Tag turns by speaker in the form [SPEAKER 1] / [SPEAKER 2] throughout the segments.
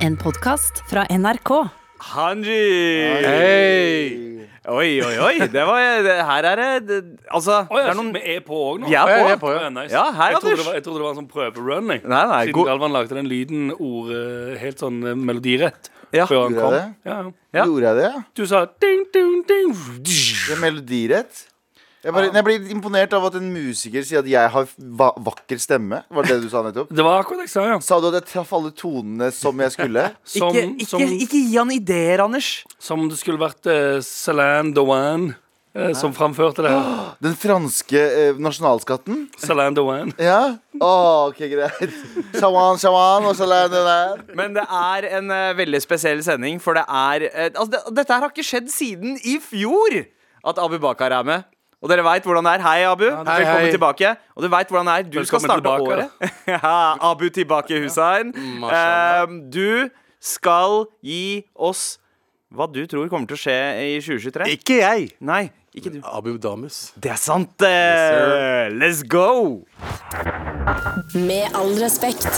[SPEAKER 1] En podkast fra NRK.
[SPEAKER 2] Hanji!
[SPEAKER 3] Hei!
[SPEAKER 2] Oi, oi, oi. Det var, det, her er det- det Altså
[SPEAKER 4] Å ja,
[SPEAKER 2] det er noen,
[SPEAKER 4] vi er på òg nå?
[SPEAKER 2] Vi er
[SPEAKER 3] på.
[SPEAKER 4] Å
[SPEAKER 3] Vi er på, ja.
[SPEAKER 4] Å nice.
[SPEAKER 2] Ja, hei,
[SPEAKER 4] jeg, trodde
[SPEAKER 2] Anders.
[SPEAKER 4] det var, jeg trodde det var en sånn prøverun. jeg.
[SPEAKER 2] Nei, nei,
[SPEAKER 4] Siden
[SPEAKER 2] god-
[SPEAKER 4] Galvan lagde den lyden ord, eh, helt sånn eh, melodirett
[SPEAKER 2] Ja.
[SPEAKER 4] før han
[SPEAKER 3] Gjorde
[SPEAKER 4] kom.
[SPEAKER 3] jeg
[SPEAKER 4] Ja, ja.
[SPEAKER 2] Ja.
[SPEAKER 3] Gjorde jeg det?
[SPEAKER 4] Du sa ding, ding, ding.
[SPEAKER 3] Det er Melodirett? Jeg, bare, jeg blir imponert av at en musiker sier at jeg har va vakker stemme. Var det det du sa nettopp?
[SPEAKER 4] Det var akkurat det jeg sa, ja.
[SPEAKER 3] Sa du at jeg traff alle tonene som jeg skulle?
[SPEAKER 4] Som,
[SPEAKER 2] ikke, ikke,
[SPEAKER 4] som,
[SPEAKER 2] ikke gi han ideer, Anders.
[SPEAKER 4] som det skulle vært uh, Celine Doan eh, som framførte det. her.
[SPEAKER 3] Den franske eh, nasjonalskatten?
[SPEAKER 4] Celine Doan.
[SPEAKER 3] Ja? Åh, ok, greit. Shawan, shawan, og så la jeg det der.
[SPEAKER 2] Men det er en eh, veldig spesiell sending, for det er eh, altså, det, Dette her har ikke skjedd siden i fjor at Abu Bakar er med. Og dere veit hvordan det er. Hei, Abu.
[SPEAKER 3] hei,
[SPEAKER 2] Velkommen
[SPEAKER 3] hei.
[SPEAKER 2] tilbake. Og du veit hvordan det er. Du skal
[SPEAKER 4] Velkommen
[SPEAKER 2] starte
[SPEAKER 4] tilbake,
[SPEAKER 2] året. ja, Abu tilbake, Hussein.
[SPEAKER 5] mashallah.
[SPEAKER 2] Eh, du skal gi oss hva du tror kommer til å skje i 2023.
[SPEAKER 5] Ikke jeg!
[SPEAKER 2] Nei, ikke du.
[SPEAKER 5] Abu Damus.
[SPEAKER 2] Det er sant! eh. Let's go!
[SPEAKER 1] Med all respekt.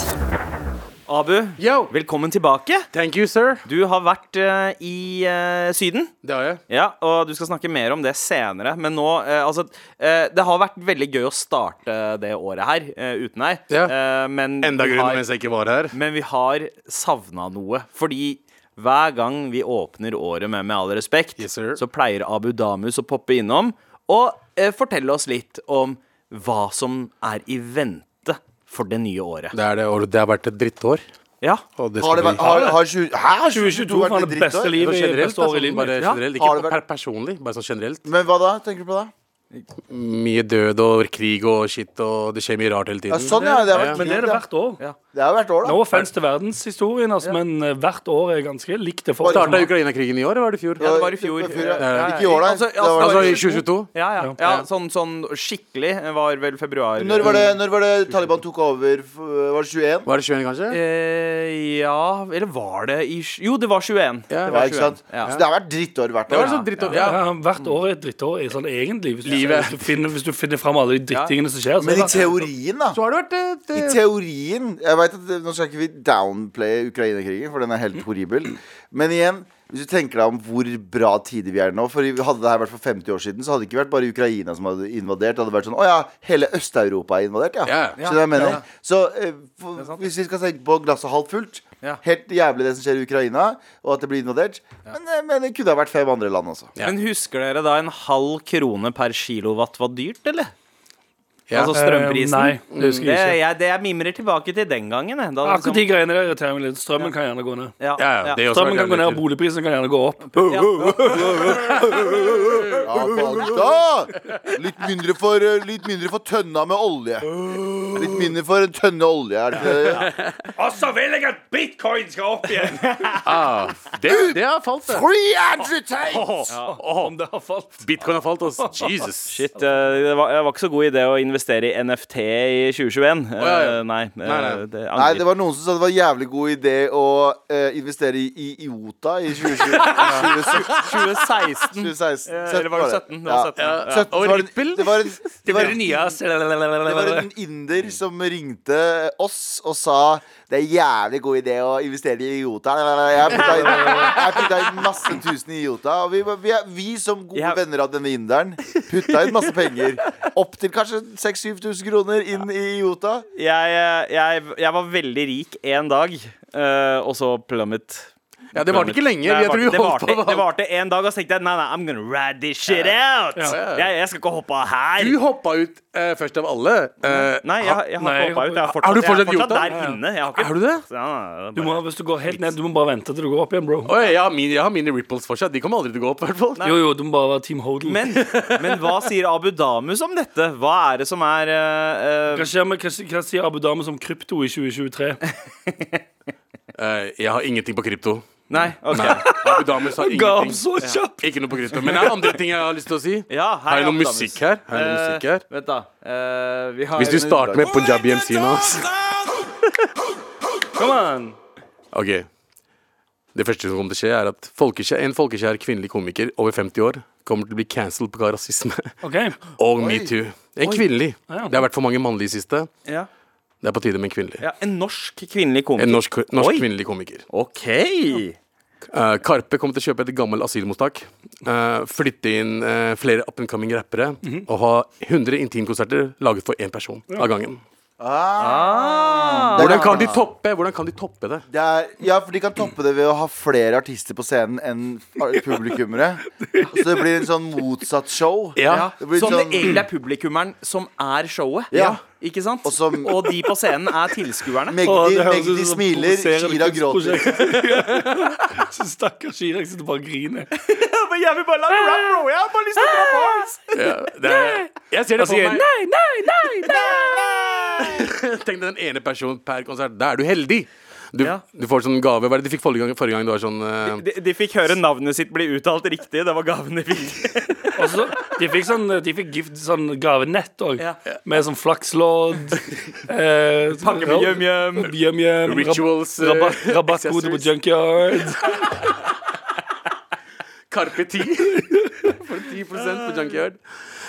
[SPEAKER 2] Abu,
[SPEAKER 5] Yo!
[SPEAKER 2] velkommen tilbake.
[SPEAKER 5] Thank you, sir.
[SPEAKER 2] Du har vært eh, i eh, Syden.
[SPEAKER 5] Det har jeg.
[SPEAKER 2] Ja, og du skal snakke mer om det senere. Men nå eh, Altså, eh, det har vært veldig gøy å starte det året her eh, uten deg.
[SPEAKER 5] Ja.
[SPEAKER 2] Eh, men
[SPEAKER 5] Enda
[SPEAKER 2] vi
[SPEAKER 5] grunnen
[SPEAKER 2] har-
[SPEAKER 5] mens jeg ikke var her.
[SPEAKER 2] Men vi har savna noe. Fordi hver gang vi åpner året med Med all respekt,
[SPEAKER 5] Yes, sir.
[SPEAKER 2] så pleier Abu Damus å poppe innom og eh, fortelle oss litt om hva som er i vente for det nye året.
[SPEAKER 5] Det, er det, og det har vært et drittår.
[SPEAKER 2] Ja.
[SPEAKER 5] Og det
[SPEAKER 3] Har det
[SPEAKER 5] skal
[SPEAKER 3] vært har, har, tjue- Hæ, har 2022
[SPEAKER 4] 2022
[SPEAKER 3] vært et
[SPEAKER 4] var det
[SPEAKER 3] drittår?
[SPEAKER 4] beste
[SPEAKER 5] bli-
[SPEAKER 4] livet.
[SPEAKER 5] generelt,
[SPEAKER 4] beste året i
[SPEAKER 5] altså,
[SPEAKER 4] livet
[SPEAKER 5] bare
[SPEAKER 4] mitt. Ja.
[SPEAKER 5] generelt.
[SPEAKER 3] Har det
[SPEAKER 5] Ikke
[SPEAKER 3] vært-
[SPEAKER 5] per personlig, bare sånn generelt.
[SPEAKER 3] Men hva da? Tenker du på da?
[SPEAKER 5] Mye død og krig og shit, og det skjer mye rart hele
[SPEAKER 3] Ja,
[SPEAKER 5] tiden.
[SPEAKER 3] sånn, ja. Det har vært
[SPEAKER 4] Men det er det
[SPEAKER 3] krig,
[SPEAKER 4] hvert år.
[SPEAKER 2] Ja.
[SPEAKER 3] da. Det har vært år,
[SPEAKER 4] No
[SPEAKER 3] da.
[SPEAKER 4] offense til verdenshistorien, altså, men eh, hvert år er ganske likt. Det
[SPEAKER 3] Startet
[SPEAKER 5] Starta Ukraina-krigen i år, eller var det i fjor?
[SPEAKER 2] Ja, det var i fjor.
[SPEAKER 3] ja.
[SPEAKER 2] Ja, ja, ja.
[SPEAKER 3] Ikke i år, da.
[SPEAKER 2] Altså,
[SPEAKER 3] Det var-
[SPEAKER 2] altså,
[SPEAKER 5] Altså i 2022.
[SPEAKER 2] Ja, ja. ja sånn, sånn skikkelig var vel februar.
[SPEAKER 3] Når var, det, når var det Taliban tok over? F- Var det 21?
[SPEAKER 5] Var det 21, kanskje?
[SPEAKER 2] Eh, ja, eller var det i sj- Jo, det var 21. det
[SPEAKER 3] Ja,
[SPEAKER 5] Ja.
[SPEAKER 2] var
[SPEAKER 3] ikke sant?
[SPEAKER 2] 21. Ja.
[SPEAKER 3] Så det har vært drittår hvert
[SPEAKER 5] Det
[SPEAKER 3] år.
[SPEAKER 5] var sånn drittår.
[SPEAKER 4] Ja,
[SPEAKER 5] Ja.
[SPEAKER 4] ja, hvert år er et drittår i sånn egentlig. Hvis du,
[SPEAKER 5] Livet.
[SPEAKER 4] hvis du, finner, hvis du finner fram alle de drittingene som skjer. så
[SPEAKER 3] Men i
[SPEAKER 4] er det-
[SPEAKER 3] teorien, da.
[SPEAKER 5] Så har det vært et, eh,
[SPEAKER 3] I
[SPEAKER 5] et
[SPEAKER 3] teorien Jeg vet at det- Nå skal ikke vi downplaye Ukraina-krigen, for den er helt horribel. Men igjen, hvis du tenker deg om hvor bra tider vi er nå For Hadde det her vært for 50 år siden, så hadde det ikke vært bare Ukraina som hadde invadert. Det hadde vært sånn Å ja, hele Øst-Europa er invadert, ja.
[SPEAKER 5] Ja.
[SPEAKER 3] Skjønner du hva jeg mener? Så eh, for, hvis vi skal tenke på glasset halvt fullt
[SPEAKER 2] Ja.
[SPEAKER 3] Helt jævlig det som skjer i Ukraina, og at det blir invadert. Men, eh, men det kunne ha vært fem andre land også.
[SPEAKER 5] Ja.
[SPEAKER 2] Men husker dere da en halv krone per kilowatt var dyrt, eller?
[SPEAKER 5] Ja.
[SPEAKER 2] Altså strømprisen?
[SPEAKER 4] Eh, nei, det husker jeg ikke.
[SPEAKER 2] jeg, det jeg mimrer tilbake til den gangen. jeg. Da,
[SPEAKER 4] Akkurat de
[SPEAKER 2] liksom-
[SPEAKER 4] greiene der irriterer meg litt. Strømmen kan gjerne gå ned.
[SPEAKER 2] ja,
[SPEAKER 5] Ja, ja, det også
[SPEAKER 4] Strømmen
[SPEAKER 5] vært
[SPEAKER 4] kan gå ned, og
[SPEAKER 5] jævlig
[SPEAKER 4] boligprisen kan gjerne gå opp.
[SPEAKER 3] Ja, faen, gutta! Litt mindre for, eh, litt mindre for tønna med olje. Litt mindre for en tønne olje, er det ikke det?
[SPEAKER 4] Og så vil jeg at bitcoin skal opp igjen!
[SPEAKER 5] Ah, det, det har falt, det.
[SPEAKER 3] Free advertise!
[SPEAKER 4] Om det har falt.
[SPEAKER 5] Bitcoin har falt, altså. Jesus.
[SPEAKER 2] Shit, eh, det var, det var ikke så god idé å investere i NFT i 2021. Eh,
[SPEAKER 5] ja, ja.
[SPEAKER 2] Nei, eh,
[SPEAKER 5] nei.
[SPEAKER 2] Det
[SPEAKER 3] Nei, det var noen som sa det var en jævlig god idé å eh, investere i, i IOTA i 2020
[SPEAKER 2] 2016.
[SPEAKER 3] 2016.
[SPEAKER 2] Eh, Eller var det 17? Det var 17.
[SPEAKER 3] Ja.
[SPEAKER 2] Ja.
[SPEAKER 3] 17 så
[SPEAKER 5] Og
[SPEAKER 3] var det,
[SPEAKER 5] Ripple?
[SPEAKER 3] det, var en, det, var,
[SPEAKER 4] Det nye ass.
[SPEAKER 3] det var en inder som ringte oss og sa det er en jævlig god idé å investere i IOTA. Jeg putta inn, jeg putta inn masse tusen i IOTA. Og vi, var- vi, er- vi som gode
[SPEAKER 2] Jeg-
[SPEAKER 3] venner av denne inderen putta inn masse penger. Opptil kanskje 6000-7000 kroner inn i IOTA.
[SPEAKER 2] Jeg, eh, jeg, jeg var veldig rik én dag, eh, og så plummet
[SPEAKER 5] Ja, det varte ikke lenge.
[SPEAKER 2] Nei,
[SPEAKER 5] Jeg tror vi
[SPEAKER 2] det
[SPEAKER 5] holdt
[SPEAKER 2] varte-
[SPEAKER 5] på
[SPEAKER 2] Det varte en dag, og så tenkte jeg nei, nei, I'm gonna rad this shit out.
[SPEAKER 5] ja, ja.
[SPEAKER 2] Jeg, jeg skal ikke hoppe av her.
[SPEAKER 5] Du hoppa ut eh, først av alle. Eh,
[SPEAKER 2] Nei, jeg, jeg har
[SPEAKER 4] Nei,
[SPEAKER 2] ikke hoppa ut. Jeg har fortsatt,
[SPEAKER 5] Har du fortsatt
[SPEAKER 2] jeg er
[SPEAKER 5] gjort det?
[SPEAKER 2] der inne. Jeg har ikke,
[SPEAKER 5] Er du det?
[SPEAKER 2] Ja, ja, det
[SPEAKER 4] Du
[SPEAKER 2] er
[SPEAKER 4] må,
[SPEAKER 2] bare-
[SPEAKER 4] hvis du går helt ned, du må bare vente til du går opp igjen, bro.
[SPEAKER 5] Oi, jeg, har mine, jeg har mine ripples fortsatt. De kommer aldri til å gå opp. i hvert fall
[SPEAKER 4] Jo, jo, du må bare være Team Hodel.
[SPEAKER 2] men, men hva sier Abu Damus om dette? Hva er det som er eh, eh,
[SPEAKER 4] hva, skjer med, hva, hva sier Abu Dhabi som krypto i 2023?
[SPEAKER 5] Eh, Jeg har ingenting på krypto.
[SPEAKER 2] Nei, OK.
[SPEAKER 5] Abu Dhamus har ingenting.
[SPEAKER 4] så kjapt!
[SPEAKER 5] Ikke noe på krypto. Men det er andre ting jeg har lyst til å si.
[SPEAKER 2] Ja, her
[SPEAKER 5] Har
[SPEAKER 2] er
[SPEAKER 5] jeg noe
[SPEAKER 2] Abu Damus.
[SPEAKER 5] musikk her? Har jeg noe
[SPEAKER 2] Eh,
[SPEAKER 5] musikk her?
[SPEAKER 2] Vent, da. Eh, vi har
[SPEAKER 5] Hvis du starter med Punjabi MC nå ass.
[SPEAKER 4] Come on!
[SPEAKER 5] OK. Det første som kommer til å skje, er at folkeskjær, en folkeskjær kvinnelig komiker over 50 år kommer til å bli cancelled pga. rasisme
[SPEAKER 4] OK.
[SPEAKER 5] og metoo. En kvinnelig. Det har vært for mange mannlige i siste.
[SPEAKER 2] ja.
[SPEAKER 5] Det er på tide med en kvinnelig.
[SPEAKER 2] Ja, en norsk kvinnelig komiker.
[SPEAKER 5] En norsk,
[SPEAKER 2] Oi,
[SPEAKER 5] norsk kvinnelig komiker.
[SPEAKER 2] OK!
[SPEAKER 5] Eh, Karpe kommer til å kjøpe et gammelt asylmottak, eh, flytte inn eh, flere up and coming rappere og ha 100 intimkonserter laget for én person av gangen. Hvordan kan de toppe, hvordan kan de toppe det?
[SPEAKER 3] Det er, ja, for de kan toppe det ved å ha flere artister på scenen enn publikummere. Så det blir en sånn motsatt show.
[SPEAKER 2] Ja.
[SPEAKER 3] Det blir
[SPEAKER 2] Sånn det
[SPEAKER 3] sånn,
[SPEAKER 2] egentlig er publikummeren som er showet.
[SPEAKER 3] Ja.
[SPEAKER 2] Ikke sant?
[SPEAKER 3] Og som-
[SPEAKER 2] og de på scenen er tilskuerne.
[SPEAKER 4] Å,
[SPEAKER 3] Magdi,
[SPEAKER 4] det høres ut
[SPEAKER 3] Magdi
[SPEAKER 4] som et
[SPEAKER 3] smiler,
[SPEAKER 4] provoserende
[SPEAKER 3] Shira gråter.
[SPEAKER 4] kunstprosjekt. Så Stakkars Shira, jeg sitter bare og griner.
[SPEAKER 2] Jeg vil bare lage rap, bro! Jeg har bare lyst til å dra på hans!
[SPEAKER 5] Ja, det er, jeg ser det for
[SPEAKER 4] Altså,
[SPEAKER 5] meg.
[SPEAKER 4] nei, nei, nei, nei!
[SPEAKER 5] Tenk deg den ene personen per konsert. Da er du heldig! Du,
[SPEAKER 2] Ja.
[SPEAKER 5] du får sånn gave. Hva er det de fikk forrige gang? Forrige gang det var sånn eh,
[SPEAKER 2] De, de fikk høre navnet sitt bli uttalt riktig. Det var gaven de fikk.
[SPEAKER 4] Og så, de fikk sånn, de fikk gift, sånn gavenett òg,
[SPEAKER 2] Ja.
[SPEAKER 4] med sånn flakslodd. Eh,
[SPEAKER 2] Pakke med yum-yum.
[SPEAKER 4] Yum-yum.
[SPEAKER 5] Rituals, eh,
[SPEAKER 4] Rabatt, rabattkode på
[SPEAKER 5] accessories.
[SPEAKER 4] junkyard.
[SPEAKER 5] Karpe 10 For 10 på Junkyard.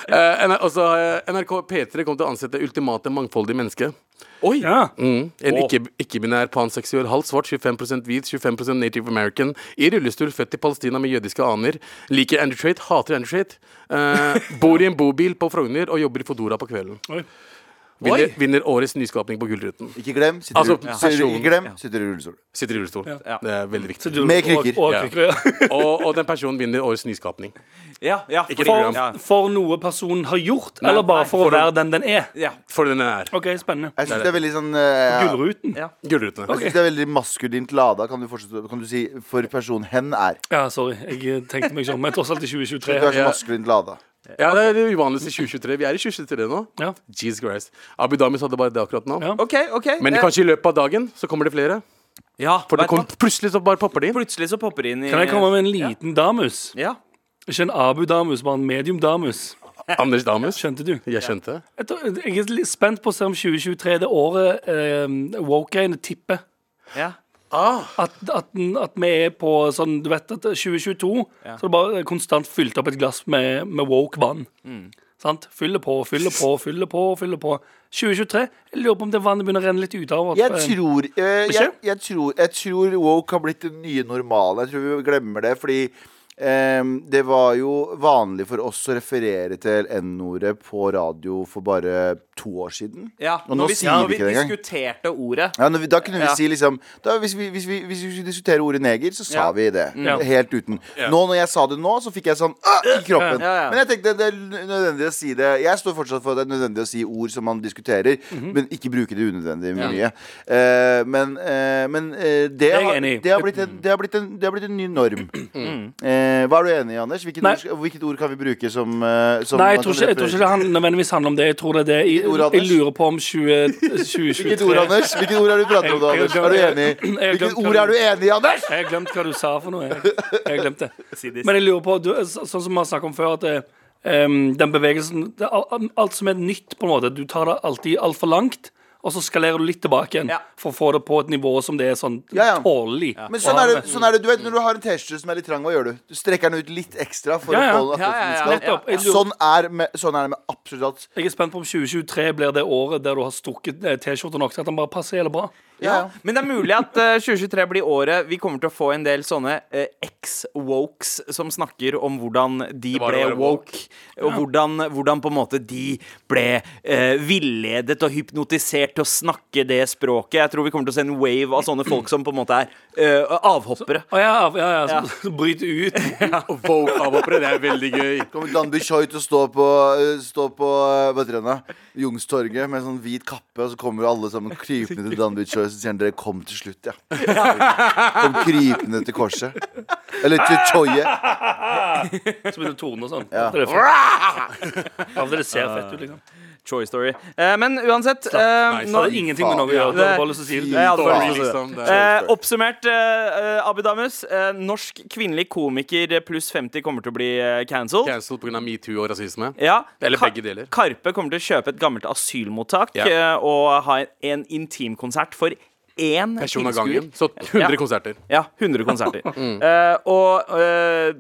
[SPEAKER 5] Eh, NR- og så har jeg- NRK P3 kommer til å ansette ultimate mangfoldige menneske.
[SPEAKER 2] Oi!
[SPEAKER 4] Ja.
[SPEAKER 5] Mm. En
[SPEAKER 2] Åh.
[SPEAKER 5] ikke- ikke-binær panseksuell halvt svart, 25 hvit, 25 native american. I rullestol, født i Palestina med jødiske aner. Liker Andrew Trait, hater Andrew Trait. eh, bor i en bobil på Frogner og jobber i Fodora på kvelden.
[SPEAKER 4] Oi.
[SPEAKER 5] Vinner,
[SPEAKER 2] Oi.
[SPEAKER 5] vinner årets nyskapning på Gullruten.
[SPEAKER 3] Ikke glem, sitter,
[SPEAKER 5] Altså,
[SPEAKER 3] i-
[SPEAKER 5] ja.
[SPEAKER 3] sitter,
[SPEAKER 5] personen.
[SPEAKER 3] ikke glem, sitter i rullestol.
[SPEAKER 5] Sitter i rullestol.
[SPEAKER 2] Ja.
[SPEAKER 5] Det er veldig viktig.
[SPEAKER 4] Så du-
[SPEAKER 3] Med
[SPEAKER 4] og-
[SPEAKER 3] krykker.
[SPEAKER 4] Og,
[SPEAKER 5] Ja.
[SPEAKER 4] krykker, ja.
[SPEAKER 5] Og, og den personen vinner årets nyskapning.
[SPEAKER 2] Ja, ja, for,
[SPEAKER 5] Ikke program.
[SPEAKER 2] ja,
[SPEAKER 4] For noe personen har gjort, eller bare
[SPEAKER 2] nei,
[SPEAKER 4] for å
[SPEAKER 2] for å-
[SPEAKER 4] være den den er.
[SPEAKER 2] ja,
[SPEAKER 5] For den er
[SPEAKER 4] OK, spennende.
[SPEAKER 3] Jeg syns det er veldig sånn eh,
[SPEAKER 4] Gullruten.
[SPEAKER 2] ja.
[SPEAKER 5] Gullruten.
[SPEAKER 3] Jeg synes det er veldig maskulint lada. Kan du, fortsette, kan du si 'for personen hen er'?
[SPEAKER 4] Ja, sorry. Jeg tenkte meg ikke om. Men tross alt i
[SPEAKER 3] Du er
[SPEAKER 4] 2023.
[SPEAKER 3] så
[SPEAKER 5] Ja.
[SPEAKER 3] maskulint lada.
[SPEAKER 5] Ja, det er det uvanligste i 2023. Vi er i 2023 nå.
[SPEAKER 4] Ja.
[SPEAKER 5] Jesus Christ. Abu Dhabi hadde bare det akkurat nå.
[SPEAKER 4] Ja.
[SPEAKER 2] OK, OK.
[SPEAKER 5] Men
[SPEAKER 2] eh,
[SPEAKER 5] kanskje i løpet av dagen så kommer det flere.
[SPEAKER 2] ja,
[SPEAKER 5] For det
[SPEAKER 2] vet du
[SPEAKER 5] kom,
[SPEAKER 2] hva?
[SPEAKER 5] plutselig så bare popper de inn.
[SPEAKER 2] Plutselig så popper det inn i
[SPEAKER 4] Kan jeg komme med en liten damus?
[SPEAKER 2] Ja.
[SPEAKER 4] Ikke en abu-damus, bare en medium-damus.
[SPEAKER 5] Anders Damus.
[SPEAKER 4] Skjønte du?
[SPEAKER 5] Jeg skjønte.
[SPEAKER 4] Jeg, tror, jeg er litt spent på å se om 2023 er det året eh, woke-greiene tipper.
[SPEAKER 2] ja.
[SPEAKER 4] At, at, den- at vi er på sånn Du vet at 2022
[SPEAKER 2] Ja.
[SPEAKER 4] så er det bare konstant fylt opp et glass med, med woke vann. Sant? Fyller på, fyller på, fyller på. fyller på 2023 Jeg lurer på om det vannet begynner å renne litt ut av oss.
[SPEAKER 3] Jeg
[SPEAKER 4] Eh,
[SPEAKER 3] tror, eh, jeg,
[SPEAKER 4] Beskjed?
[SPEAKER 3] jeg tror Jeg tror woke har blitt den nye normalen. Jeg tror vi glemmer det, fordi ehm, det var jo vanlig for oss å referere til N-ordet på radio for bare to år siden.
[SPEAKER 2] ja.
[SPEAKER 3] Og nå
[SPEAKER 2] når vi,
[SPEAKER 3] sier
[SPEAKER 2] når
[SPEAKER 3] vi
[SPEAKER 2] vi
[SPEAKER 3] ikke det engang.
[SPEAKER 2] diskuterte ordet
[SPEAKER 3] Ja, når vi, da kunne vi
[SPEAKER 2] Ja.
[SPEAKER 3] si liksom da, hvis, vi, hvis, vi, hvis vi skulle diskutere ordet neger, så sa
[SPEAKER 2] Ja.
[SPEAKER 3] vi det.
[SPEAKER 4] Ja.
[SPEAKER 3] Helt uten. Nå når jeg sa det nå, så fikk jeg sånn «Åh!» i kroppen.
[SPEAKER 2] Ja, ja.
[SPEAKER 3] Men jeg tenkte det er nødvendig å si det. Jeg står fortsatt for at det er nødvendig å si ord som man diskuterer,
[SPEAKER 4] Mhm.
[SPEAKER 3] men ikke bruke det unødvendig mye. Eh, men eh, men eh, det,
[SPEAKER 4] er jeg
[SPEAKER 3] har,
[SPEAKER 4] enig i. Mm.
[SPEAKER 3] det, har blitt en, det, har blitt en, det har blitt en ny norm. Eh, hva er du enig i, Anders? Hvilket
[SPEAKER 4] Nei.
[SPEAKER 3] ord, skal- hvilket ord kan vi bruke som, eh, som
[SPEAKER 4] Nei, jeg
[SPEAKER 3] man kan
[SPEAKER 4] tror, ikke, jeg tror ikke
[SPEAKER 3] referere-
[SPEAKER 4] det handler, nødvendigvis handler om det. Jeg tror det er det Jeg,
[SPEAKER 3] ord,
[SPEAKER 4] jeg
[SPEAKER 3] Anders?
[SPEAKER 4] lurer på om 20, 2023
[SPEAKER 3] Hvilket ord, Anders? Hvilket ord er du pratet om, da,
[SPEAKER 4] Jeg- jeg
[SPEAKER 3] Anders?
[SPEAKER 4] har
[SPEAKER 3] Er du
[SPEAKER 4] glemt-
[SPEAKER 3] enig?
[SPEAKER 4] jeg har
[SPEAKER 3] Hvilket
[SPEAKER 4] glemt-
[SPEAKER 3] ord er du enig i, Anders?
[SPEAKER 4] Jeg har glemt hva du sa for noe. Jeg, jeg har glemt det.
[SPEAKER 2] Siddis.
[SPEAKER 4] Men jeg lurer på, du, så, sånn som vi har snakket om før, at eh, em, den bevegelsen det, er al- Alt som er nytt, på en måte. Du tar det alltid altfor langt, og så skalerer du litt tilbake igjen
[SPEAKER 2] Ja.
[SPEAKER 4] for å få det på et nivå som det er sånn
[SPEAKER 3] Ja, ja.
[SPEAKER 4] tålelig.
[SPEAKER 3] Men sånn er, det, sånn er det, du vet Når du har en T-skjorte som er litt trang, hva gjør du? Du strekker den ut litt ekstra. For
[SPEAKER 4] Ja, ja.
[SPEAKER 3] å holde
[SPEAKER 2] Ja, ja, ja.
[SPEAKER 3] atleten skal
[SPEAKER 4] Nettopp. Jeg lurer-
[SPEAKER 3] Sånn, er med, sånn er det med absolutt alt.
[SPEAKER 4] Jeg er spent på om 2023 blir det året der du har strukket eh, T-skjorta nok til at den bare passer jævlig bra.
[SPEAKER 3] Ja.
[SPEAKER 2] Ja, Men det er mulig at eh, 2023 blir året vi kommer til å få en del sånne eh, ex-wokes som snakker om hvordan de
[SPEAKER 5] var
[SPEAKER 2] ble
[SPEAKER 5] å være
[SPEAKER 2] woke, og hvordan, hvordan på en måte de ble eh, villedet og hypnotisert til å snakke det språket. Jeg tror vi kommer til å se en wave av sånne folk som på en måte er eh, avhoppere.
[SPEAKER 4] Å ja, ja, ja,
[SPEAKER 2] Ja.
[SPEAKER 4] så, så bryter ut.
[SPEAKER 5] Vogue-avhoppere, det er veldig gøy.
[SPEAKER 3] Kommer Gambi Choi til å stå på, eh, stå på eh, hva heter det nå? Youngstorget med sånn hvit kappe, og så kommer alle sammen krypende til Gambi Choi og så sier han, dere kom til slutt, ja. Kom krypende til korset. Eller til Choiet.
[SPEAKER 4] Så begynner torden og sånn.
[SPEAKER 3] Ja.
[SPEAKER 4] Det er fett. Av og til det ser fett ut, liksom.
[SPEAKER 2] Choice story. Eh, men uansett eh,
[SPEAKER 5] Nei,
[SPEAKER 2] nå,
[SPEAKER 4] Det
[SPEAKER 5] slapp.
[SPEAKER 4] hadde ingenting med noe å gjøre. Det var bare lyst til å si
[SPEAKER 2] Jeg hadde bare
[SPEAKER 4] det.
[SPEAKER 3] Faen.
[SPEAKER 2] lyst til å si det.
[SPEAKER 5] Liksom, det
[SPEAKER 2] Eh,
[SPEAKER 5] er-
[SPEAKER 2] oppsummert, eh, eh, Abid Damus. Eh, norsk kvinnelig komiker pluss 50 kommer til å bli eh, cancelled.
[SPEAKER 5] Cancelled pga. metoo og rasisme.
[SPEAKER 2] Ja.
[SPEAKER 5] Eller
[SPEAKER 2] Ka-
[SPEAKER 5] begge deler.
[SPEAKER 2] Karpe kommer til å kjøpe et gammelt asylmottak
[SPEAKER 5] Ja.
[SPEAKER 2] eh, og ha en, en intimkonsert for én
[SPEAKER 5] Person av
[SPEAKER 2] tilskuer.
[SPEAKER 5] gangen. Så 100
[SPEAKER 2] Ja.
[SPEAKER 5] konserter.
[SPEAKER 2] Ja, 100 konserter. Eh, og eh,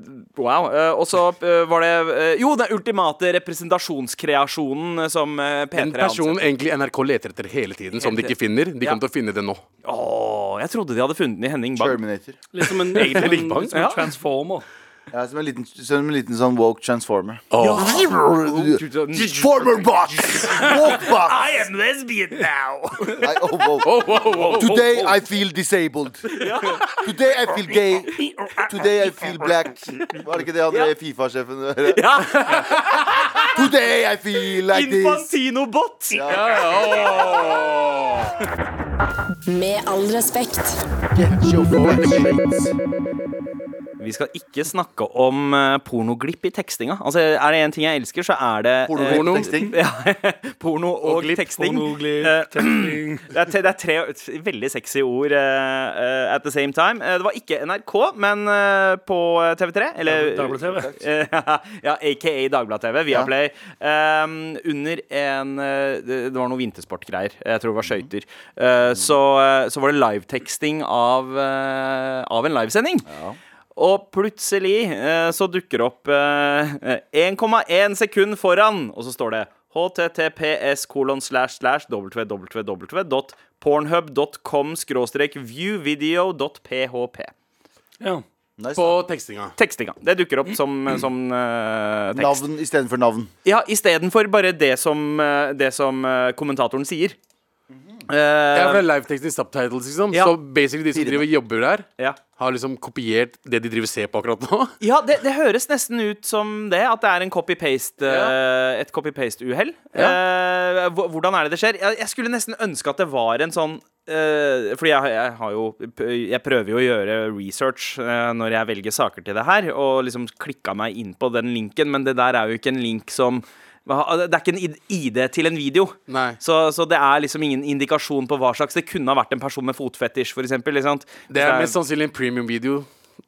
[SPEAKER 2] wow. eh, og så eh, var det eh, Jo, den ultimate representasjonskreasjonen som eh, P3
[SPEAKER 5] En person
[SPEAKER 2] ansetter.
[SPEAKER 5] egentlig NRK leter etter hele tiden, som de ikke finner. De
[SPEAKER 2] Ja.
[SPEAKER 5] kommer til å finne det nå.
[SPEAKER 2] Åh, jeg trodde de hadde funnet den i Henning Bang.
[SPEAKER 3] Terminator.
[SPEAKER 4] Litt som en,
[SPEAKER 5] Egentlig
[SPEAKER 4] litt som
[SPEAKER 5] litt
[SPEAKER 4] en,
[SPEAKER 5] bang.
[SPEAKER 4] litt som en
[SPEAKER 2] Ja.
[SPEAKER 4] transformer.
[SPEAKER 3] Ja, som en liten, som en liten sånn woke transformer.
[SPEAKER 2] I
[SPEAKER 3] Transformer box! Woke box!
[SPEAKER 2] am lesbian now!
[SPEAKER 3] Nei, oh, wow.
[SPEAKER 5] Oh, wow, wow.
[SPEAKER 3] Today I feel disabled. Today I feel gay. Today I feel black. Var det ikke det han
[SPEAKER 2] Ja.
[SPEAKER 3] drev Fifa-sjefen gjorde?
[SPEAKER 2] ja,
[SPEAKER 3] Today I feel like this.
[SPEAKER 2] Infantinobot!
[SPEAKER 1] Med all respekt.
[SPEAKER 2] Vi skal ikke snakke om eh, pornoglipp i tekstinga. Altså, er det én ting jeg elsker, så er det eh,
[SPEAKER 5] Porno.
[SPEAKER 3] Teksting.
[SPEAKER 2] Ja, porno og,
[SPEAKER 5] glipp,
[SPEAKER 2] teksting.
[SPEAKER 4] pornoglipp,
[SPEAKER 2] Eh,
[SPEAKER 4] teksting.
[SPEAKER 2] det, er, te- det er tre veldig sexy ord eh, eh, at the same time. Eh, det var ikke NRK, men eh, på eh, TV3 Eller
[SPEAKER 4] Dagbladet-TV.
[SPEAKER 2] Eh, ja, aka Dagbladet-TV, Viaplay. ehm, under en eh, Det det var noe vintersportgreier. Jeg tror det var skøyter. Eh, så, eh, så var det liveteksting av, eh, av en livesending. Og plutselig eh, så dukker det opp eh, 1,1 sekund foran, og så står det https kolon slash slash www.pornhub.com skråstrek viewvideo.php.
[SPEAKER 4] Ja.
[SPEAKER 5] På
[SPEAKER 3] Nice.
[SPEAKER 5] tekstinga.
[SPEAKER 2] Tekstinga. Det dukker opp som, som eh, tekst.
[SPEAKER 3] Navn istedenfor navn.
[SPEAKER 2] Ja, istedenfor bare det som, eh, det som eh, kommentatoren sier.
[SPEAKER 5] Ja, for det
[SPEAKER 2] Eh,
[SPEAKER 5] er livetekst i subtitles, liksom.
[SPEAKER 2] Ja.
[SPEAKER 5] Så basically de som driver og jobber der,
[SPEAKER 2] Eh, ja.
[SPEAKER 5] har liksom kopiert det de driver og ser på akkurat nå.
[SPEAKER 2] Ja, det, det høres nesten ut som det. At det er en copy-paste eh, et copy-paste-uhell. Eh, hvor- hvordan er det det skjer? Jeg, jeg skulle nesten ønske at det var en sånn eh, fordi jeg, jeg har jo Jeg prøver jo å gjøre research eh, når jeg velger saker til det her, og liksom klikka meg inn på den linken, men det der er jo ikke en link som hva- Det er ikke en id- ID til en video.
[SPEAKER 5] Nei.
[SPEAKER 2] Så, så det er liksom ingen indikasjon på hva slags Det kunne ha vært en person med fotfetisj, for eksempel. Ikke sant?
[SPEAKER 5] Det er
[SPEAKER 2] Så
[SPEAKER 5] mest sannsynlig en premium video.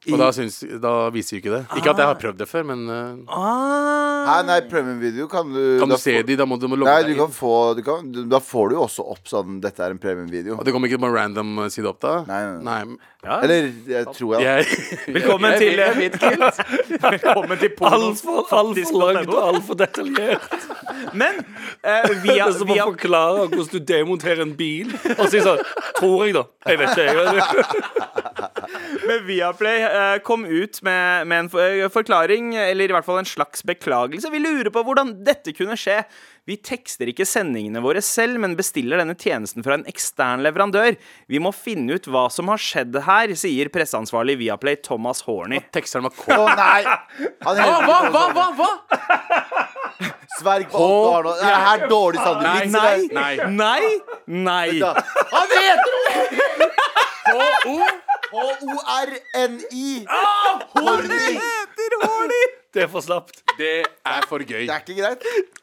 [SPEAKER 5] Og da, syns, da viser jo ikke det. Ikke at jeg har prøvd det før, men eh,
[SPEAKER 2] ah,
[SPEAKER 3] Nei, nei, premiumvideo kan du
[SPEAKER 5] kan
[SPEAKER 3] da
[SPEAKER 5] du se
[SPEAKER 3] får-
[SPEAKER 5] de, da må du må logge
[SPEAKER 3] Nei, du
[SPEAKER 5] deg
[SPEAKER 3] kan
[SPEAKER 5] inn.
[SPEAKER 3] få du kan, du, Da får du jo også opp sånn Dette er en premiumvideo.
[SPEAKER 5] Og det kommer ikke på en random eh, side opp da?
[SPEAKER 3] Nei, nei,
[SPEAKER 2] ja.
[SPEAKER 3] Eller jeg tror jeg
[SPEAKER 5] Jeg,
[SPEAKER 2] Velkommen
[SPEAKER 5] jeg,
[SPEAKER 2] til-
[SPEAKER 5] jeg, vet ikke helt.
[SPEAKER 2] Velkommen til
[SPEAKER 4] Altfor alt for langt og altfor detaljert.
[SPEAKER 2] Men eh,
[SPEAKER 4] Det
[SPEAKER 2] via,
[SPEAKER 4] er som å
[SPEAKER 2] via
[SPEAKER 4] forklare hvordan du demonterer en bil. Og si sånn Tror jeg, da. Jeg vet ikke. jeg.
[SPEAKER 2] Men Viaplay eh, kom ut med, med en for- forklaring, eller i hvert fall en slags beklagelse. Vi lurer på hvordan dette kunne skje. Vi tekster ikke sendingene våre selv, men bestiller denne tjenesten fra en ekstern leverandør. Vi må finne ut hva som har skjedd her, sier presseansvarlig i Viaplay Thomas Horny.
[SPEAKER 5] Teksteren var
[SPEAKER 3] Å
[SPEAKER 5] kåt.
[SPEAKER 3] nei! Han
[SPEAKER 5] Hva, hva,
[SPEAKER 3] heter sånn.
[SPEAKER 5] hva? hva, hva?
[SPEAKER 3] Sverg på alt du har nå. Det er her dårlig Sander.
[SPEAKER 2] Nei,
[SPEAKER 5] nei.
[SPEAKER 2] nei, nei.
[SPEAKER 3] Ja. Han heter H-O-R-N-I! Ah, Horny!
[SPEAKER 2] heter Horny!
[SPEAKER 4] Det er for slapt.
[SPEAKER 5] Det er for gøy.
[SPEAKER 3] Det er ikke greit.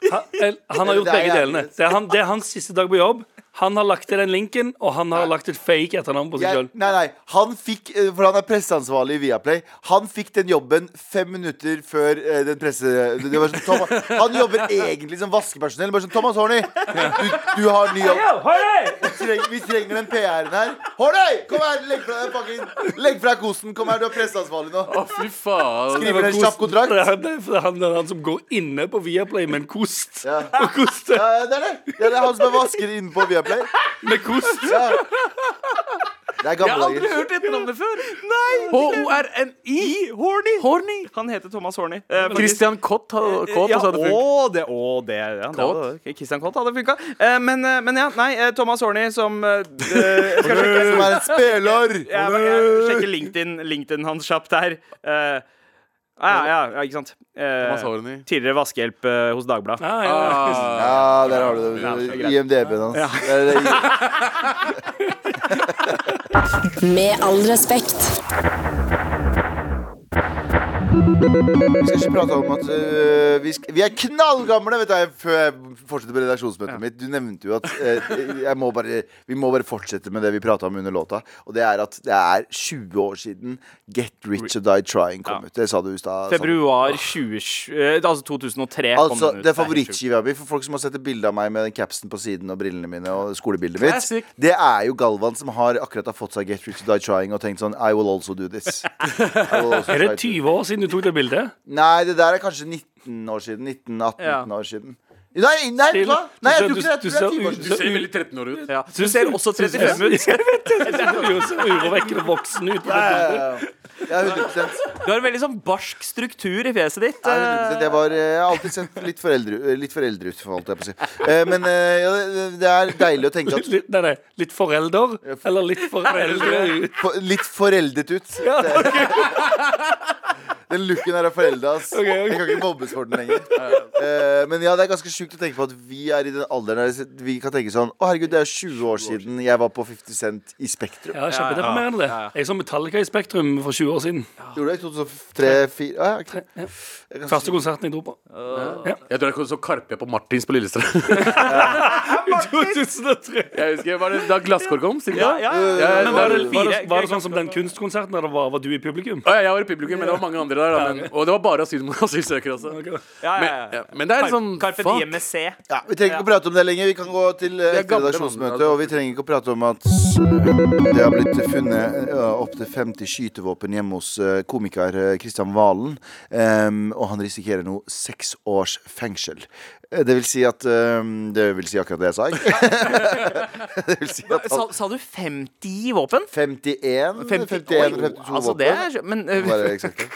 [SPEAKER 4] Han, el- han har gjort
[SPEAKER 3] Det er
[SPEAKER 4] begge
[SPEAKER 3] jævlig.
[SPEAKER 4] delene. Det er, han, det er hans siste dag på jobb. Han har lagt til den linken, og han har lagt et fake etternavn på seg
[SPEAKER 3] Jeg,
[SPEAKER 4] sjøl.
[SPEAKER 3] nei, nei, han fikk eh, For han er presseansvarlig i Viaplay. Han fikk den jobben fem minutter før eh, den presse... Det var sånn, Thomas, han jobber egentlig som vaskepersonell. Bare sånn Thomas Horny, du, du har ny jobb. Vi trenger, vi trenger den PR-en her. Horny, kom her! Legg fra deg fucking Legg fra deg kosen. Kom her, du er presseansvarlig nå.
[SPEAKER 5] Å, fy faen.
[SPEAKER 3] Skriver en kjapp kontrakt.
[SPEAKER 4] Det er, det, er, han, det er han som går inne på Viaplay med en kost.
[SPEAKER 3] Ja.
[SPEAKER 4] Og koster
[SPEAKER 3] Ja, det er det. Ja, det er han som er vasker inne på Viaplay.
[SPEAKER 4] med kost.
[SPEAKER 3] Ja. Det er gamle dager.
[SPEAKER 2] hørt dette navnet før. Nei!
[SPEAKER 5] H-O-R-N-I.
[SPEAKER 2] Horny.
[SPEAKER 5] Horny.
[SPEAKER 2] Han heter Thomas Horny. Eh,
[SPEAKER 5] Christian Kott, ha- Kott
[SPEAKER 2] ja,
[SPEAKER 5] også hadde funkt.
[SPEAKER 2] å, det, å, det, ja, det
[SPEAKER 5] Kåt.
[SPEAKER 2] hadde- Christian Kott hadde funka. Eh, men, eh, men ja, nei, eh, Thomas Horny som eh, eh, jeg, skal sjekke,
[SPEAKER 3] Som er en speler.
[SPEAKER 2] jeg, jeg sjekker LinkedIn, LinkedIn hans kjapt her. Eh, ja, ja, ja, ikke sant.
[SPEAKER 5] Thomas
[SPEAKER 2] Eh,
[SPEAKER 5] Altså, Horny.
[SPEAKER 2] tidligere vaskehjelp eh, hos Dagbladet.
[SPEAKER 4] Ah, ja.
[SPEAKER 5] Ah.
[SPEAKER 3] Ja, der har du
[SPEAKER 2] Ja, det er
[SPEAKER 3] det.
[SPEAKER 2] greit.
[SPEAKER 3] IMDb-en hans. Eller,
[SPEAKER 1] Med all respekt.
[SPEAKER 3] Vi skal ikke prate om at øh, vi, sk vi er knallgamle, vet jeg, før jeg fortsetter på redaksjonsmøtet mitt. Du nevnte jo at øh, jeg må bare, vi må bare fortsette med det vi prata om under låta. Og det er at det er 20 år siden Get Rich or Die Trying kom
[SPEAKER 2] Ja.
[SPEAKER 3] ut. Det sa du i stad. Sander.
[SPEAKER 2] Februar 20, eh, altså 2003
[SPEAKER 3] Altså,
[SPEAKER 2] kom den ut. helt
[SPEAKER 3] det er
[SPEAKER 2] sjukt.
[SPEAKER 3] favorittskiva mi for folk som har sett et bilde av meg med den capsen på siden og brillene mine og skolebildet mitt.
[SPEAKER 5] Classic.
[SPEAKER 3] Det er jo Galvan som har akkurat har fått seg Get Rich or Die Trying og tenkt sånn I will also do this. I will also
[SPEAKER 4] Er det
[SPEAKER 3] try to-
[SPEAKER 4] 20 år siden du tok det bildet?
[SPEAKER 3] Nei, det der er kanskje 19 år siden. 19-18
[SPEAKER 2] Ja.
[SPEAKER 3] år siden. Nei, nei, vet du hva? Nei, jeg tror ikke
[SPEAKER 4] Du ser-
[SPEAKER 3] det.
[SPEAKER 4] du-
[SPEAKER 3] Jeg tror det er
[SPEAKER 4] du
[SPEAKER 3] 20 år
[SPEAKER 4] ser-
[SPEAKER 3] siden.
[SPEAKER 5] Du ser veldig 13 år ut.
[SPEAKER 2] Ja. Du ser også 35 ut.
[SPEAKER 4] Du ser urovekkende voksen ut.
[SPEAKER 3] Ja, ja, ja. Ja, 100
[SPEAKER 2] Du har en veldig sånn barsk struktur i fjeset ditt.
[SPEAKER 3] Nei, 100%. Det
[SPEAKER 2] eh.
[SPEAKER 3] var, eh, jeg har alltid sett litt foreldre, litt foreldre ut, holdt jeg på å si. Eh, Men eh, ja, det- det er deilig å tenke at
[SPEAKER 4] Litt, nei, nei, litt forelder, eller litt foreldre ut.
[SPEAKER 3] For, litt foreldet ut. Den looken her er forelda, ass.
[SPEAKER 4] Ok, ok.
[SPEAKER 3] Jeg kan ikke mobbes for den lenger. Eh, men ja, det er ganske sjukt å tenke på at vi er i den alderen der vi kan tenke sånn Å, herregud, det er 20 år siden jeg var på 50 Cent i Spektrum.
[SPEAKER 4] Ja, Kjempedeprimerende. det. Jeg så Metallica i Spektrum for 20 år siden.
[SPEAKER 3] Gjorde det i 2003-2004? Ah, ja, ok. Det er ganske
[SPEAKER 4] Første konserten jeg dro på.
[SPEAKER 5] Jeg tror jeg så Karpe på Martins på Lillestrøm.
[SPEAKER 4] 2003.
[SPEAKER 5] Jeg husker, var det Da glasskår kom?
[SPEAKER 2] Ja,
[SPEAKER 5] Sigurd?
[SPEAKER 2] ja.
[SPEAKER 5] ja,
[SPEAKER 2] Men var
[SPEAKER 4] Var
[SPEAKER 5] ja.
[SPEAKER 2] det
[SPEAKER 4] det, var
[SPEAKER 2] fire
[SPEAKER 4] det, var det sånn som den kunstkonserten der det var, var du i publikum?
[SPEAKER 5] Å, ja, Jeg var i publikum, men det var mange andre der. Da, men, og det var bare asyl asylsøkere også.
[SPEAKER 4] Ok.
[SPEAKER 2] Ja, ja,
[SPEAKER 5] Men,
[SPEAKER 2] ja.
[SPEAKER 5] ja, men det er sånn
[SPEAKER 2] Carpe
[SPEAKER 5] fuck.
[SPEAKER 2] Diem med C.
[SPEAKER 3] Ja, vi trenger ikke å prate om det lenger. Vi kan gå til eh,
[SPEAKER 5] er
[SPEAKER 3] etter
[SPEAKER 5] gamle
[SPEAKER 3] redaksjonsmøtet.
[SPEAKER 5] mann.
[SPEAKER 3] Og vi trenger ikke å prate om at eh, det har blitt funnet eh, opptil 50 skytevåpen hjemme hos eh, komiker eh, Kristian Valen. Em, og han risikerer nå seks års fengsel. Eh, Det vil si at em, Det vil si akkurat det jeg sa, ikke? det vil si at
[SPEAKER 2] Sa,
[SPEAKER 3] han
[SPEAKER 2] sa du 50 våpen?
[SPEAKER 3] 51
[SPEAKER 2] 50,
[SPEAKER 3] 51
[SPEAKER 2] Oi,
[SPEAKER 3] 52
[SPEAKER 2] altså det er Men eh,
[SPEAKER 3] våpen. Bare eksakt.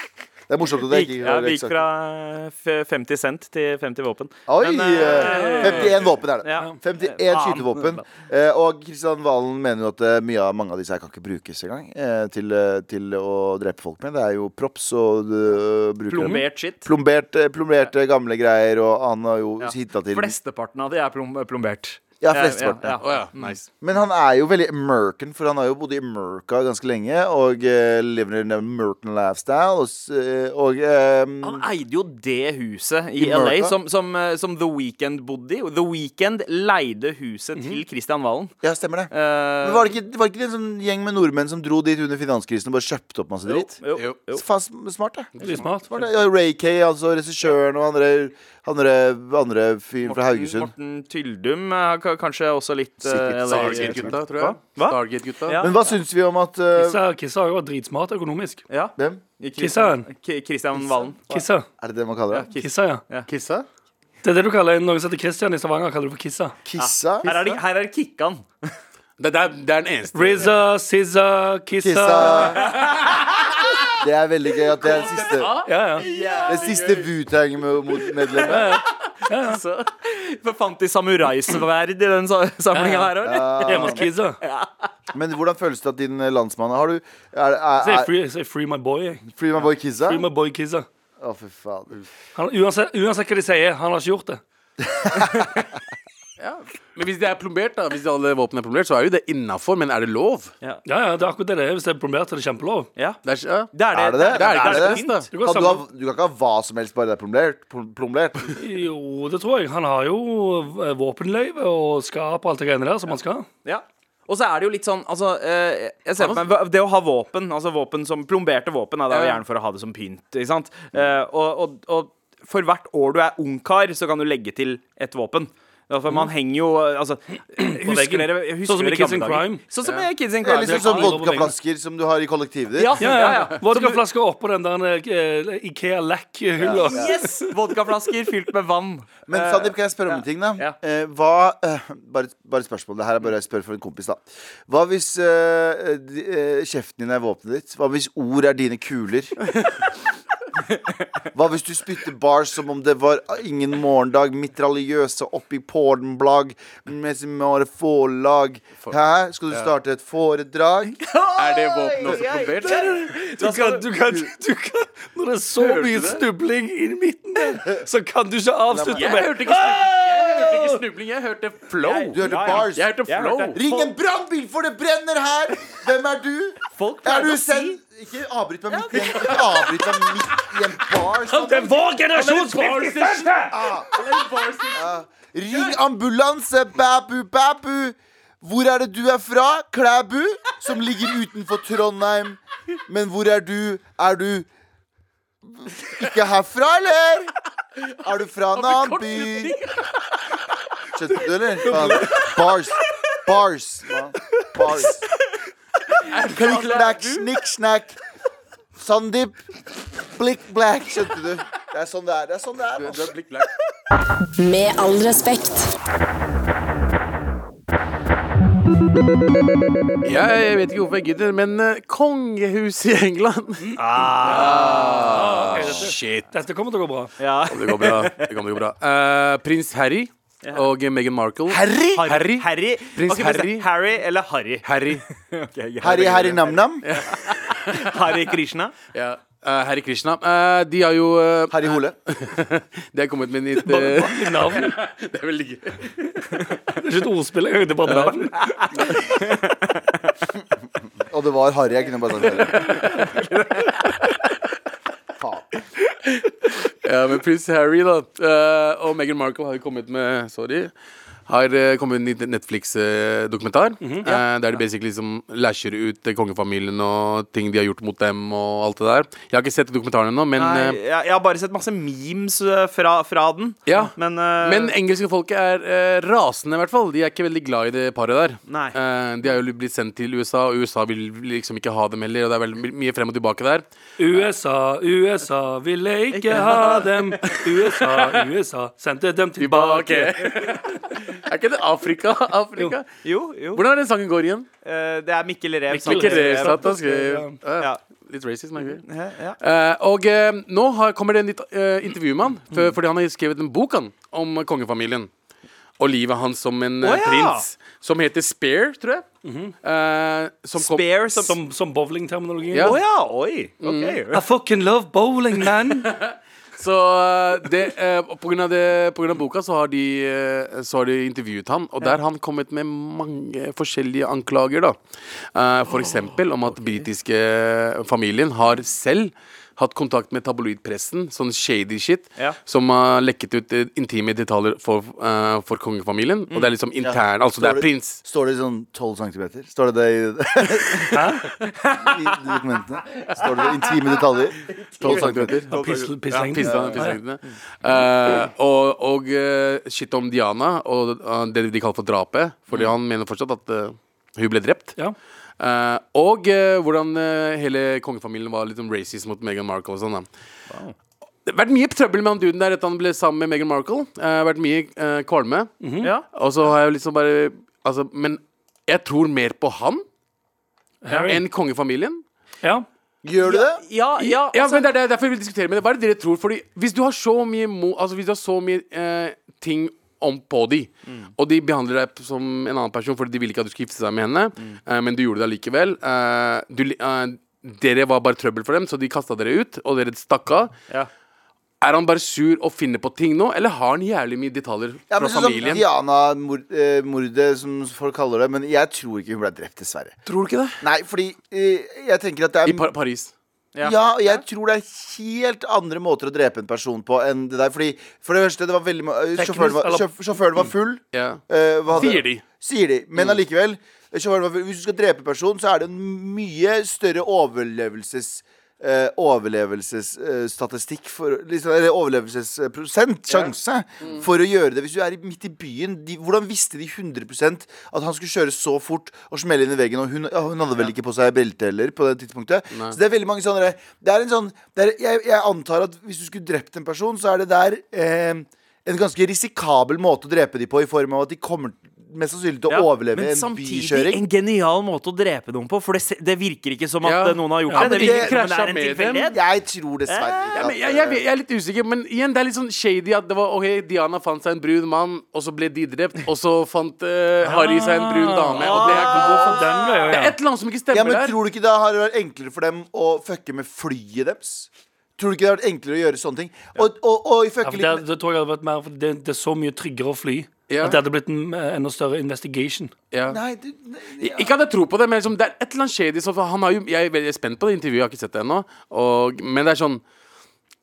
[SPEAKER 3] Det er morsomt at det
[SPEAKER 2] gikk,
[SPEAKER 3] ikke liksom.
[SPEAKER 2] ja,
[SPEAKER 3] er
[SPEAKER 2] vi gikk
[SPEAKER 3] eksakt.
[SPEAKER 2] fra eh, f- 50 cent til 50 våpen.
[SPEAKER 3] Oi!
[SPEAKER 2] Men,
[SPEAKER 3] eh,
[SPEAKER 2] eh,
[SPEAKER 3] 51 våpen er det.
[SPEAKER 2] ja.
[SPEAKER 3] 51
[SPEAKER 2] Faen.
[SPEAKER 3] skytevåpen. Eh, og Kristian Valen mener jo at eh, mye av mange av disse her kan ikke brukes engang eh, til, eh, til å drepe folk med. Det er jo props og eh, bruker dem.
[SPEAKER 2] Plombert shit.
[SPEAKER 3] Plombert, eh, plomberte gamle greier, og han har jo
[SPEAKER 2] Ja.
[SPEAKER 3] hitta til
[SPEAKER 2] Flesteparten av de er plom plombert.
[SPEAKER 3] Ja, flesteparten,
[SPEAKER 2] Ja, ja,
[SPEAKER 3] ja.
[SPEAKER 5] Å, ja. Nice.
[SPEAKER 3] Men han er jo veldig American, for han har jo bodd i America ganske lenge. Og eh, lever in an American lifestyle. Og, s- eh, og eh,
[SPEAKER 2] Han eide jo det huset i,
[SPEAKER 3] I
[SPEAKER 2] LA
[SPEAKER 3] Mørka?
[SPEAKER 2] som, som, eh, som The Weeknd bodde i. The Weeknd leide huset til Christian Valen.
[SPEAKER 3] Ja, stemmer det.
[SPEAKER 2] Eh,
[SPEAKER 3] Mhm. Men var det ikke, var det ikke en sånn gjeng med nordmenn som dro dit under finanskrisen og bare kjøpte opp masse dritt?
[SPEAKER 2] jo,
[SPEAKER 5] Jo.
[SPEAKER 2] jo.
[SPEAKER 3] Faen, sm- smart, det.
[SPEAKER 4] Veldig smart.
[SPEAKER 3] Var det ja, Ray Kay, altså regissøren og andre, andre, andre fyren fra Haugesund?
[SPEAKER 2] Morten Tyldum er k- kanskje også litt eh,
[SPEAKER 3] Sikkert.
[SPEAKER 2] LA
[SPEAKER 5] Stargate-gutta, tror jeg.
[SPEAKER 2] Hva?
[SPEAKER 5] Stargate-gutta.
[SPEAKER 2] Ja.
[SPEAKER 3] Men hva syns vi om at uh,
[SPEAKER 4] Kissa, Kissa har jo vært dritsmart økonomisk.
[SPEAKER 2] Ja.
[SPEAKER 3] Hvem?
[SPEAKER 2] i Christian,
[SPEAKER 4] Christian.
[SPEAKER 2] K- Christian Valen.
[SPEAKER 4] Kissa.
[SPEAKER 3] Er det det man kaller det?
[SPEAKER 2] Kiss.
[SPEAKER 4] Kissa, ja.
[SPEAKER 3] Kissa?
[SPEAKER 4] Det er det du kaller noen som heter Christian i Stavanger, kaller du for Kissa.
[SPEAKER 3] Kissa?
[SPEAKER 2] Her er det, her er det Kikkan.
[SPEAKER 5] Det, det, er, det er den eneste.
[SPEAKER 4] Rizza, Sizza, Kissa.
[SPEAKER 3] Kissa. Det er veldig gøy at det er det siste,
[SPEAKER 4] Ja, ja.
[SPEAKER 3] det siste Wutang-medlemmet.
[SPEAKER 2] Så forfant de samuraisverd i den samlinga her òg, eller?
[SPEAKER 4] Hjemme hos Kissa.
[SPEAKER 3] Men hvordan føles det at din eh, landsmann Har du er, er,
[SPEAKER 4] Say
[SPEAKER 3] er,
[SPEAKER 4] free, say free my boy. jeg.
[SPEAKER 3] Free my boy Kissa?
[SPEAKER 4] Free my boy Kissa.
[SPEAKER 3] Å, fy faen.
[SPEAKER 4] Han, uansett, uansett hva de sier, han har ikke gjort det.
[SPEAKER 5] Men hvis det er plombert, da, hvis alle våpen er plombert, så er jo det innafor. Men er det lov?
[SPEAKER 4] Ja, ja, det er akkurat det det er. Hvis det er plombert, så er det kjempelov.
[SPEAKER 2] Ja.
[SPEAKER 5] Det er, ikke- ja.
[SPEAKER 2] Det er det.
[SPEAKER 3] Er det det?
[SPEAKER 2] det, er,
[SPEAKER 3] Er
[SPEAKER 2] det,
[SPEAKER 3] det
[SPEAKER 2] pynt.
[SPEAKER 5] det?
[SPEAKER 4] Du
[SPEAKER 3] Kan du,
[SPEAKER 4] kan
[SPEAKER 3] ha,
[SPEAKER 4] samle,
[SPEAKER 3] du kan ikke ha hva som helst bare det er plombert? Plom- Plombert?
[SPEAKER 4] jo, det tror jeg. Han har jo eh, våpenløyve og skap og alt det greiene der som han skal.
[SPEAKER 2] Ja. Og så er det jo litt sånn altså, eh, jeg ser på meg, Det å ha våpen, altså våpen som plomberte våpen, er det jo
[SPEAKER 5] Ja.
[SPEAKER 2] gjerne for å ha det som pynt. Ikke sant? Eh, og, og, og for hvert år du er ungkar, så kan du legge til et våpen. Ja, For man henger jo eh, altså, Husker
[SPEAKER 4] veggen.
[SPEAKER 2] dere husker
[SPEAKER 4] Sånn som i
[SPEAKER 2] dere
[SPEAKER 4] Kids in
[SPEAKER 2] gamle dager?
[SPEAKER 4] Crime.
[SPEAKER 2] Sånn som i Kids in
[SPEAKER 3] Det er
[SPEAKER 2] Crime.
[SPEAKER 3] liksom
[SPEAKER 2] Ja,
[SPEAKER 3] sånn vodkaflasker som du har i kollektivet ditt.
[SPEAKER 2] ja, ja, ja. Så du-
[SPEAKER 4] Vodkaflasker oppå den der eh, Ikea Lack-hylla.
[SPEAKER 2] Yes! Vodkaflasker fylt med vann.
[SPEAKER 3] Men Sandeep, kan jeg spørre om en ting, da?
[SPEAKER 2] Ja.
[SPEAKER 3] Eh, hva eh, Bare bare et spørsmål. Det her er bare jeg spør for en kompis, da. Hå hvis eh, de- eh, kjeften din er våpenet ditt? Hva hvis ord er dine kuler? Hva hvis du spytter bars som om det var ingen morgendag? Mitraljøse oppi pornblag med sine måre forlag. Hæ? Skal du starte et foredrag?
[SPEAKER 5] Er det våpen også plombert?
[SPEAKER 4] Du kan, du kan, du kan, når det er så mye snubling i midten der, så kan du ikke avslutte
[SPEAKER 5] Jeg
[SPEAKER 4] med
[SPEAKER 5] hørte ikke snubling, jeg hørte, ikke snubling. Jeg hørte flow.
[SPEAKER 3] Du hørte bars.
[SPEAKER 5] Jeg hørte
[SPEAKER 2] Jeg
[SPEAKER 5] flow.
[SPEAKER 2] hørte-
[SPEAKER 3] Ring en brannbil, for det brenner her! Hvem er du?
[SPEAKER 2] Folk
[SPEAKER 3] Er
[SPEAKER 2] pleier
[SPEAKER 3] du
[SPEAKER 2] å si
[SPEAKER 3] send Ikke avbryt meg midt igjen. Ikke avbryt meg midt i en bar sånn.
[SPEAKER 4] Det er vår generasjons
[SPEAKER 3] Ring ambulanse, bæbu, bæbu! Hvor er det du er fra? Klæbu? Som ligger utenfor Trondheim. Men hvor er du? Er du ikke herfra, eller? Er du fra en annen by? Skjønte du, eller? Faen. Bars. Bars. mann. Bars. Klikk, blakk, snikk, snakk. Sandeep. Blikk, blakk. Skjønte du? Det er sånn det er. Det er sånn det er. mann.
[SPEAKER 1] Med all respekt.
[SPEAKER 5] Ja, jeg vet ikke hvorfor jeg gidder, men eh, kongehuset i England
[SPEAKER 2] Mm.
[SPEAKER 4] Shit. Dette kommer til å gå bra.
[SPEAKER 2] Ah. Ja.
[SPEAKER 5] Det går bra. Det kommer til å gå bra. Eh, Prins Harry og Meghan Markle. Harry? Harry.
[SPEAKER 2] Harry.
[SPEAKER 5] Prins
[SPEAKER 2] Ok, prins
[SPEAKER 5] Harry.
[SPEAKER 2] Harry eller Harry? Ok, greit.
[SPEAKER 3] Harry, Harry, nam-nam.
[SPEAKER 2] Harry Krishna.
[SPEAKER 5] Ja. Eh, Harry Krishna. Eh, de har jo eh,
[SPEAKER 3] Harry Hole.
[SPEAKER 5] De har kommet med en nytt
[SPEAKER 4] Bare
[SPEAKER 5] eh,
[SPEAKER 4] bare navn.
[SPEAKER 5] Det er veldig gøy.
[SPEAKER 4] Det er ikke et ordspill engang. Det er bare navn.
[SPEAKER 3] Og det var Harry. Jeg kunne bare sagt Harry. Faen.
[SPEAKER 5] Ja, men prins Harry da eh, og Meghan Markle har jo kommet med Sorry. Har eh, kommet med en ny Netflix-dokumentar. eh, der de basically liksom læsjer ut eh, kongefamilien og ting de har gjort mot dem og alt det der. Jeg har ikke sett dokumentaren ennå, men
[SPEAKER 2] Nei,
[SPEAKER 5] eh,
[SPEAKER 2] jeg, jeg har bare sett masse memes eh, fra, fra den.
[SPEAKER 5] Ja.
[SPEAKER 2] Men, eh,
[SPEAKER 5] Men engelske folk er eh, rasende, i hvert fall. De er ikke veldig glad i det paret der.
[SPEAKER 2] Nei.
[SPEAKER 5] Eh, de er jo blitt sendt til USA, og USA vil liksom ikke ha dem heller. Og det er veldig mye frem og tilbake der.
[SPEAKER 4] USA, USA ville ikke ha dem. USA, USA sendte dem tilbake.
[SPEAKER 5] er ikke det Afrika? Afrika?
[SPEAKER 2] jo, jo.
[SPEAKER 5] Hvordan er den sangen går igjen?
[SPEAKER 2] Eh, det er Mikkel Rev.
[SPEAKER 4] Mikkel
[SPEAKER 2] som-
[SPEAKER 5] Ikke det, satt og skrev.
[SPEAKER 4] skrev.
[SPEAKER 5] Eh,
[SPEAKER 2] Ja.
[SPEAKER 5] Litt racist, men gøy.
[SPEAKER 2] Ja, ja.
[SPEAKER 5] Eh, og eh, nå har, kommer det en nytt eh, intervju med han,
[SPEAKER 2] Mm.
[SPEAKER 5] for, fordi han har skrevet en bok han, om kongefamilien. Og livet hans som en eh,
[SPEAKER 2] Å, ja! Mhm.
[SPEAKER 5] prins. Som heter Spare, tror jeg. Eh, som kom-
[SPEAKER 2] Spare som
[SPEAKER 4] Som, som bowlingterminologi.
[SPEAKER 5] Ja.
[SPEAKER 2] Å ja, Mm. oi. Ok.
[SPEAKER 4] I fucking love bowling, man.
[SPEAKER 5] Så eh, det, eh, og på, grunn av det, på grunn av boka så har de, eh, så har de intervjuet han, og der har han kommet med mange forskjellige anklager. da. Eh, for eksempel om at britiske familien har selv hatt kontakt med tabloidpressen, sånn shady shit,
[SPEAKER 2] Ja.
[SPEAKER 5] som har lekket ut eh, intime detaljer for, eh, for kongefamilien. Og det er liksom intern, altså det er prins.
[SPEAKER 3] Står det sånn 12 centimeter? Står det det i, i dokumentene? Står det intime detaljer? 12 centimeter.
[SPEAKER 4] Pissel-
[SPEAKER 5] Ja,
[SPEAKER 4] Pisslengden.
[SPEAKER 5] pissene- pisslengdene. Eh, og og eh, shit om Diana og eh, det de kaller for drapet. Fordi han mener fortsatt at eh, hun ble drept.
[SPEAKER 4] Mm. Ja.
[SPEAKER 5] Eh, og eh, hvordan eh, hele kongefamilien var litt sånn racist mot Meghan Markle og sånn. da Det har vært mye trøbbel med han duden der etter han ble sammen med Meghan Markle. Eh, det har vært mye eh, kvalme.
[SPEAKER 4] Mhm.
[SPEAKER 2] Ja.
[SPEAKER 5] Og så har jeg liksom bare altså, Men jeg tror mer på han
[SPEAKER 4] Harry.
[SPEAKER 5] enn kongefamilien.
[SPEAKER 4] Ja.
[SPEAKER 3] Gjør du det?
[SPEAKER 2] Ja, ja,
[SPEAKER 5] Ja,
[SPEAKER 2] altså-
[SPEAKER 5] men det er det- derfor jeg vil diskutere med det. Hva er det dere tror? Fordi hvis du har så mye, mo altså, hvis du har så mye eh, ting om på de, og de behandler deg som en annen person fordi de ville ikke at du skulle gifte deg med henne, eh, men du gjorde det allikevel eh, du, li- eh, Dere var bare trøbbel for dem, så de kasta dere ut, og dere stakk av.
[SPEAKER 2] Ja.
[SPEAKER 5] Er han bare sur og finner på ting nå, eller har han jævlig mye detaljer
[SPEAKER 3] Ja,
[SPEAKER 5] fra
[SPEAKER 3] men sånn som
[SPEAKER 5] familien?
[SPEAKER 3] Diana-mordet, som folk kaller det. Men jeg tror ikke hun ble drept, dessverre.
[SPEAKER 5] Tror du ikke det?
[SPEAKER 3] Nei, fordi eh, jeg tenker at det er
[SPEAKER 5] I par Paris.
[SPEAKER 2] Ja.
[SPEAKER 3] Ja, og jeg tror det er helt andre måter å drepe en person på enn det der. Fordi for det første, det var veldig ma- eh, Sjåføren var,
[SPEAKER 4] eller-
[SPEAKER 3] sjåf- sjåføren var full.
[SPEAKER 5] Mm. Ja.
[SPEAKER 3] Eh, hva hadde-
[SPEAKER 5] Sier de. Mm.
[SPEAKER 3] Sier de. Men allikevel. sjåføren var full. Hvis du skal drepe en person, så er det en mye større overlevelses... eh, overlevelsesstatistikk for liksom, Eller overlevelsesprosent, sjanse,
[SPEAKER 5] Mm.
[SPEAKER 3] for å gjøre det. Hvis du er i- midt i byen, de, hvordan visste de 100 at han skulle kjøre så fort og smelle inn i veggen? Og hun, ja, hun hadde vel ikke på seg belte heller på det tidspunktet. Så det er veldig mange sånne der- Det er en sånn det er, jeg, jeg antar at hvis du skulle drept en person, så er det der eh, en ganske risikabel måte å drepe dem på, i form av at de kommer mest sannsynlig til å
[SPEAKER 2] Ja,
[SPEAKER 3] overleve
[SPEAKER 2] men
[SPEAKER 3] en
[SPEAKER 2] samtidig
[SPEAKER 3] bykjøring.
[SPEAKER 2] en genial måte å drepe noen på, for det, se- det virker ikke som at
[SPEAKER 5] Ja.
[SPEAKER 2] eh, noen har gjort
[SPEAKER 5] Ja,
[SPEAKER 2] det.
[SPEAKER 5] men
[SPEAKER 2] Det virker
[SPEAKER 5] de
[SPEAKER 2] ikke som om det er en
[SPEAKER 5] krasja med dem.
[SPEAKER 2] tilfeldighet.
[SPEAKER 3] Jeg tror dessverre ikke
[SPEAKER 5] Ja, men
[SPEAKER 3] at
[SPEAKER 5] jeg, jeg, jeg er litt usikker, men igjen, det er litt sånn shady at det var OK, Diana fant seg en brun mann, og så ble de drept, og så fant eh, Harry seg en brun dame, og det er
[SPEAKER 4] Gå for den
[SPEAKER 2] Ah.
[SPEAKER 4] veien,
[SPEAKER 5] det er
[SPEAKER 4] ja.
[SPEAKER 5] et eller annet som ikke
[SPEAKER 3] ja,
[SPEAKER 5] stemmer
[SPEAKER 3] men
[SPEAKER 5] der.
[SPEAKER 3] Tror du ikke det har vært enklere for dem å fucke med flyet deres? Tror du ikke det har vært enklere å gjøre sånne ting? Og, og, og
[SPEAKER 4] Ja,
[SPEAKER 3] fucke
[SPEAKER 4] for
[SPEAKER 3] litt
[SPEAKER 4] det,
[SPEAKER 3] med-
[SPEAKER 4] det tror jeg hadde vært mer For det, det er så mye tryggere å fly.
[SPEAKER 5] Ja.
[SPEAKER 4] At det hadde blitt en eh, enda større investigation.
[SPEAKER 5] Ja.
[SPEAKER 3] Nei, du, nei,
[SPEAKER 5] Ikke at jeg tror på det, men liksom, det er et eller annet shady så han har jo, Jeg er veldig spent på det intervjuet, jeg har ikke sett det ennå. og- Men det er sånn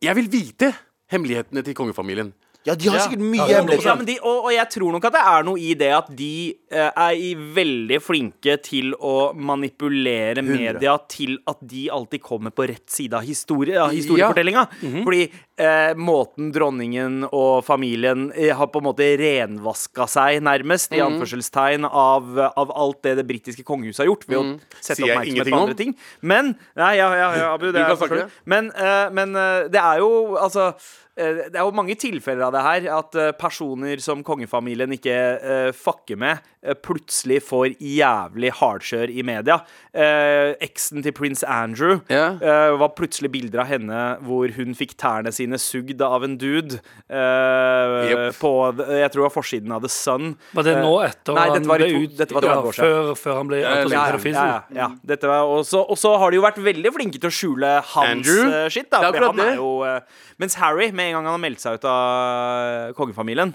[SPEAKER 5] Jeg vil vite hemmelighetene til kongefamilien.
[SPEAKER 3] Ja, de har
[SPEAKER 2] Ja.
[SPEAKER 3] sikkert mye
[SPEAKER 4] Ja,
[SPEAKER 3] hemmeligheter.
[SPEAKER 2] Ja, men de, og, og jeg tror nok at det er noe i det at de eh, er i veldig flinke til å manipulere media til at de alltid kommer på rett side av, historie, av historiefortellinga.
[SPEAKER 5] Mhm.
[SPEAKER 2] Fordi eh, måten dronningen og familien eh, har på en måte renvaska seg, nærmest, i
[SPEAKER 5] Mhm.
[SPEAKER 2] anførselstegn, av, av alt det det britiske kongehuset har gjort, ved å sette
[SPEAKER 5] Mhm. Sier jeg
[SPEAKER 2] oppmerksomhet
[SPEAKER 5] ingenting
[SPEAKER 2] på
[SPEAKER 5] om?
[SPEAKER 2] andre ting. Men Nei, ja, ja, ja, Abu, det
[SPEAKER 5] kan
[SPEAKER 2] er
[SPEAKER 5] snakke.
[SPEAKER 2] forståelig. Men, eh, men eh, det er jo altså eh, det er jo mange tilfeller av det her at eh, personer som kongefamilien ikke eh, fucker med, eh, plutselig får jævlig hardkjør i media. Eh, eksen til prins Andrew
[SPEAKER 5] Ja.
[SPEAKER 2] eh, var plutselig bilder av henne hvor hun fikk tærne sine sugd av en dude. eh,
[SPEAKER 5] Jep.
[SPEAKER 2] På jeg tror det var forsiden av The Sun. Eh,
[SPEAKER 4] Var det nå etter
[SPEAKER 2] Nei, dette
[SPEAKER 4] han
[SPEAKER 2] var i
[SPEAKER 4] ble
[SPEAKER 2] to-
[SPEAKER 4] ut?
[SPEAKER 2] dette var
[SPEAKER 4] ja,
[SPEAKER 2] 30 år siden.
[SPEAKER 4] før, før han ble
[SPEAKER 5] ja,
[SPEAKER 4] ut som
[SPEAKER 5] ja,
[SPEAKER 4] pedofil?
[SPEAKER 2] Ja, ja, ja. Dette var også, og så har de jo vært veldig flinke til å skjule hans
[SPEAKER 5] Andrew?
[SPEAKER 2] eh, shit. Da,
[SPEAKER 5] Det er
[SPEAKER 2] for
[SPEAKER 5] akkurat
[SPEAKER 2] han er
[SPEAKER 5] det.
[SPEAKER 2] jo, eh, mens Harry, med en gang han har meldt seg ut av eh, kongefamilien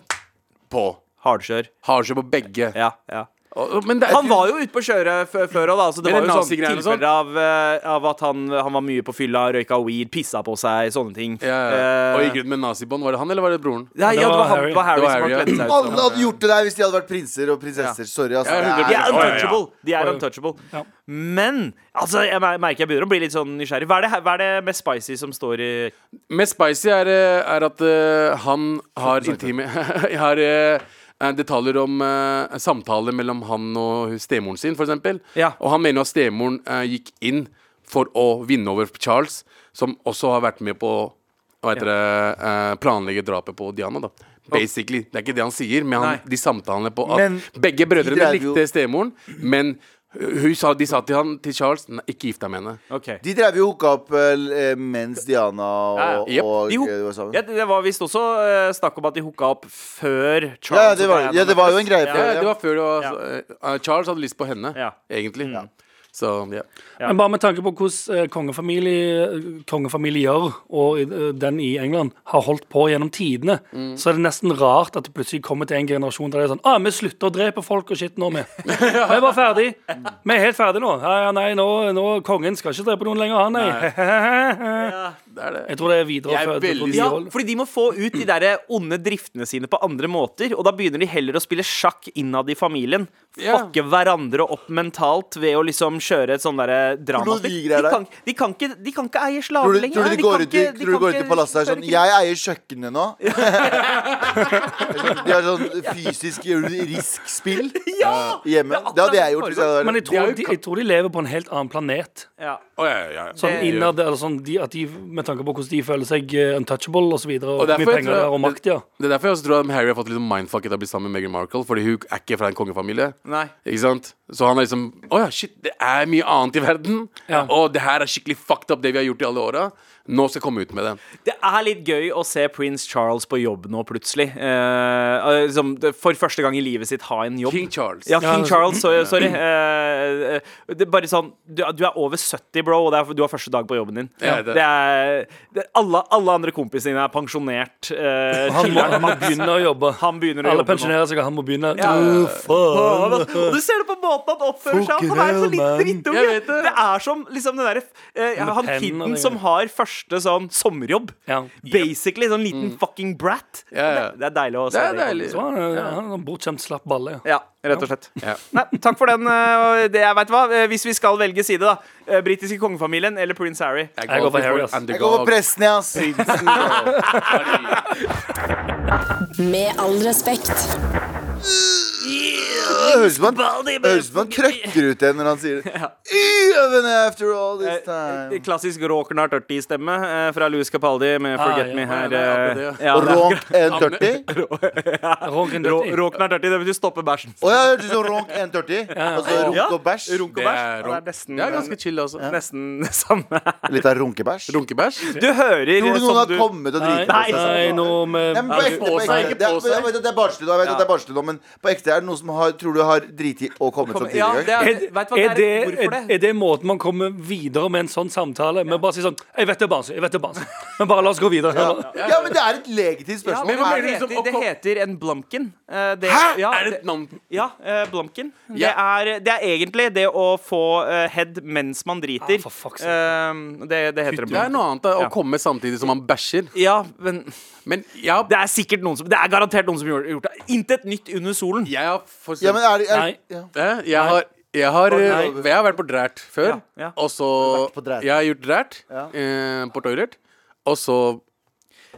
[SPEAKER 5] På.
[SPEAKER 2] Hardkjør.
[SPEAKER 5] Har seg på begge.
[SPEAKER 2] Ja, ja.
[SPEAKER 5] Og- og- Men det er
[SPEAKER 2] Han var jo ute på kjøret før, før også, da. Så det
[SPEAKER 5] Men
[SPEAKER 2] var
[SPEAKER 5] det
[SPEAKER 2] jo sånne
[SPEAKER 5] nazigreiene og sånn.
[SPEAKER 2] tilfeller av, eh, av at han, han var mye på fylla, røyka weed, pissa på seg, sånne ting.
[SPEAKER 5] ja, ja. Og
[SPEAKER 2] Eh,
[SPEAKER 5] gikk rundt med nazibånd. Var det han, eller var det broren?
[SPEAKER 2] ja, ja, det var, han, det var Harry
[SPEAKER 5] Det var
[SPEAKER 2] som
[SPEAKER 5] Harry,
[SPEAKER 2] har kledd
[SPEAKER 5] ja.
[SPEAKER 2] seg ut.
[SPEAKER 3] Alle
[SPEAKER 2] som-
[SPEAKER 3] hadde gjort det der hvis de hadde vært prinser og prinsesser. Sorry, altså.
[SPEAKER 5] Ja,
[SPEAKER 3] det er-
[SPEAKER 2] De er
[SPEAKER 5] Å, ja, ja.
[SPEAKER 2] untouchable. De
[SPEAKER 4] Å,
[SPEAKER 2] er
[SPEAKER 4] ja.
[SPEAKER 2] untouchable.
[SPEAKER 4] Ja.
[SPEAKER 2] Men altså, jeg mer- merker jeg begynner å bli litt sånn nysgjerrig. Hva er det, her- hva er det mest spicy som står i
[SPEAKER 5] Mest spicy er, eh, er at eh, han har intime har, eh, eh, detaljer om eh, samtaler mellom han og stemoren sin, f.eks.
[SPEAKER 2] Ja.
[SPEAKER 5] Og han mener jo at stemoren eh, gikk inn for å vinne over Charles, som også har vært med på hva heter det, eh, planlegge drapet på Diana. da Basically, Det er ikke det han sier, men han,
[SPEAKER 2] Nei.
[SPEAKER 5] de samtalene på at
[SPEAKER 3] Men
[SPEAKER 5] Begge
[SPEAKER 3] de
[SPEAKER 5] brødrene
[SPEAKER 3] drev jo-
[SPEAKER 5] likte stemoren, men hun sa, de sa til, han, til Charles Nei, ikke gift deg med henne.
[SPEAKER 2] Ok.
[SPEAKER 3] De drev jo og hooka opp eh, mens Diana og,
[SPEAKER 2] Ja,
[SPEAKER 5] ja. Jep.
[SPEAKER 3] og
[SPEAKER 2] De
[SPEAKER 3] eh,
[SPEAKER 2] hook-
[SPEAKER 3] var sammen.
[SPEAKER 2] ja, det var visst også eh, snakk om at de hooka opp før Charles
[SPEAKER 3] Ja, ja, det
[SPEAKER 2] og
[SPEAKER 3] var,
[SPEAKER 2] Diana
[SPEAKER 3] ja, det var jo en
[SPEAKER 2] Ja,
[SPEAKER 3] greie
[SPEAKER 5] Ja,
[SPEAKER 3] før.
[SPEAKER 5] det var før det var,
[SPEAKER 2] Ja.
[SPEAKER 5] eh, Charles hadde lyst på henne,
[SPEAKER 2] Ja.
[SPEAKER 5] egentlig. Så ja.
[SPEAKER 4] Men bare med tanke på hvordan eh, kongefamilie- kongefamilier og eh, den i England har holdt på gjennom tidene,
[SPEAKER 5] Mm.
[SPEAKER 4] så er det nesten rart at det plutselig kommer til en generasjon der det er sånn ah, 'Vi slutter å drepe folk og shit nå, vi.' Vi er bare ferdig. Vi er helt ferdig nå. Ja, ja, nei, nå, nå Kongen skal ikke drepe noen lenger, han, nei. Jeg tror det er
[SPEAKER 5] Jeg er
[SPEAKER 4] videreført. Jeg
[SPEAKER 5] veldig-
[SPEAKER 4] tror de
[SPEAKER 2] Ja,
[SPEAKER 4] holder-
[SPEAKER 2] fordi de må få ut de der eh, onde driftene sine på andre måter. Og da begynner de heller å spille sjakk innad i familien.
[SPEAKER 5] Ja.
[SPEAKER 2] Fucke hverandre opp mentalt ved å liksom kjøre et sånn derre dramaspill. De,
[SPEAKER 3] ligger der, da?
[SPEAKER 2] kan- de, kan ikke- de kan ikke eie
[SPEAKER 3] Tror
[SPEAKER 2] slaver
[SPEAKER 3] du,
[SPEAKER 2] lenger.
[SPEAKER 3] tror du
[SPEAKER 2] Nei,
[SPEAKER 3] de går
[SPEAKER 2] kan
[SPEAKER 3] ut i,
[SPEAKER 2] ikke- de
[SPEAKER 3] tror du
[SPEAKER 2] kan
[SPEAKER 3] går ut i
[SPEAKER 2] ikke
[SPEAKER 3] palasset og er
[SPEAKER 2] føre
[SPEAKER 3] sånn
[SPEAKER 2] krig.
[SPEAKER 3] Jeg eier kjøkkenet nå. de har sånn fysisk risk-spill Eh, hjemme.
[SPEAKER 2] akkurat
[SPEAKER 3] Det hadde jeg
[SPEAKER 2] det
[SPEAKER 3] gjort hvis jeg hadde
[SPEAKER 4] Men
[SPEAKER 3] vært
[SPEAKER 4] jeg tror, de, jeg tror de lever på en helt annen planet.
[SPEAKER 2] Ja.
[SPEAKER 5] Å, ja, ja, ja.
[SPEAKER 4] Sånn
[SPEAKER 2] Det-
[SPEAKER 4] innad, eller sånn de, at de, Med tanke på hvordan de føler seg eh, untouchable og så videre. Og,
[SPEAKER 5] Og
[SPEAKER 4] hvor
[SPEAKER 5] derfor
[SPEAKER 4] mye
[SPEAKER 5] jeg
[SPEAKER 4] penger det
[SPEAKER 5] tror-
[SPEAKER 4] er og makt, ja.
[SPEAKER 5] Det er derfor jeg også tror at Harry har fått litt mindfuck etter å bli sammen med Meghan Markle. Fordi hun er ikke fra en kongefamilie.
[SPEAKER 2] Nei.
[SPEAKER 5] Ikke sant? Så han er liksom Å ja, shit, det er mye annet i verden.
[SPEAKER 4] Ja.
[SPEAKER 5] Og det her er skikkelig fucked up, det vi har gjort i alle åra. Nå skal jeg komme ut med det.
[SPEAKER 2] Det er litt gøy å se prins Charles på jobb nå, plutselig. Eh, eh, som det- for første gang i livet sitt ha en jobb.
[SPEAKER 5] King Charles.
[SPEAKER 2] Ja, King
[SPEAKER 4] Ja, altså.
[SPEAKER 2] Charles, sorry. sorry. Eh, eh, det er bare sånn du, du er over 70, bro, og det er, du har første dag på jobben din.
[SPEAKER 5] Ja,
[SPEAKER 2] det.
[SPEAKER 5] det-
[SPEAKER 2] er, det er alle, alle andre kompisene dine er pensjonert. eh,
[SPEAKER 4] Han må,
[SPEAKER 2] chiller.
[SPEAKER 4] han må begynne å jobbe.
[SPEAKER 2] Han begynner å
[SPEAKER 4] Alle
[SPEAKER 2] jobbe nå.
[SPEAKER 4] pensjonerer seg, og han må begynne.
[SPEAKER 2] Ja.
[SPEAKER 4] Du, faen.
[SPEAKER 2] Og du ser det på måten han oppfører seg Han er en sånn
[SPEAKER 4] Fuck
[SPEAKER 2] liten
[SPEAKER 4] you,
[SPEAKER 2] drittunge.
[SPEAKER 5] Jeg vet
[SPEAKER 2] Det.
[SPEAKER 5] det.
[SPEAKER 2] er som liksom den derre eh, Han
[SPEAKER 4] pen og
[SPEAKER 2] kiden
[SPEAKER 4] det
[SPEAKER 2] som
[SPEAKER 4] greiene.
[SPEAKER 2] har første sånn sommerjobb.
[SPEAKER 4] Ja.
[SPEAKER 2] Basically sånn liten fucking brat.
[SPEAKER 5] Mm. Ja, ja.
[SPEAKER 2] Det, det er deilig å se
[SPEAKER 5] Det er deilig.
[SPEAKER 4] Så han er- han er en bortskjemt slapp balle. ja.
[SPEAKER 2] Ja, rett og slett.
[SPEAKER 5] Ja.
[SPEAKER 2] Nei, takk for den. eh, og det, jeg vet hva eh, Hvis vi skal velge side, da. eh, Britiske kongefamilien eller prins Harry?
[SPEAKER 4] Jeg går for Harry, ass.
[SPEAKER 3] Jeg går for presten, jeg, ass.
[SPEAKER 1] Med all respekt.
[SPEAKER 3] Det høres ut som han- det høres ut som han krøkker ut igjen når han sier det. Even after all this
[SPEAKER 2] Eh,
[SPEAKER 3] time.
[SPEAKER 2] Klassisk Råkern har 30-stemme fra Louis Capaldi med 'Forget
[SPEAKER 4] ja,
[SPEAKER 2] Me'
[SPEAKER 4] ja,
[SPEAKER 2] her.
[SPEAKER 5] Ah, det er
[SPEAKER 2] eh,
[SPEAKER 5] akkurat det,
[SPEAKER 2] ja, det er-
[SPEAKER 3] Ronk 130.
[SPEAKER 4] Ronken
[SPEAKER 2] Rå-
[SPEAKER 4] Dutty.
[SPEAKER 2] Råkern har 30, det betyr stoppe bæsjen.
[SPEAKER 3] Å ja, hørtes ut som ronk 130. Altså
[SPEAKER 2] Ja,
[SPEAKER 3] runk og bæsj.
[SPEAKER 2] Runk og
[SPEAKER 5] Det
[SPEAKER 2] bæsj.
[SPEAKER 5] er,
[SPEAKER 2] Det er
[SPEAKER 5] ronk-
[SPEAKER 2] nesten,
[SPEAKER 5] det er ganske chill, altså.
[SPEAKER 2] nesten det samme.
[SPEAKER 3] Litt av runkebæsj.
[SPEAKER 5] Runkebæsj?
[SPEAKER 2] Du hører
[SPEAKER 3] Tror du
[SPEAKER 2] som
[SPEAKER 3] noen har
[SPEAKER 2] du-
[SPEAKER 3] kommet og driti
[SPEAKER 4] Nei, altså,
[SPEAKER 2] Nei,
[SPEAKER 4] nei, nå
[SPEAKER 3] Nei, men på
[SPEAKER 4] med
[SPEAKER 3] ekte, på ekte.
[SPEAKER 5] Nei, ikke
[SPEAKER 3] Det er-
[SPEAKER 5] på seg.
[SPEAKER 3] Jeg vet at det er barnslig nå, jeg vet at det er barnslig nå, men på ekte er det noen som har Tror du du har driti og kommet
[SPEAKER 2] Kom-
[SPEAKER 3] samtidig
[SPEAKER 2] ja,
[SPEAKER 3] en
[SPEAKER 2] det
[SPEAKER 3] gang.
[SPEAKER 2] er-
[SPEAKER 4] Er,
[SPEAKER 2] Vet du hva, det
[SPEAKER 4] er,
[SPEAKER 2] er-
[SPEAKER 4] det, er,
[SPEAKER 2] hvorfor det?
[SPEAKER 4] er det måten man kommer videre med en sånn samtale? Med bare si sånn Jeg vet det er barnslig, jeg vet det er barnslig, men bare la oss gå videre.
[SPEAKER 3] Ja, men det er et legitimt
[SPEAKER 2] Ja,
[SPEAKER 3] spørsmål.
[SPEAKER 2] men
[SPEAKER 5] hva
[SPEAKER 2] det,
[SPEAKER 5] mener du liksom,
[SPEAKER 2] heter, det
[SPEAKER 5] oppkom-
[SPEAKER 2] heter en blomken. Eh, det-
[SPEAKER 5] Hæ?
[SPEAKER 2] Ja,
[SPEAKER 5] er det et navn?
[SPEAKER 2] Ja, eh, blomken.
[SPEAKER 5] Ja.
[SPEAKER 2] Det, er, det er egentlig det å få eh, head mens man driter.
[SPEAKER 4] Ah, for fuck's
[SPEAKER 2] Eh, det, det heter en
[SPEAKER 5] Det er
[SPEAKER 2] blomken.
[SPEAKER 5] noe annet da, å
[SPEAKER 2] Ja.
[SPEAKER 5] komme samtidig som man bæsjer.
[SPEAKER 2] Ja, men
[SPEAKER 5] Men jeg har,
[SPEAKER 2] det er sikkert noen som Det er garantert noen som har gjort det. Intet nytt under solen.
[SPEAKER 5] jeg har for
[SPEAKER 3] Ja, men er det er,
[SPEAKER 4] Nei.
[SPEAKER 3] ja.
[SPEAKER 5] Eh, Jeg har jeg har,
[SPEAKER 4] Nei.
[SPEAKER 5] eh, jeg har vært på drært før.
[SPEAKER 2] Ja, ja.
[SPEAKER 5] Og så
[SPEAKER 3] på drært.
[SPEAKER 5] Jeg har gjort drært
[SPEAKER 3] Ja.
[SPEAKER 5] eh, på toilet. Og så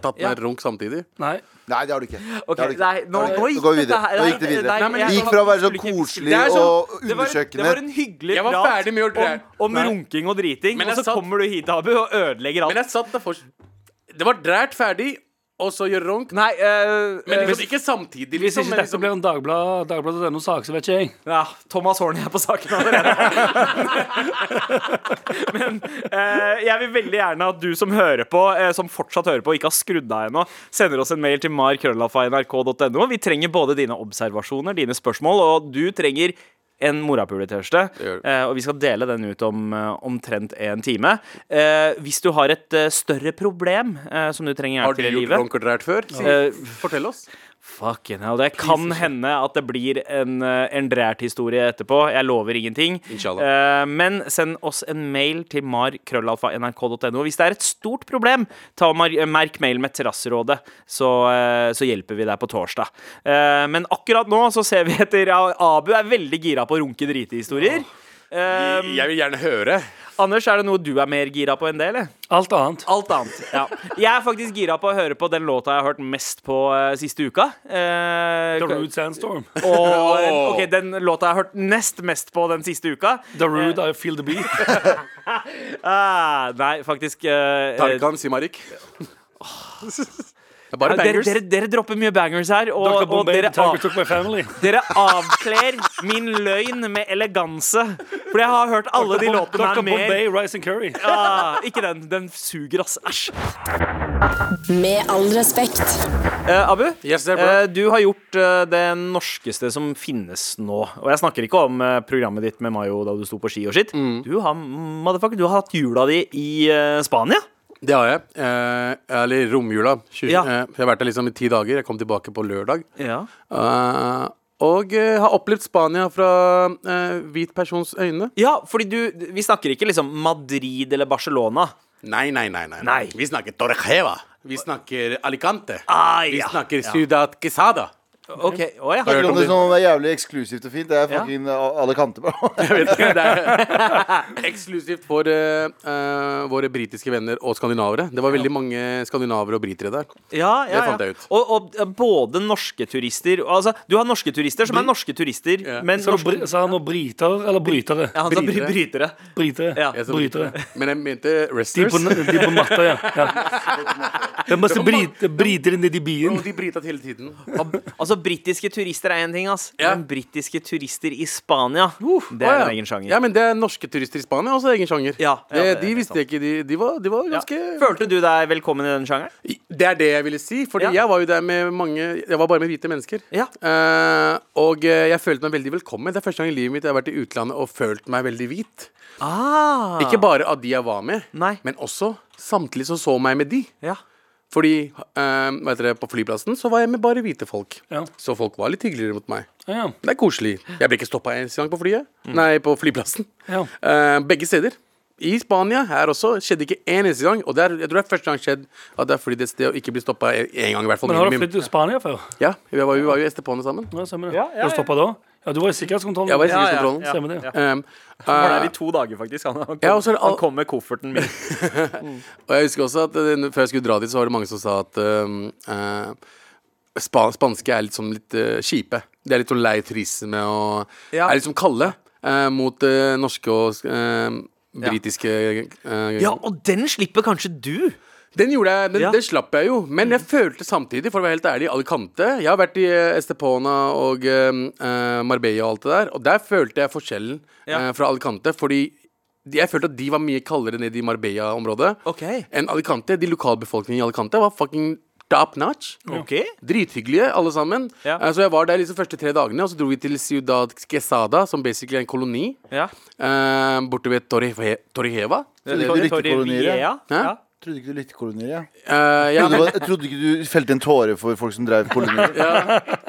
[SPEAKER 5] tatt meg
[SPEAKER 2] Ja.
[SPEAKER 5] en runk samtidig.
[SPEAKER 4] Nei.
[SPEAKER 3] Nei, det har du ikke.
[SPEAKER 2] Ok,
[SPEAKER 3] det har du ikke.
[SPEAKER 2] nei, nå, nå
[SPEAKER 3] Nå
[SPEAKER 2] gikk
[SPEAKER 3] går vi
[SPEAKER 2] dette
[SPEAKER 3] videre.
[SPEAKER 2] her-
[SPEAKER 3] Nå
[SPEAKER 2] nei,
[SPEAKER 3] gikk det videre.
[SPEAKER 2] nei,
[SPEAKER 5] Nei, men
[SPEAKER 2] jeg-
[SPEAKER 5] jeg-
[SPEAKER 3] gikk fra å være sånn
[SPEAKER 2] skulle ikke-
[SPEAKER 3] koselig
[SPEAKER 2] Det er sånn-
[SPEAKER 3] og
[SPEAKER 2] det var-
[SPEAKER 3] undersøkende.
[SPEAKER 2] Det var en hyggelig
[SPEAKER 5] Jeg var
[SPEAKER 2] prat
[SPEAKER 5] ferdig med å gjøre
[SPEAKER 2] om, om
[SPEAKER 4] Nei.
[SPEAKER 2] runking og driting,
[SPEAKER 5] Men
[SPEAKER 2] og
[SPEAKER 5] jeg
[SPEAKER 2] så
[SPEAKER 5] satt-
[SPEAKER 2] kommer du hit, Abu, og ødelegger alt.
[SPEAKER 5] Men jeg satt der for Det var drært ferdig, og så gjøre runk.
[SPEAKER 2] Nei, øh,
[SPEAKER 5] Men
[SPEAKER 2] øh,
[SPEAKER 5] liksom, ikke samtidig,
[SPEAKER 4] Hvis
[SPEAKER 5] liksom.
[SPEAKER 4] ikke
[SPEAKER 5] men
[SPEAKER 4] dette blir en Dagblad- Dagbladet.no-sak, så vet ikke jeg.
[SPEAKER 2] ja, Thomas Horny er på saken allerede. Men øh, jeg vil veldig gjerne at du som hører på, øh, som fortsatt hører på og ikke har skrudd av ennå, sender oss en mail til markrøllalfa.nrk.no. Vi trenger både dine observasjoner, dine spørsmål, og du trenger en morapuletørste.
[SPEAKER 5] gjør du.
[SPEAKER 2] Eh, og vi skal dele den ut om eh, omtrent en time. Eh, hvis du har et eh, større problem eh, som du trenger
[SPEAKER 5] Har
[SPEAKER 2] hjelp
[SPEAKER 5] du
[SPEAKER 2] til i
[SPEAKER 5] gjort
[SPEAKER 2] livet
[SPEAKER 5] runk og drært før? Si-
[SPEAKER 2] Eh,
[SPEAKER 5] Fortell oss.
[SPEAKER 2] Fucking hell. Det kan hende at det blir en, eh, en drært historie etterpå. Jeg lover ingenting.
[SPEAKER 5] Inshallah.
[SPEAKER 2] Eh, men send oss en mail til mar.krøllalfa.nrk.no. Hvis det er et stort problem, ta og mar merk mail med Terrasserådet, så, eh, så hjelper vi deg på torsdag. Eh, men akkurat nå så ser vi etter ja, Abu er veldig gira på runke drite-historier. Eh,
[SPEAKER 5] Jeg vil gjerne høre.
[SPEAKER 2] Anders, er det noe du er mer gira på enn det, eller?
[SPEAKER 4] Alt annet.
[SPEAKER 2] Alt annet. Ja. Jeg er faktisk gira på å høre på den låta jeg har hørt mest på eh, siste uka. Eh,
[SPEAKER 4] The Rude Sandstorm.
[SPEAKER 2] og den, ok, den låta jeg har hørt nest mest på den siste uka
[SPEAKER 4] The Rude I Feel The Beat.
[SPEAKER 2] ah, Nei, faktisk eh,
[SPEAKER 5] Tarkan Simarik. Det er
[SPEAKER 2] eh,
[SPEAKER 5] bare
[SPEAKER 2] dere,
[SPEAKER 5] bangers.
[SPEAKER 2] dere, dere dropper mye bangers her, og,
[SPEAKER 4] Dr.
[SPEAKER 2] og
[SPEAKER 4] Bombay
[SPEAKER 2] dere,
[SPEAKER 4] Tiger
[SPEAKER 2] av,
[SPEAKER 4] Took My Family.
[SPEAKER 2] dere avkler min løgn med eleganse. For jeg har hørt alle de låtene
[SPEAKER 4] Dr.
[SPEAKER 2] her mer.
[SPEAKER 4] Bombay, Rice and Curry.
[SPEAKER 2] Ah, ikke den. Den suger, ass. Æsj.
[SPEAKER 1] Med all respekt.
[SPEAKER 2] Eh, Abu,
[SPEAKER 5] Yes, det er bra.
[SPEAKER 2] eh, du har gjort eh, det norskeste som finnes nå. Og jeg snakker ikke om eh, programmet ditt med Mayo da du sto på ski og skitt.
[SPEAKER 5] Mm.
[SPEAKER 2] Du, har, motherfucker, du har hatt jula di i eh, Spania.
[SPEAKER 5] Det har jeg. Eh, eller romjula. 20,
[SPEAKER 2] Ja.
[SPEAKER 5] eh, jeg har vært der liksom i ti dager. Jeg kom tilbake på lørdag.
[SPEAKER 2] Ja.
[SPEAKER 5] Eh, og eh, har opplevd Spania fra eh, hvit persons øyne.
[SPEAKER 2] fordi du Vi snakker ikke liksom Madrid eller Barcelona.
[SPEAKER 5] Nei, nei, nei. nei.
[SPEAKER 2] Nei.
[SPEAKER 5] Vi snakker Torrejeva. Vi snakker Alicante.
[SPEAKER 2] Ah,
[SPEAKER 5] Vi
[SPEAKER 2] ja.
[SPEAKER 5] snakker Ciudad Quesada.
[SPEAKER 2] Ok, å, ja.
[SPEAKER 5] Hørt
[SPEAKER 3] Om
[SPEAKER 5] om
[SPEAKER 3] det
[SPEAKER 5] det.
[SPEAKER 3] som er jævlig eksklusivt og fint. Det er fucking alle kanter. bro.
[SPEAKER 5] Jeg vet ikke, det er eksklusivt for eh, eh, våre britiske venner og skandinavere. Det var veldig mange skandinavere og britere der.
[SPEAKER 2] Ja, ja,
[SPEAKER 5] Det fant
[SPEAKER 2] ja.
[SPEAKER 5] jeg ut.
[SPEAKER 2] Og, og eh, både norske turister Altså, du har norske turister som er norske turister,
[SPEAKER 5] Ja.
[SPEAKER 2] men
[SPEAKER 4] Så
[SPEAKER 2] norske,
[SPEAKER 4] er han noe briter eller brytere?
[SPEAKER 2] ja, han sa bry-
[SPEAKER 5] Brytere.
[SPEAKER 2] brytere.
[SPEAKER 4] Brytere.
[SPEAKER 2] Ja.
[SPEAKER 5] Jeg sa
[SPEAKER 4] Brytere.
[SPEAKER 5] Men jeg mente
[SPEAKER 4] De
[SPEAKER 5] resters.
[SPEAKER 4] på, de på matta, ja. ja. Det er masse brit, briter inni de
[SPEAKER 5] Og
[SPEAKER 4] bien.
[SPEAKER 5] de brita hele tiden.
[SPEAKER 2] Altså, britiske turister er én ting, ass.
[SPEAKER 5] Ja.
[SPEAKER 2] Men britiske turister i Spania, det
[SPEAKER 5] Å,
[SPEAKER 2] er
[SPEAKER 5] ja.
[SPEAKER 2] en egen sjanger.
[SPEAKER 5] Ja, men det er norske turister i Spania, også egen sjanger.
[SPEAKER 2] Ja, ja,
[SPEAKER 5] det,
[SPEAKER 2] det er
[SPEAKER 5] de
[SPEAKER 2] helt
[SPEAKER 5] visste
[SPEAKER 2] sant.
[SPEAKER 5] jeg ikke de, de, var, de var
[SPEAKER 2] Ja.
[SPEAKER 5] ganske
[SPEAKER 2] Følte du deg velkommen i den sjangeren?
[SPEAKER 5] Det er det jeg ville si, Fordi
[SPEAKER 2] Ja.
[SPEAKER 5] jeg var jo der med mange Jeg var bare med hvite mennesker.
[SPEAKER 2] Ja.
[SPEAKER 5] Eh, og eh, jeg følte meg veldig velkommen. Det er første gang i livet mitt jeg har vært i utlandet og følt meg veldig hvit.
[SPEAKER 2] Ah.
[SPEAKER 5] Ikke bare av de jeg var med,
[SPEAKER 2] Nei.
[SPEAKER 5] men også samtidig så så meg med de.
[SPEAKER 2] Ja.
[SPEAKER 5] Fordi eh, vet dere, på flyplassen så var jeg med bare hvite folk.
[SPEAKER 4] Ja.
[SPEAKER 5] Så folk var litt hyggeligere mot meg.
[SPEAKER 4] Ja,
[SPEAKER 5] Det er koselig. Jeg ble ikke stoppa en gang på flyet.
[SPEAKER 2] Mm.
[SPEAKER 5] Nei, på flyplassen.
[SPEAKER 4] Ja.
[SPEAKER 5] Eh, begge steder. I Spania her også skjedde ikke en eneste gang. Og det er, jeg tror det er første gang skjedd at det er flydd et sted og ikke blir stoppa én gang. i hvert fall
[SPEAKER 4] Men har du
[SPEAKER 5] minimum.
[SPEAKER 4] flyttet til Spania før?
[SPEAKER 5] Ja, vi var, vi var jo i Estepona sammen.
[SPEAKER 4] Ja, stemmer det.
[SPEAKER 2] Ja, ja,
[SPEAKER 4] Har du stoppet da? Ja, du var i sikkerhetskontrollen.
[SPEAKER 5] Jeg var i
[SPEAKER 2] ja,
[SPEAKER 5] sikkerhetskontrollen.
[SPEAKER 2] ja.
[SPEAKER 4] Stemmer det. Ja.
[SPEAKER 5] Um,
[SPEAKER 2] Han var
[SPEAKER 5] eh,
[SPEAKER 2] der i to dager, faktisk. Han, han, kom,
[SPEAKER 5] Ja, og så er det all-
[SPEAKER 2] han kom med kofferten min.
[SPEAKER 5] og jeg husker også at eh, før jeg skulle dra dit, så var det mange som sa at um, eh, spa spanske er litt sånn litt eh, kjipe. De er litt sånn lei turisme og
[SPEAKER 2] Ja.
[SPEAKER 5] er litt sånn kalde eh, mot eh, norske og eh, britiske eh,
[SPEAKER 2] Ja, og den slipper kanskje du.
[SPEAKER 5] Den gjorde jeg, men
[SPEAKER 2] Ja. Mm.
[SPEAKER 5] det slapp jeg jo. Men jeg følte samtidig, for å være helt ærlig, Alicante Jeg har vært i eh, Estepona og eh, eh, Marbella og alt det der, og der følte jeg forskjellen
[SPEAKER 2] Ja.
[SPEAKER 5] eh, fra Alicante. Fordi de- jeg følte at de var mye kaldere nede i Marbella-området
[SPEAKER 2] Ok.
[SPEAKER 5] enn Alicante. De lokalbefolkningen i Alicante var fucking top notch.
[SPEAKER 2] OK?
[SPEAKER 5] Drithyggelige, alle sammen.
[SPEAKER 2] Ja.
[SPEAKER 5] Eh, Så jeg var der liksom første tre dagene, og så dro vi til Ciudad Quesada, som basically er en koloni.
[SPEAKER 2] Ja.
[SPEAKER 5] eh, borte ved Torre- Torrejeva.
[SPEAKER 3] Trodde ikke du likte
[SPEAKER 2] Torre
[SPEAKER 3] kolonier, ja.
[SPEAKER 2] Vieja.
[SPEAKER 5] Hæ?
[SPEAKER 2] Ja.
[SPEAKER 3] Trodde ikke du likte kolonier, ja.
[SPEAKER 5] Eh, ja,
[SPEAKER 3] Trodde du, jeg trodde ikke du felte en tåre for folk som drev kolonier.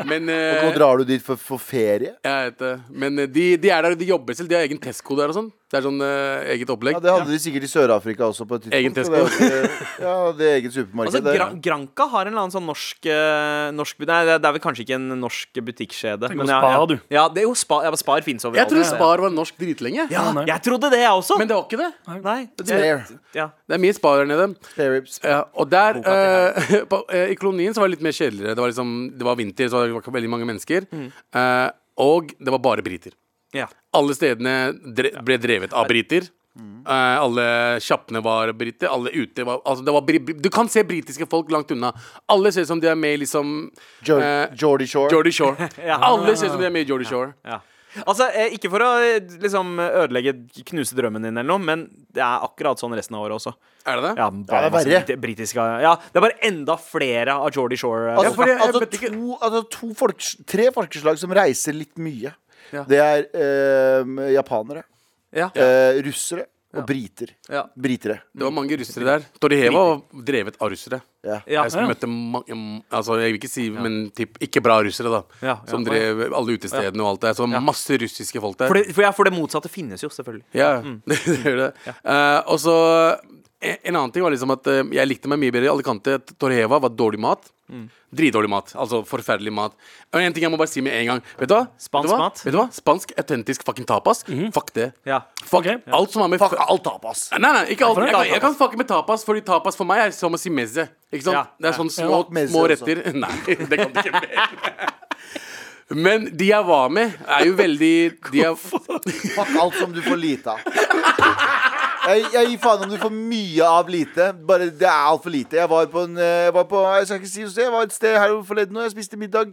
[SPEAKER 5] men
[SPEAKER 3] Nå
[SPEAKER 5] eh,
[SPEAKER 3] drar du dit for, for ferie?
[SPEAKER 5] jeg vet det. Men eh, de, de er der, og de jobber selv. De har egen testkode der og sånn. Det er sånn eh, eget opplegg.
[SPEAKER 3] Ja, Det hadde de sikkert i Sør-Afrika også. på et tidspunkt
[SPEAKER 5] Egen Tesco.
[SPEAKER 3] så det er jo ikke- Ja, det er eget supermarked.
[SPEAKER 2] Altså,
[SPEAKER 3] der.
[SPEAKER 2] Gran Granca har en eller annen sånn norsk, eh, norsk bu- Nei, det er- det er vel kanskje ikke en norsk butikkskjede.
[SPEAKER 4] Tenk på
[SPEAKER 2] men ja,
[SPEAKER 4] Spar,
[SPEAKER 2] ja.
[SPEAKER 4] du.
[SPEAKER 2] Ja, det er jo Spar, ja, spar fins overalt.
[SPEAKER 5] Jeg trodde
[SPEAKER 2] Ja.
[SPEAKER 5] Spar var norsk dritlenge.
[SPEAKER 2] Ja, jeg trodde det, jeg også.
[SPEAKER 5] Men det var ikke det.
[SPEAKER 2] Nei.
[SPEAKER 3] Spare.
[SPEAKER 2] Ja.
[SPEAKER 5] Det er mye Spar der nede.
[SPEAKER 3] Spare ribs.
[SPEAKER 5] Ja, og der,
[SPEAKER 2] Boka til
[SPEAKER 5] eh, på, eh, i kolonien så var det litt mer kjedeligere. Det var, liksom, det var vinter, så det var ikke veldig mange mennesker. Eh, og det var bare briter.
[SPEAKER 2] Ja.
[SPEAKER 5] Alle stedene dre ble drevet av briter. Eh, alle kjappene var briter. Alle ute var, altså det var bri bri- Du kan se britiske folk langt unna. Alle ser ut som de er med i liksom
[SPEAKER 3] Jo
[SPEAKER 5] eh,
[SPEAKER 3] Jordy Shore.
[SPEAKER 5] Geordie Shore.
[SPEAKER 2] Ja.
[SPEAKER 5] Alle ser ut som de er med i Geordie Shore.
[SPEAKER 2] Ja. Altså, eh, ikke for å eh, liksom ødelegge, knuse drømmen din eller noe, men det er akkurat sånn resten av året også.
[SPEAKER 5] Er det det?
[SPEAKER 2] Ja, bare
[SPEAKER 3] Ja, det er verre.
[SPEAKER 2] masse brit- britiske Ja, det er bare enda flere av Jordy Shore. eh,
[SPEAKER 3] Altså,
[SPEAKER 5] Ja, fordi jeg- jeg
[SPEAKER 3] altså,
[SPEAKER 5] vet ikke-
[SPEAKER 3] to, altså to folks, tre folkeslag som reiser litt mye.
[SPEAKER 5] Ja.
[SPEAKER 3] Det er eh, japanere,
[SPEAKER 5] Ja.
[SPEAKER 3] eh, russere og briter.
[SPEAKER 5] Ja.
[SPEAKER 3] Britere.
[SPEAKER 5] Det var mange russere der. Torreheva var drevet av russere.
[SPEAKER 3] Ja.
[SPEAKER 2] Ja.
[SPEAKER 5] Jeg møtte mange altså Jeg vil ikke si, men typ, ikke bra russere, da.
[SPEAKER 2] Ja, ja.
[SPEAKER 5] som drev alle utestedene og alt det. Så masse russiske folk der.
[SPEAKER 2] For det, for, ja, for det motsatte finnes jo, selvfølgelig.
[SPEAKER 5] Ja, det gjør det. Eh, og så eh, En annen ting var liksom at eh, jeg likte meg mye bedre i Alicante. Torreheva var dårlig mat.
[SPEAKER 2] Mm.
[SPEAKER 5] Dritdårlig mat. Altså forferdelig mat. Og en ting jeg må bare si med en gang. Vet du hva?
[SPEAKER 2] Spansk
[SPEAKER 5] vet du hva?
[SPEAKER 2] mat. Mhm.
[SPEAKER 5] Vet du hva? Spansk autentisk fucking tapas. Fuck det.
[SPEAKER 2] Ja.
[SPEAKER 5] Fuck
[SPEAKER 4] Ok.
[SPEAKER 5] alt som har med
[SPEAKER 3] Fuck all tapas.
[SPEAKER 5] Nei, nei, ikke alt.
[SPEAKER 4] det?
[SPEAKER 5] Jeg kan, jeg kan fucke med tapas, fordi tapas for meg er som å si mezze. Ikke sant?
[SPEAKER 2] Ja.
[SPEAKER 5] Det er sånn små,
[SPEAKER 3] Ja, mezze også.
[SPEAKER 5] små retter. Nei, det kan du ikke mer. Men de jeg var med, er jo veldig de jeg,
[SPEAKER 3] Fuck alt som du får lite av. Jeg, jeg gir faen om du får mye av lite. Bare Det er altfor lite. Jeg var på en eh, Jeg, var på, jeg skal ikke si noe sted. Jeg var et sted her forleden, og jeg spiste middag.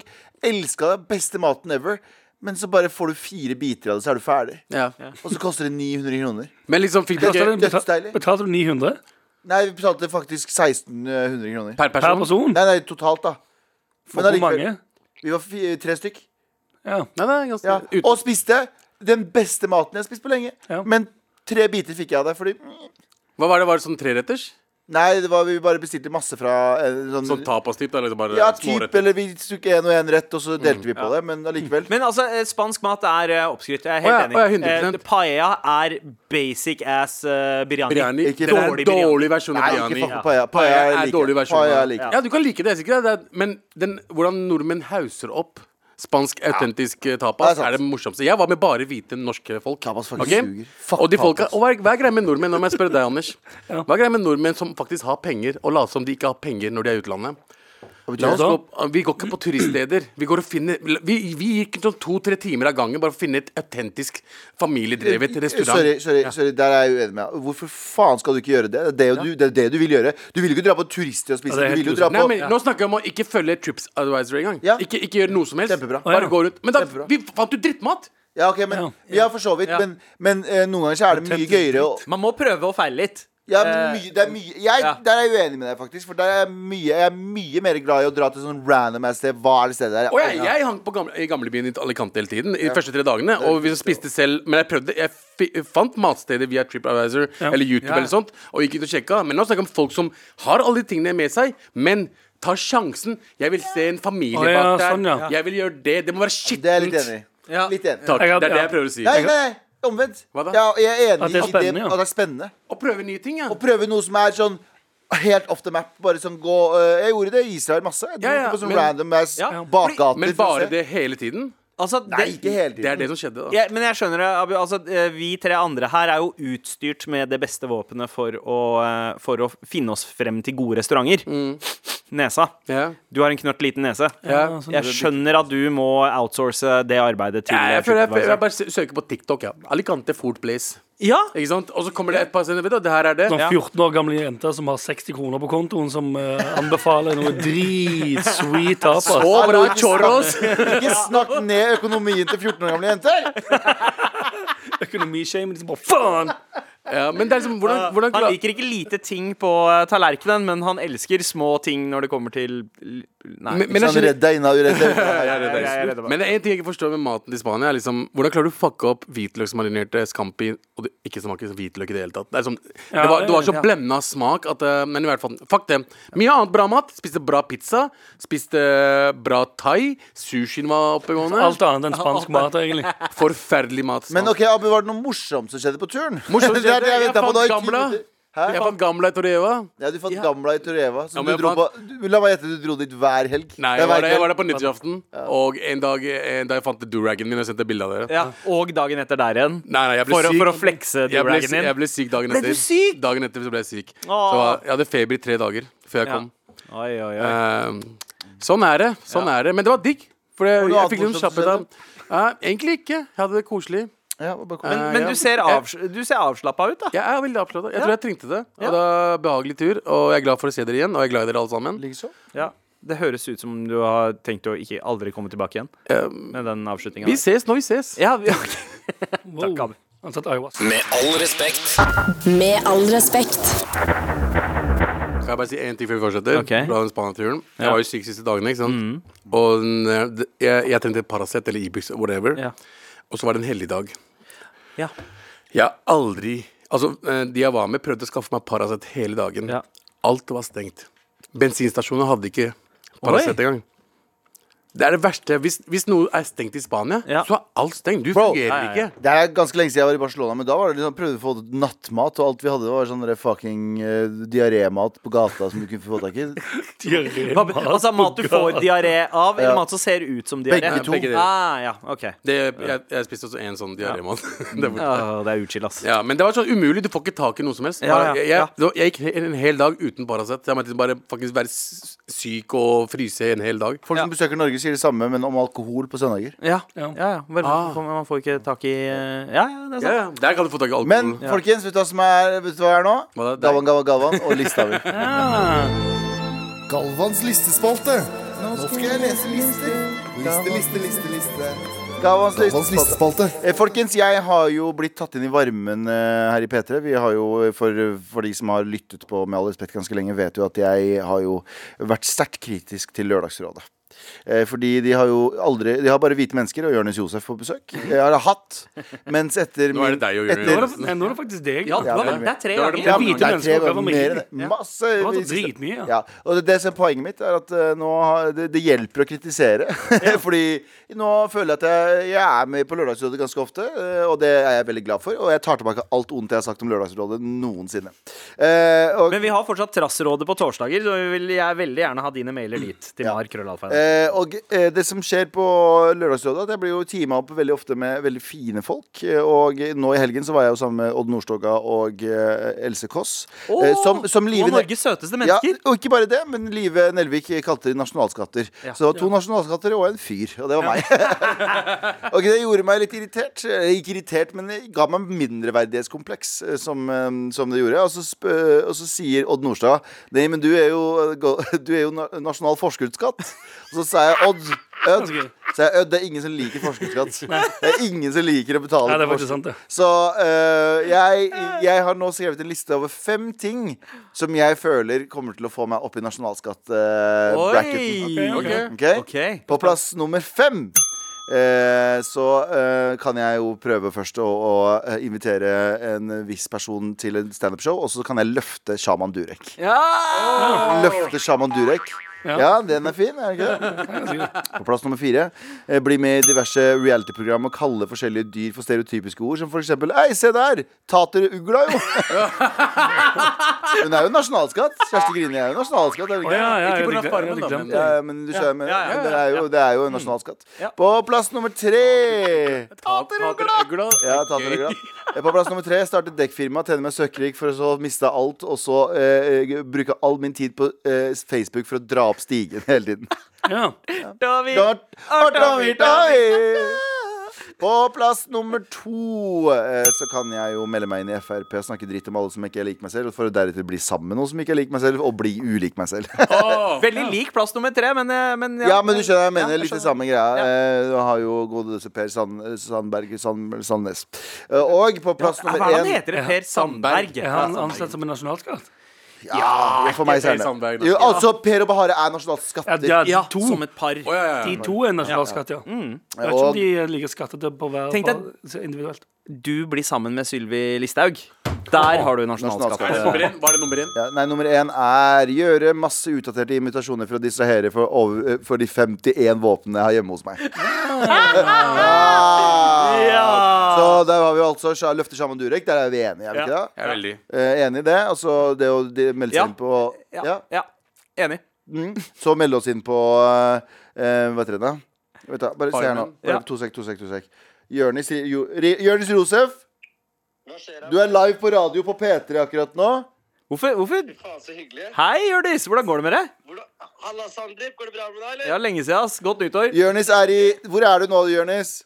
[SPEAKER 3] Elska det. Beste maten ever. Men så bare får du fire biter av det, så er du ferdig.
[SPEAKER 5] ja.
[SPEAKER 3] Og så koster det 900 kroner.
[SPEAKER 5] Men liksom fikk
[SPEAKER 3] Det er
[SPEAKER 5] dere
[SPEAKER 4] Betalte du- beta-
[SPEAKER 3] dødsdeilig.
[SPEAKER 4] Betalte du 900
[SPEAKER 3] Nei, vi betalte faktisk 1600 kroner.
[SPEAKER 5] per
[SPEAKER 4] per
[SPEAKER 5] person?
[SPEAKER 4] person?
[SPEAKER 3] Nei, nei, totalt, da.
[SPEAKER 4] For hvor
[SPEAKER 3] allikevel-
[SPEAKER 4] mange?
[SPEAKER 3] Vi var fi- tre stykk.
[SPEAKER 4] Ja.
[SPEAKER 5] Nei, nei, ganske
[SPEAKER 3] Ja.
[SPEAKER 5] uten-
[SPEAKER 3] Og spiste den beste maten jeg har spist på lenge.
[SPEAKER 4] Ja.
[SPEAKER 3] Men tre biter fikk jeg av det, fordi
[SPEAKER 5] Hva var det? Var det sånn treretters?
[SPEAKER 3] Nei, det var, vi bare bestilte masse fra eh, sånn,
[SPEAKER 5] Sånn tapas-type? Eller liksom bare
[SPEAKER 3] Ja,
[SPEAKER 5] små
[SPEAKER 3] typ,
[SPEAKER 5] retter?
[SPEAKER 3] eller vi tok én og én rett, og så delte vi på det, men allikevel.
[SPEAKER 2] Men altså, eh, spansk mat er eh, oppskrytt. Jeg er helt
[SPEAKER 5] Å ja,
[SPEAKER 2] enig.
[SPEAKER 5] å ja, 100%.
[SPEAKER 2] Eh, Paella er basic ass eh, biryani.
[SPEAKER 5] Biryani.
[SPEAKER 3] Ikke
[SPEAKER 5] det er
[SPEAKER 2] dårlig
[SPEAKER 5] en dårlig versjon av
[SPEAKER 3] Nei,
[SPEAKER 5] biryani.
[SPEAKER 3] ikke fuck paella. Paella
[SPEAKER 5] Paella er
[SPEAKER 3] liker
[SPEAKER 5] dårlig
[SPEAKER 3] jeg.
[SPEAKER 5] versjon.
[SPEAKER 3] Paella
[SPEAKER 5] av-
[SPEAKER 3] liker jeg.
[SPEAKER 5] Ja, du kan like det, jeg er sikker. Det er, men den, hvordan nordmenn hauser opp spansk autentisk
[SPEAKER 3] Det
[SPEAKER 5] eh,
[SPEAKER 3] er
[SPEAKER 5] tapas,
[SPEAKER 3] sant.
[SPEAKER 5] er det morsomste. Jeg var med bare hvite norske folk.
[SPEAKER 3] Tapas faktisk
[SPEAKER 5] ok?
[SPEAKER 3] suger. Fuck
[SPEAKER 5] og de folka,
[SPEAKER 3] tapas.
[SPEAKER 5] og hva, er, hva er greia med nordmenn? Nå må jeg spørre deg, Anders. Hva er greia med nordmenn som faktisk har penger, og later som de ikke har penger når de er i utlandet?
[SPEAKER 3] Hva betyr
[SPEAKER 5] La oss
[SPEAKER 3] det?
[SPEAKER 5] gå, opp- vi går ikke på turiststeder. Vi, går og finner, vi, vi gikk sånn to-tre timer av gangen bare for å finne et autentisk familiedrevet restaurant.
[SPEAKER 3] Eh, Sorry, sorry, sorry, der er jeg uenig med deg. Hvorfor faen skal du ikke gjøre det? Det er jo du, det, er det du vil gjøre. Du vil jo ikke dra på turister og spise.
[SPEAKER 4] Ja, det er
[SPEAKER 3] du
[SPEAKER 4] helt
[SPEAKER 3] vil jo dra
[SPEAKER 5] Nei,
[SPEAKER 3] på
[SPEAKER 5] men Nå snakker jeg om å ikke følge Trips Advisory engang.
[SPEAKER 3] Ja.
[SPEAKER 5] Ikke, ikke gjøre noe som helst.
[SPEAKER 3] Kjempebra.
[SPEAKER 4] Å,
[SPEAKER 5] Bare
[SPEAKER 4] ja.
[SPEAKER 5] gå rundt. Men da,
[SPEAKER 3] Kjempebra.
[SPEAKER 5] vi fant jo drittmat!
[SPEAKER 3] Ja, ok, men
[SPEAKER 4] Ja.
[SPEAKER 3] Ja, for så vidt. Men, men eh, noen ganger så er det mye gøyere å
[SPEAKER 2] Man må prøve og feile litt.
[SPEAKER 3] ja, men
[SPEAKER 2] Eh,
[SPEAKER 3] mye, det er mye, jeg,
[SPEAKER 2] ja.
[SPEAKER 3] Der er jeg uenig med deg, faktisk. For der er jeg mye, jeg er mye mer glad i å dra til sånn random ass sted. Hva er det stedet der?
[SPEAKER 5] Og jeg, jeg hang på gamle, i gamlebyen i Alicante hele tiden. I de første tre dagene Og vi spiste selv. Men jeg prøvde Jeg fi, fant matsteder via TripAdvisor eller YouTube
[SPEAKER 2] Ja.
[SPEAKER 5] eller sånt. Og gikk ut og sjekka. Men nå snakker jeg om folk som har alle de tingene med seg, men tar sjansen. Jeg vil se en
[SPEAKER 4] Å,
[SPEAKER 5] familie
[SPEAKER 4] ja,
[SPEAKER 5] bak der.
[SPEAKER 4] sånn, ja.
[SPEAKER 5] Jeg vil gjøre det. Det må være skittent.
[SPEAKER 3] Det er jeg litt enig i.
[SPEAKER 2] Ja.
[SPEAKER 3] Litt enig.
[SPEAKER 5] Takk.
[SPEAKER 4] Jeg hadde-
[SPEAKER 5] Det er det
[SPEAKER 4] ja.
[SPEAKER 5] jeg prøver å si.
[SPEAKER 3] Nei, nei, nei, omvendt.
[SPEAKER 5] Hva da?
[SPEAKER 3] Ja, jeg er enig
[SPEAKER 4] At det er
[SPEAKER 3] i det,
[SPEAKER 4] spennende, ja.
[SPEAKER 3] at det er spennende.
[SPEAKER 5] Å prøve nye ting, ja.
[SPEAKER 3] Å prøve noe som er sånn helt off the map. Bare sånn gå eh, Jeg gjorde det i Israel masse. Jeg dro
[SPEAKER 5] Ja, ja,
[SPEAKER 3] på sånn
[SPEAKER 5] men-
[SPEAKER 3] random ass
[SPEAKER 2] Ja.
[SPEAKER 3] bakgater.
[SPEAKER 5] Men
[SPEAKER 3] for å
[SPEAKER 5] bare
[SPEAKER 3] sånn se.
[SPEAKER 5] det hele tiden?
[SPEAKER 2] Altså,
[SPEAKER 3] Nei, ikke hele tiden.
[SPEAKER 5] Det er det som skjedde, da.
[SPEAKER 2] Ja, men jeg skjønner det, Abu. Altså, eh, vi tre andre her er jo utstyrt med det beste våpenet for å, eh, for å finne oss frem til gode restauranter. Nesa.
[SPEAKER 5] Mm. Ja.
[SPEAKER 2] Du har en knørt liten nese.
[SPEAKER 5] Ja.
[SPEAKER 4] Ja, sånn.
[SPEAKER 2] Jeg skjønner at du må outsource det arbeidet til
[SPEAKER 5] Ja,
[SPEAKER 2] eh,
[SPEAKER 5] jeg, føler, jeg, jeg
[SPEAKER 2] TripAdvisor.
[SPEAKER 5] bare sø- søker på TikTok. Ja. Alicante food place.
[SPEAKER 2] Ja,
[SPEAKER 5] Ikke sant? Og så kommer det et par sender, vet du, det her er det.
[SPEAKER 4] Sånn
[SPEAKER 2] Ja.
[SPEAKER 4] 14 år gamle jenter som har 60 kroner på kontoen, som eh, anbefaler noe dritsweet altså. tapas.
[SPEAKER 5] Å, bra
[SPEAKER 3] Hallo, ikke
[SPEAKER 5] chorros!
[SPEAKER 3] Ikke snakk ned økonomien til 14 år gamle jenter!
[SPEAKER 4] Økonomishamen liksom bare faen!
[SPEAKER 5] Ja, men det er liksom, hvordan, hvordan
[SPEAKER 2] Han
[SPEAKER 5] klar-
[SPEAKER 2] liker ikke lite ting på eh, tallerkenen, men han elsker små ting når det kommer til l- Nei.
[SPEAKER 3] Så
[SPEAKER 5] men, men, jeg
[SPEAKER 3] han
[SPEAKER 5] skjønner,
[SPEAKER 3] redda inna uredd.
[SPEAKER 2] jeg, jeg, jeg, er redd for-
[SPEAKER 5] men det er en ting jeg ikke forstår med maten til Spania. er Liksom, hvordan klarer du å fucke opp hvitløksmarinerte eh, scampi og det ikke smaker som hvitløk i det hele tatt? Det, er som,
[SPEAKER 4] Ja,
[SPEAKER 5] det, var, det var så
[SPEAKER 4] ja.
[SPEAKER 5] blenda smak at eh, Men i hvert fall, fuck det. Mye annet bra mat. Spiste bra pizza. Spiste eh, bra thai. Sushien var oppegående.
[SPEAKER 4] Alt annet enn spansk mat, egentlig.
[SPEAKER 5] Forferdelig mat.
[SPEAKER 3] Men ok, Abu, var det noe morsomt som skjedde på turen?
[SPEAKER 5] Morsomt
[SPEAKER 3] Det er det
[SPEAKER 5] skjedde. Jeg
[SPEAKER 3] ventet på
[SPEAKER 5] fant
[SPEAKER 3] nå i ti
[SPEAKER 5] gamla.
[SPEAKER 3] minutter. Hæ?
[SPEAKER 5] Jeg fant gamla Toreva.
[SPEAKER 3] Ja, du fant gamla i Toreva. Så
[SPEAKER 5] Ja,
[SPEAKER 3] du
[SPEAKER 5] men jeg
[SPEAKER 3] dro på,
[SPEAKER 5] fant-
[SPEAKER 3] du, la meg gjette, du dro dit hver helg?
[SPEAKER 5] Nei,
[SPEAKER 3] Det er
[SPEAKER 5] jeg var,
[SPEAKER 3] hver
[SPEAKER 5] der, jeg var
[SPEAKER 3] kveld.
[SPEAKER 5] der på nyttårsaften. Og en dag, en dag jeg fant duragen min og sendte bilde av dere.
[SPEAKER 2] ja, og dagen etter der igjen.
[SPEAKER 5] Nei, nei, jeg ble
[SPEAKER 2] For å-
[SPEAKER 5] syk.
[SPEAKER 2] for å flekse
[SPEAKER 5] Jeg ble-
[SPEAKER 2] duragen din.
[SPEAKER 5] Jeg ble syk dagen
[SPEAKER 2] Ble
[SPEAKER 5] etter.
[SPEAKER 2] du syk?
[SPEAKER 5] Dagen etter så ble jeg syk.
[SPEAKER 2] Åh.
[SPEAKER 5] Så jeg hadde feber i tre dager før jeg
[SPEAKER 2] Ja.
[SPEAKER 5] kom.
[SPEAKER 2] Oi, oi, oi.
[SPEAKER 5] Ehm, sånn er det. Sånn er det. Men det var digg. For jeg,
[SPEAKER 3] noe
[SPEAKER 5] jeg
[SPEAKER 3] annet
[SPEAKER 5] fikk litt
[SPEAKER 3] morsomt
[SPEAKER 5] kjapphet av Ja, Egentlig ikke. Jeg hadde det koselig.
[SPEAKER 3] Ja, bare kom.
[SPEAKER 5] Eh,
[SPEAKER 2] Men
[SPEAKER 5] ja.
[SPEAKER 2] du ser,
[SPEAKER 5] Jeg-
[SPEAKER 2] avs du ser avslappa ut, da.
[SPEAKER 5] Jeg er veldig avslappa. Jeg
[SPEAKER 2] Ja.
[SPEAKER 5] tror jeg trengte det. Og
[SPEAKER 2] Ja.
[SPEAKER 5] det var en behagelig tur. Og jeg er glad for å se dere igjen. Og jeg er glad i dere alle sammen.
[SPEAKER 3] Likeså.
[SPEAKER 2] Ja. Det høres ut som du har tenkt å ikke aldri komme tilbake igjen
[SPEAKER 5] Ehm,
[SPEAKER 2] med den avslutninga.
[SPEAKER 5] vi ses når vi ses.
[SPEAKER 2] Ja, vi- ok.
[SPEAKER 4] Wow.
[SPEAKER 2] Takk, Abu.
[SPEAKER 4] Han satt ayahuasca.
[SPEAKER 6] Med all respekt.
[SPEAKER 1] Med all respekt.
[SPEAKER 5] Kan jeg bare si én ting før vi fortsetter?
[SPEAKER 2] Ok.
[SPEAKER 5] Fra den Spania-turen. Jeg
[SPEAKER 2] Ja. Mm.
[SPEAKER 5] var jo syk siste dagene, ikke sant. Og den, eh, jeg, jeg trengte Paracet eller Ibux, whatever.
[SPEAKER 2] Ja.
[SPEAKER 5] Og så var det en helligdag.
[SPEAKER 2] Ja.
[SPEAKER 5] Jeg har aldri Altså, eh, de jeg var med, prøvde å skaffe meg Paracet hele dagen.
[SPEAKER 2] Ja.
[SPEAKER 5] Alt var stengt. Bensinstasjoner hadde ikke Paracet engang. Det er det verste. Hvis, hvis noe er stengt i Spania,
[SPEAKER 2] Ja.
[SPEAKER 5] så er alt stengt. Du
[SPEAKER 3] Bro.
[SPEAKER 5] fungerer
[SPEAKER 2] Ja, ja, ja.
[SPEAKER 5] ikke.
[SPEAKER 3] Det er ganske lenge siden jeg var i Barcelona, men da var det liksom, prøvde vi å få nattmat, og alt vi hadde, var sånn der fucking uh, diarémat på gata som du kunne få tak i.
[SPEAKER 2] Hva be- Altså mat du får diaré av, eller
[SPEAKER 3] Ja.
[SPEAKER 2] mat som ser ut som diaré?
[SPEAKER 3] Begge to.
[SPEAKER 5] Begge deler.
[SPEAKER 2] Ah, ja, ok
[SPEAKER 5] Det, jeg, jeg spiste også en sånn diarémann. Det er borte.
[SPEAKER 2] Åh, Det er utskill, ass.
[SPEAKER 5] Ja, men det var sånn umulig. Du får ikke tak i noe som helst.
[SPEAKER 2] Ja,
[SPEAKER 5] Bare,
[SPEAKER 2] ja,
[SPEAKER 5] jeg,
[SPEAKER 2] ja.
[SPEAKER 5] jeg, det var- jeg gikk he- en hel dag uten Paracet. Jeg måtte bare faktisk være s- syk og fryse en hel dag.
[SPEAKER 3] Folk som besøker Norge, sier det samme, men om alkohol på søndager.
[SPEAKER 2] Ja, ja,
[SPEAKER 4] Ja.
[SPEAKER 2] ja. Vel,
[SPEAKER 5] Ah.
[SPEAKER 2] for- Man får ikke tak i eh, Ja, ja, det er sant.
[SPEAKER 5] Ja, ja. Der kan du få tak i alkohol.
[SPEAKER 3] Men folkens, vet du hva som er, vet du hva er nå?
[SPEAKER 5] Mm. Hva da?
[SPEAKER 3] Galvan, Galvan, Galvan og lista mi. Galvans listespalte. Nå skal jeg lese lister. Liste, liste, liste, liste. Galvans listespalte. Eh, Folkens, jeg har jo blitt tatt inn i varmen eh, her i P3. Vi har jo, eh, for, for de som har lyttet på Med all respekt ganske lenge, vet jo at jeg har jo vært sterkt kritisk til Lørdagsrådet. Eh, fordi de har jo aldri De har bare hvite mennesker og Jonis Josef på besøk. Jeg har hatt. Mens etter
[SPEAKER 5] Nå er det
[SPEAKER 3] min-
[SPEAKER 5] deg og Jonis
[SPEAKER 4] Nå
[SPEAKER 3] etter-
[SPEAKER 4] er det- Nå er det faktisk deg.
[SPEAKER 2] Ja, du har
[SPEAKER 3] det er
[SPEAKER 2] vært der tre
[SPEAKER 5] det var det
[SPEAKER 2] ganger.
[SPEAKER 5] på-
[SPEAKER 3] ja,
[SPEAKER 4] hvite
[SPEAKER 3] det er
[SPEAKER 4] mennesker
[SPEAKER 3] tre
[SPEAKER 4] over
[SPEAKER 3] ganger mer enn
[SPEAKER 4] Norge.
[SPEAKER 3] det. Masse
[SPEAKER 4] var dritmye, ja.
[SPEAKER 3] ja. Og det, det som er poenget mitt, er at eh, nå har, det, det hjelper å kritisere. Fordi nå føler jeg at jeg, jeg er med på Lørdagsrådet ganske ofte, eh, og det er jeg veldig glad for. Og jeg tar tilbake alt ondt jeg har sagt om Lørdagsrådet noensinne. Eh, og,
[SPEAKER 2] Men vi har fortsatt Trassrådet på torsdager, så vi vil jeg veldig gjerne ha dine mailer dit. Til Mar krøllalfa.
[SPEAKER 3] Eh, og eh, det som skjer på Lørdagsrådet, er at jeg blir jo teama opp veldig ofte med veldig fine folk. Eh, Og nå i helgen så var jeg jo sammen med Odd Nordstoga og eh, Else Kåss. eh, som, som
[SPEAKER 2] to
[SPEAKER 3] Live
[SPEAKER 2] av
[SPEAKER 3] Ne-
[SPEAKER 2] Norges søteste mennesker.
[SPEAKER 3] Ja, og ikke bare det, men Live Nelvik kalte de nasjonalskatter.
[SPEAKER 2] Ja.
[SPEAKER 3] Så det var to nasjonalskatter og en fyr, og det var meg. ok, Det gjorde meg litt irritert. Eh, Ikke irritert, men det ga meg mindreverdighetskompleks, eh, som, eh, som det gjorde. Og så, sp eh, og så sier Odd Nordstad Nei, men du er jo, eh, go- du er jo na nasjonal forskuddsskatt. Og så sa jeg Odd Ødd. Så jeg, Ødd, det er ingen som liker forskuddsskatt. Det er ingen som liker å betale
[SPEAKER 4] Nei, det er
[SPEAKER 3] for
[SPEAKER 4] faktisk sant, det.
[SPEAKER 3] så øh, jeg, jeg har nå skrevet en liste over fem ting som jeg føler kommer til å få meg opp i eh, nasjonalskatt-bracketen.
[SPEAKER 2] Oi!
[SPEAKER 5] Ok.
[SPEAKER 2] Ok.
[SPEAKER 3] På plass nummer fem. eh, så eh, kan jeg jo prøve først å, å eh, invitere en viss person til en standup-show, og så kan jeg løfte Shaman Durek. Løfte Shaman Durek. Ja. den er fin, er den ikke det? På plass nummer fire. eh, Bli med i diverse reality-program og kalle forskjellige dyr for stereotypiske ord, som for eksempel Ei, se der! Taterugla, jo! Hun er jo nasjonalskatt. Kjersti Grini er jo nasjonalskatt. Er hun
[SPEAKER 4] Å,
[SPEAKER 3] ikke?
[SPEAKER 4] ja, ja,
[SPEAKER 5] Ikke
[SPEAKER 4] jeg
[SPEAKER 5] på grunn av
[SPEAKER 4] hadde
[SPEAKER 5] farmen,
[SPEAKER 4] gle- jeg hadde
[SPEAKER 5] da,
[SPEAKER 3] Ja,
[SPEAKER 4] glemt det.
[SPEAKER 3] ja, men du skjønner, men
[SPEAKER 2] ja, ja,
[SPEAKER 3] Det, er jo, det er jo en nasjonalskatt. På plass nummer tre
[SPEAKER 5] Taterugla!
[SPEAKER 3] ja, ta til deg glad. Eh, På plass nummer tre startet dekkfirma, tjene meg søkkrik for å så miste alt, og så eh, eh, bruke all min tid på eh, Facebook for å dra opp stigen hele tiden.
[SPEAKER 4] Ja.
[SPEAKER 2] Da vi-
[SPEAKER 3] Dart, art, art, art, art. På plass nummer to eh, så kan jeg jo melde meg inn i Frp og snakke dritt om alle som ikke er lik meg selv, for å deretter bli sammen med noen som ikke er lik meg selv, og bli ulik meg selv.
[SPEAKER 2] Veldig lik plass nummer tre, men, eh, men
[SPEAKER 3] Ja, men du skjønner, jeg mener
[SPEAKER 2] Ja, jeg
[SPEAKER 3] litt det
[SPEAKER 2] skjønner.
[SPEAKER 3] samme greia. Eh, Du har jo godeste Per Sand, Sandberg Sand, Sandnes. Eh, Og på plass
[SPEAKER 2] Hva er
[SPEAKER 3] nummer
[SPEAKER 2] det han
[SPEAKER 3] én
[SPEAKER 2] heter? Per Sandberg.
[SPEAKER 4] Er han ansett som en nasjonalskatt?
[SPEAKER 3] Ja, for meg
[SPEAKER 5] Per
[SPEAKER 3] særlig.
[SPEAKER 5] Sandberg, da.
[SPEAKER 3] Jo, altså, Per og Bahare er
[SPEAKER 4] Ja,
[SPEAKER 3] nasjonalskatter.
[SPEAKER 4] de er
[SPEAKER 2] Ja,
[SPEAKER 4] to.
[SPEAKER 2] som et par.
[SPEAKER 5] Å, ja, ja,
[SPEAKER 4] De
[SPEAKER 5] ja.
[SPEAKER 4] to er en nasjonalskatt, ja. Jeg vet ikke
[SPEAKER 3] Og-
[SPEAKER 4] om de eh, er like skattet på hver
[SPEAKER 2] Mm. Tenk deg-
[SPEAKER 4] på- individuelt.
[SPEAKER 2] Du blir sammen med Sylvi Listhaug. Der har du
[SPEAKER 5] Er det
[SPEAKER 2] nasjonalskatt.
[SPEAKER 5] nummer én? Var det nummer én?
[SPEAKER 3] Ja, nei, nummer én er gjøre masse utdaterte invitasjoner for å distrahere for, over, eh, for de 51 våpnene jeg har hjemme hos meg. Ja. Så der har vi altså Sja- løfter sammen Durek. Der er vi enige, er vi ikke det?
[SPEAKER 5] Ja, veldig.
[SPEAKER 3] Eh, enig i det. Altså det å de- melde seg
[SPEAKER 2] Ja.
[SPEAKER 3] inn på ja.
[SPEAKER 2] Ja, ja. Enig.
[SPEAKER 3] Mm. Så melde oss inn på eh, eh, Hva heter det da? Vet du, bare se her nå.
[SPEAKER 5] Farmen.
[SPEAKER 3] Bare
[SPEAKER 2] Ja.
[SPEAKER 3] To sek, to sek, to sek. Jørnis, jo, Ri- Jørnis Josef, du er live på radio på P3 akkurat nå.
[SPEAKER 2] Hvorfor, hvorfor?
[SPEAKER 6] Faen, så hyggelig.
[SPEAKER 2] Hei, Hjørdis! Hvordan går det med deg?
[SPEAKER 6] Hvordan- Halla, Sandeep. Går det bra med deg, eller?
[SPEAKER 2] Ja, Lenge siden, ass. Godt nyttår.
[SPEAKER 3] Jørnis er i Hvor er du nå, Jørnis?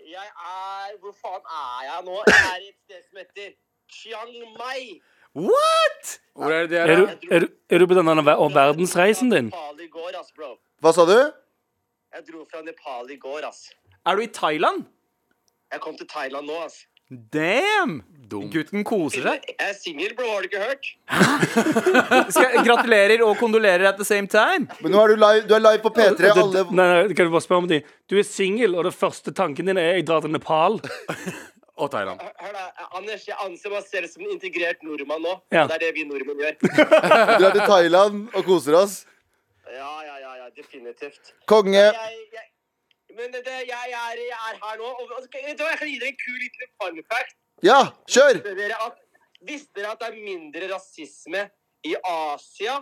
[SPEAKER 6] Jeg er Hvor faen er jeg nå? Jeg er i et sted som heter Chiang Mai.
[SPEAKER 2] What?!
[SPEAKER 5] Hvor er det det
[SPEAKER 4] Er
[SPEAKER 5] er?
[SPEAKER 4] du, er, du, er du på denne ver- og verdensreisen din?
[SPEAKER 6] Nepal i går, ass, bro.
[SPEAKER 3] Hva sa du?
[SPEAKER 6] Jeg dro fra Nepal i går, ass.
[SPEAKER 2] Er du i Thailand?
[SPEAKER 6] Jeg kom til Thailand nå, ass.
[SPEAKER 2] Damn! Gutten koser seg.
[SPEAKER 6] Jeg er singel, bro. Har du ikke hørt?
[SPEAKER 2] Skal, gratulerer og kondolerer at the same time.
[SPEAKER 3] Men nå er du live, du er live på P3.
[SPEAKER 4] Det-
[SPEAKER 3] Alle,
[SPEAKER 4] Nei, nei, kan du bare spørre om de Du er singel, og det første tanken din er 'jeg drar til Nepal'.
[SPEAKER 5] Og Thailand.
[SPEAKER 6] Hør- Hør da, Anders. Jeg anser meg selv som en integrert nordmann nå.
[SPEAKER 4] Ja.
[SPEAKER 6] Og det er det vi nordmenn gjør.
[SPEAKER 3] vi drar til Thailand og koser oss.
[SPEAKER 6] Ja, ja, ja, ja definitivt.
[SPEAKER 3] Konge.
[SPEAKER 6] Jeg, jeg, men det, jeg, er, jeg er her nå, og, og vet du hva, jeg kan gi dere en kul liten fun fact.
[SPEAKER 3] Ja, kjør!
[SPEAKER 6] Visste dere at, visste dere at det er mindre rasisme i Asia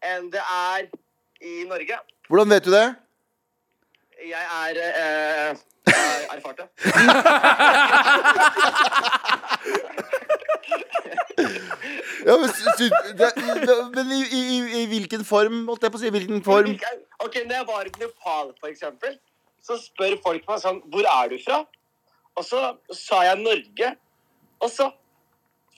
[SPEAKER 6] enn det er i Norge?
[SPEAKER 3] Hvordan vet du det?
[SPEAKER 6] Jeg er eh, jeg har erfart det.
[SPEAKER 3] Ja, men, sy- sy- det, det, men i, i, i- I hvilken form, holdt jeg på å si? Hvilken form?
[SPEAKER 6] Ok, Når jeg var i Nepal, for eksempel, så spør folk meg sånn Hvor er du fra? Og så sa jeg Norge. Og så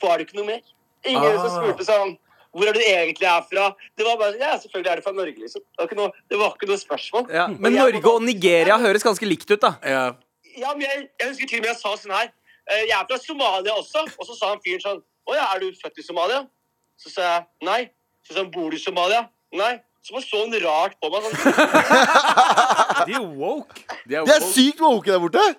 [SPEAKER 6] var det ikke noe mer. Ingen som spurte sånn Hvor er du egentlig er fra? Det var bare sånn Ja, selvfølgelig er du fra Norge, liksom. Det var ikke noe, det var ikke noe spørsmål.
[SPEAKER 2] Ja. Men
[SPEAKER 6] jeg-
[SPEAKER 2] Norge og Nigeria høres ganske likt ut, da.
[SPEAKER 5] Ja.
[SPEAKER 6] Ja, men jeg, jeg husker til og med jeg sa sånn her «Eh, Jeg er fra Somalia også. Og så sa han fyren sånn Å ja, er du født i Somalia? Så sa jeg nei. Så sa han Bor du i Somalia? Nei. Så bare så han rart på meg. Sånn
[SPEAKER 2] De er woke.
[SPEAKER 5] De er
[SPEAKER 3] Det er
[SPEAKER 5] woke.
[SPEAKER 3] sykt woke der borte!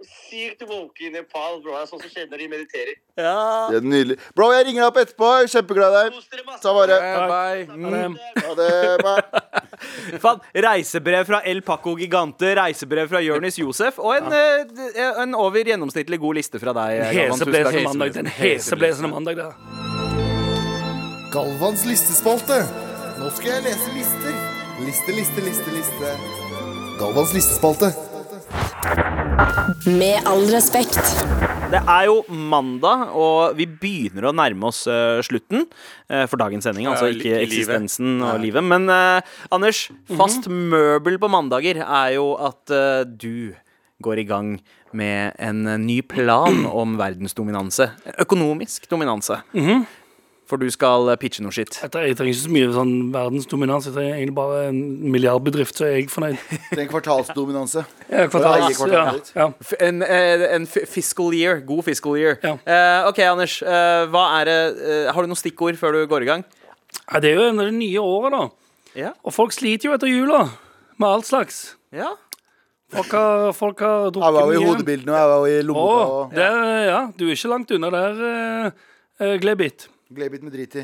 [SPEAKER 6] sykt woke i Nepal, bro. Det er sånn som skjer når de mediterer.
[SPEAKER 2] Ja.
[SPEAKER 3] Det er nydelig. Bro, jeg ringer deg opp etterpå. Jeg er Kjempeglad i deg.
[SPEAKER 6] Kos dere masse.
[SPEAKER 3] Ta vare.
[SPEAKER 5] Eh, Bye.
[SPEAKER 4] Men,
[SPEAKER 3] Ha det. bye.
[SPEAKER 2] Faen, reisebrev fra El Paco Gigante, reisebrev fra Jonis Josef og en, eh, en over gjennomsnittlig god liste fra deg.
[SPEAKER 4] eh,
[SPEAKER 2] Galvan. Tusen takk.
[SPEAKER 4] Heseblesende mandag. Den heseblesende mandag der.
[SPEAKER 7] Galvans listespalte. Nå skal jeg lese lister. Liste, liste, liste, liste. Galvans listespalte.
[SPEAKER 1] Med all respekt.
[SPEAKER 2] Det er jo mandag, og vi begynner å nærme oss eh, slutten eh, for dagens sending. Altså
[SPEAKER 5] Ja,
[SPEAKER 2] ikke
[SPEAKER 5] i livet.
[SPEAKER 2] eksistensen og livet. Men eh, Anders, fast møbel på mandager er jo at eh, du går i gang med en eh, ny plan om verdensdominanse. Økonomisk dominanse. For du skal eh, pitche noe skitt.
[SPEAKER 4] Jeg trenger ikke så mye sånn verdensdominans. Jeg trenger egentlig bare en milliardbedrift, så er jeg fornøyd.
[SPEAKER 3] Det er en kvartalsdominanse.
[SPEAKER 4] Ja,
[SPEAKER 3] Eie
[SPEAKER 4] kvartals, ja,
[SPEAKER 3] kvartalet.
[SPEAKER 4] ja.
[SPEAKER 2] F- En, eh, en f- fiscal year. God fiscal year.
[SPEAKER 4] Ja.
[SPEAKER 2] Eh, OK, Anders. eh, hva er det eh, Har du noen stikkord før du går i gang?
[SPEAKER 4] Ja, det er jo en av det nye året, da.
[SPEAKER 2] Ja.
[SPEAKER 4] Og folk sliter jo etter jula med alt slags.
[SPEAKER 2] Ja.
[SPEAKER 4] Folk har, folk har
[SPEAKER 3] Jeg
[SPEAKER 4] drukket
[SPEAKER 3] var jo i hodebildene, og jeg var jo i
[SPEAKER 4] Å,
[SPEAKER 3] lommeboka. og-
[SPEAKER 4] det, ja, du er ikke langt unna der, eh, eh, Glebit.
[SPEAKER 3] Gled litt med drit i.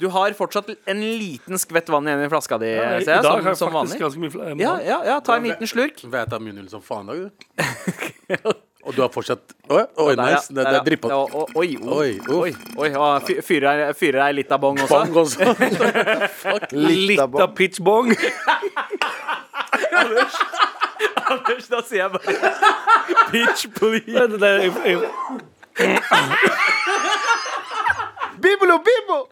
[SPEAKER 2] Du har fortsatt en liten skvett vann igjen i flaska di,
[SPEAKER 4] I, i
[SPEAKER 2] ser jeg,
[SPEAKER 4] dag har
[SPEAKER 2] som,
[SPEAKER 4] jeg
[SPEAKER 2] som
[SPEAKER 4] faktisk
[SPEAKER 2] vanlig.
[SPEAKER 4] ganske mye fl- eh,
[SPEAKER 2] Ja, ja, ja, ta en liten slurk.
[SPEAKER 5] Væta munnhull som faen i dag, du. Og du har fortsatt Oi, oi,
[SPEAKER 2] Der, ja.
[SPEAKER 5] nice. Det, det
[SPEAKER 2] Der, ja.
[SPEAKER 5] er drippa.
[SPEAKER 2] Ja, o- Oi, oi,
[SPEAKER 5] Oi, uff.
[SPEAKER 2] oi. oi og fy- Fyrer ei- fyrer ei lita bong også?
[SPEAKER 5] Bang også.
[SPEAKER 3] Litt av
[SPEAKER 4] Litt av pitchbong.
[SPEAKER 2] Da sier jeg bare Bitch, please.
[SPEAKER 4] Det- det- jeg- jeg-
[SPEAKER 3] Bibolo, bibo!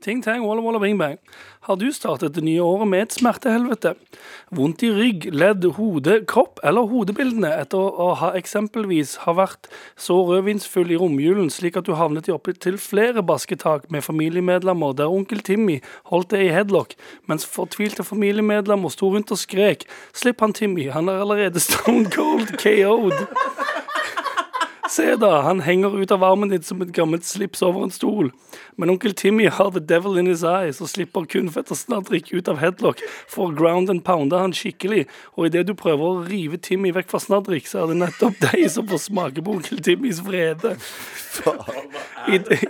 [SPEAKER 4] Ting tang, walla walla bing bang. Har du startet det nye året med et smertehelvete? Vondt i rygg, ledd, hode, kropp eller hodebildene etter å ha eksempelvis ha vært så rødvinsfull i romjulen slik at du havnet i opptil flere basketak med familiemedlemmer der onkel Timmy holdt deg i headlock, mens fortvilte familiemedlemmer sto rundt og skrek 'Slipp han Timmy, han er allerede stone cold KO'd'. Se da, han henger ut av armen din som et gammelt slips over en stol. Men onkel Timmy har the devil in his eyes og slipper kun fettersnadrik ut av headlock for å ground and pounder han skikkelig. Og idet du prøver å rive Timmy vekk fra Snadrik, så er det nettopp deg som får smake på onkel Timmys vrede.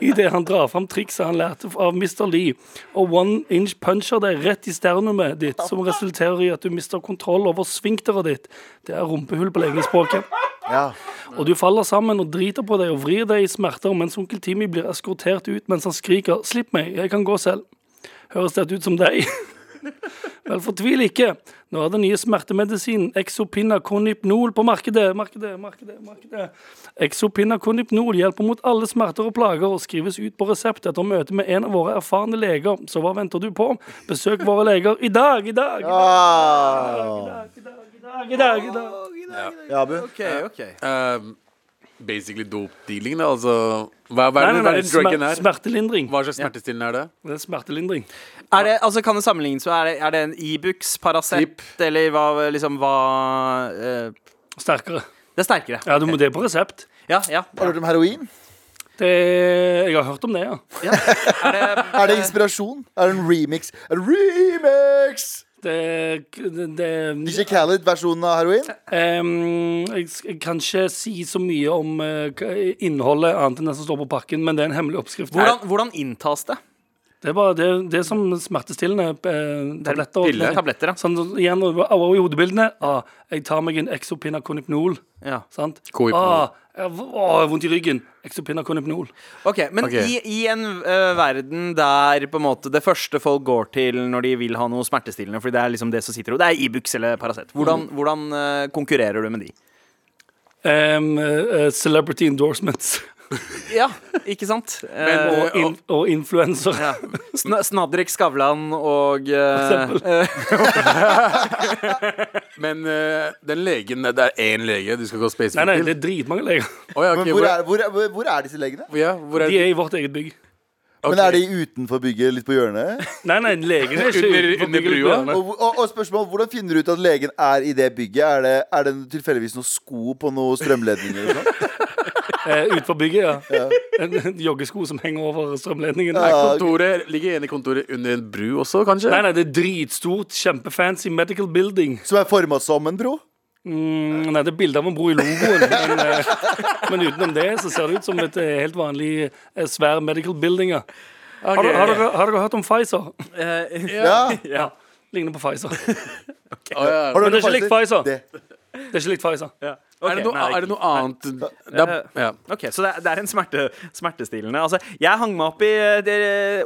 [SPEAKER 4] Idet han drar fram trikset han lærte av Mr. Lee, og one inch puncher deg rett i sternumet ditt, som resulterer i at du mister kontroll over svinkteret ditt. Det er rumpehull på legespråket.
[SPEAKER 3] Ja.
[SPEAKER 4] Og du faller sammen og driter på deg og vrir deg i smerter mens onkel Timmy blir eskortert ut mens han skriker 'Slipp meg, jeg kan gå selv'. Høres dette ut som deg? Vel, fortvil ikke. Nå er den nye smertemedisinen Exopinaconipnol på markedet. Markedet, markedet, markedet. Exopinaconipnol hjelper mot alle smerter og plager og skrives ut på resept etter møte med en av våre erfarne leger. Så hva venter du på? Besøk våre leger i dag, i dag, i dag,
[SPEAKER 3] Ah.
[SPEAKER 4] i dag, i dag, i dag, i dag.
[SPEAKER 3] Ja, Abu.
[SPEAKER 2] OK, OK.
[SPEAKER 5] Um, basically dop-dealing, da. Altså Hva, hva
[SPEAKER 4] Nei,
[SPEAKER 5] er
[SPEAKER 4] nei,
[SPEAKER 5] det- hva
[SPEAKER 4] nei,
[SPEAKER 5] er det druggen
[SPEAKER 4] smer
[SPEAKER 5] er?
[SPEAKER 4] smertelindring.
[SPEAKER 5] Hva slags smertestillende er det?
[SPEAKER 4] Det er smertelindring.
[SPEAKER 2] Er det, altså kan det sammenlignes med Er det, er det en Ibux, Paracet,
[SPEAKER 5] Ipp.
[SPEAKER 2] eller hva, liksom, hva eh,
[SPEAKER 4] Sterkere.
[SPEAKER 2] Det er sterkere.
[SPEAKER 4] Ja, du må det er på resept.
[SPEAKER 2] Ja, ja.
[SPEAKER 3] Har du hørt om heroin?
[SPEAKER 4] Det, jeg har hørt om det, ja.
[SPEAKER 2] Er det,
[SPEAKER 3] Er det inspirasjon? Er det en remix? Er det remix?
[SPEAKER 4] Det, det, det
[SPEAKER 3] DJ Khaled-versjonen av heroin?
[SPEAKER 4] em, Jeg s- jeg kan ikke si så mye om eh, hva- innholdet annet enn det som står på pakken, men det er en hemmelig oppskrift.
[SPEAKER 2] hvordan, hvordan inntas det?
[SPEAKER 4] Det er bare det, det er som smertestillende eh, tabletter. og-
[SPEAKER 2] piller, tabletter, ja.
[SPEAKER 4] Sånn, igjen, og, og i hodebildene. Ah, jeg tar meg en Exopinaconipnol.
[SPEAKER 2] Ja.
[SPEAKER 4] Sant?
[SPEAKER 5] Coipnol.
[SPEAKER 4] Ah, jeg har å, jeg har vondt i ryggen. Exopinaconipnol.
[SPEAKER 2] Ok, Men
[SPEAKER 5] Ok.
[SPEAKER 2] I, i en eh, verden der på en måte det første folk går til når de vil ha noe smertestillende, Fordi det er liksom det som sitter og Det er Ibux eller Paracet. Hvordan, hvordan eh, konkurrerer du med de?
[SPEAKER 4] Em, eh, celebrity endorsements
[SPEAKER 2] Ja, ikke sant? Eh,
[SPEAKER 4] og, in, og influenser.
[SPEAKER 2] ja. Sn Snadrik Skavlan og eh,
[SPEAKER 5] Men eh, den legen Det er én lege du skal gå
[SPEAKER 4] Nei,
[SPEAKER 5] spesifikt
[SPEAKER 4] nei,
[SPEAKER 5] til?
[SPEAKER 4] det er dritmange leger.
[SPEAKER 5] Å, ja, ok,
[SPEAKER 3] Men hvor er, hvor, er, hvor er disse legene?
[SPEAKER 5] ja, hvor er
[SPEAKER 4] De er i vårt eget bygg.
[SPEAKER 5] ok.
[SPEAKER 3] Men er de utenfor bygget, litt på hjørnet?
[SPEAKER 4] Nei, nei, legene er ikke
[SPEAKER 5] Under-
[SPEAKER 4] ute på
[SPEAKER 5] under
[SPEAKER 4] bygget
[SPEAKER 5] brua?
[SPEAKER 4] alene.
[SPEAKER 3] Og, og, og spørsmål, Hvordan finner du ut at legen er i det bygget? Er det, er det tilfeldigvis noen sko på noen strømledninger? sånn? eller noe sånt?
[SPEAKER 4] Eh, Ute på bygget, ja. En, en joggesko som henger over strømledningen.
[SPEAKER 5] Kontoret, Ligger ene kontoret under en bru også, kanskje?
[SPEAKER 4] Nei, nei, det er dritstort, kjempefancy medical building.
[SPEAKER 3] Som er forma som en bro?
[SPEAKER 4] Mm, nei, det er bilde av en bro i logoen, men, eh, men utenom det så ser det ut som et eh, helt vanlig eh, svær medical building. Ja. Har, du- har, dere, har dere hørt om Pfizer?
[SPEAKER 3] Ja.
[SPEAKER 4] Ja. Ligner på Pfizer.
[SPEAKER 5] Å, ja.
[SPEAKER 3] Har du
[SPEAKER 4] Men
[SPEAKER 3] hørt
[SPEAKER 4] det er
[SPEAKER 3] om
[SPEAKER 4] ikke likt Pfizer.
[SPEAKER 3] Det.
[SPEAKER 4] Det er ikke likt Pfizer.
[SPEAKER 2] Ok,
[SPEAKER 5] er, det noe,
[SPEAKER 2] nei,
[SPEAKER 5] er det noe annet det
[SPEAKER 4] Eh,
[SPEAKER 5] er, ja.
[SPEAKER 2] Ok, Så det er, det er en smerte, smertestillende. Altså, jeg hang meg opp i eh, det,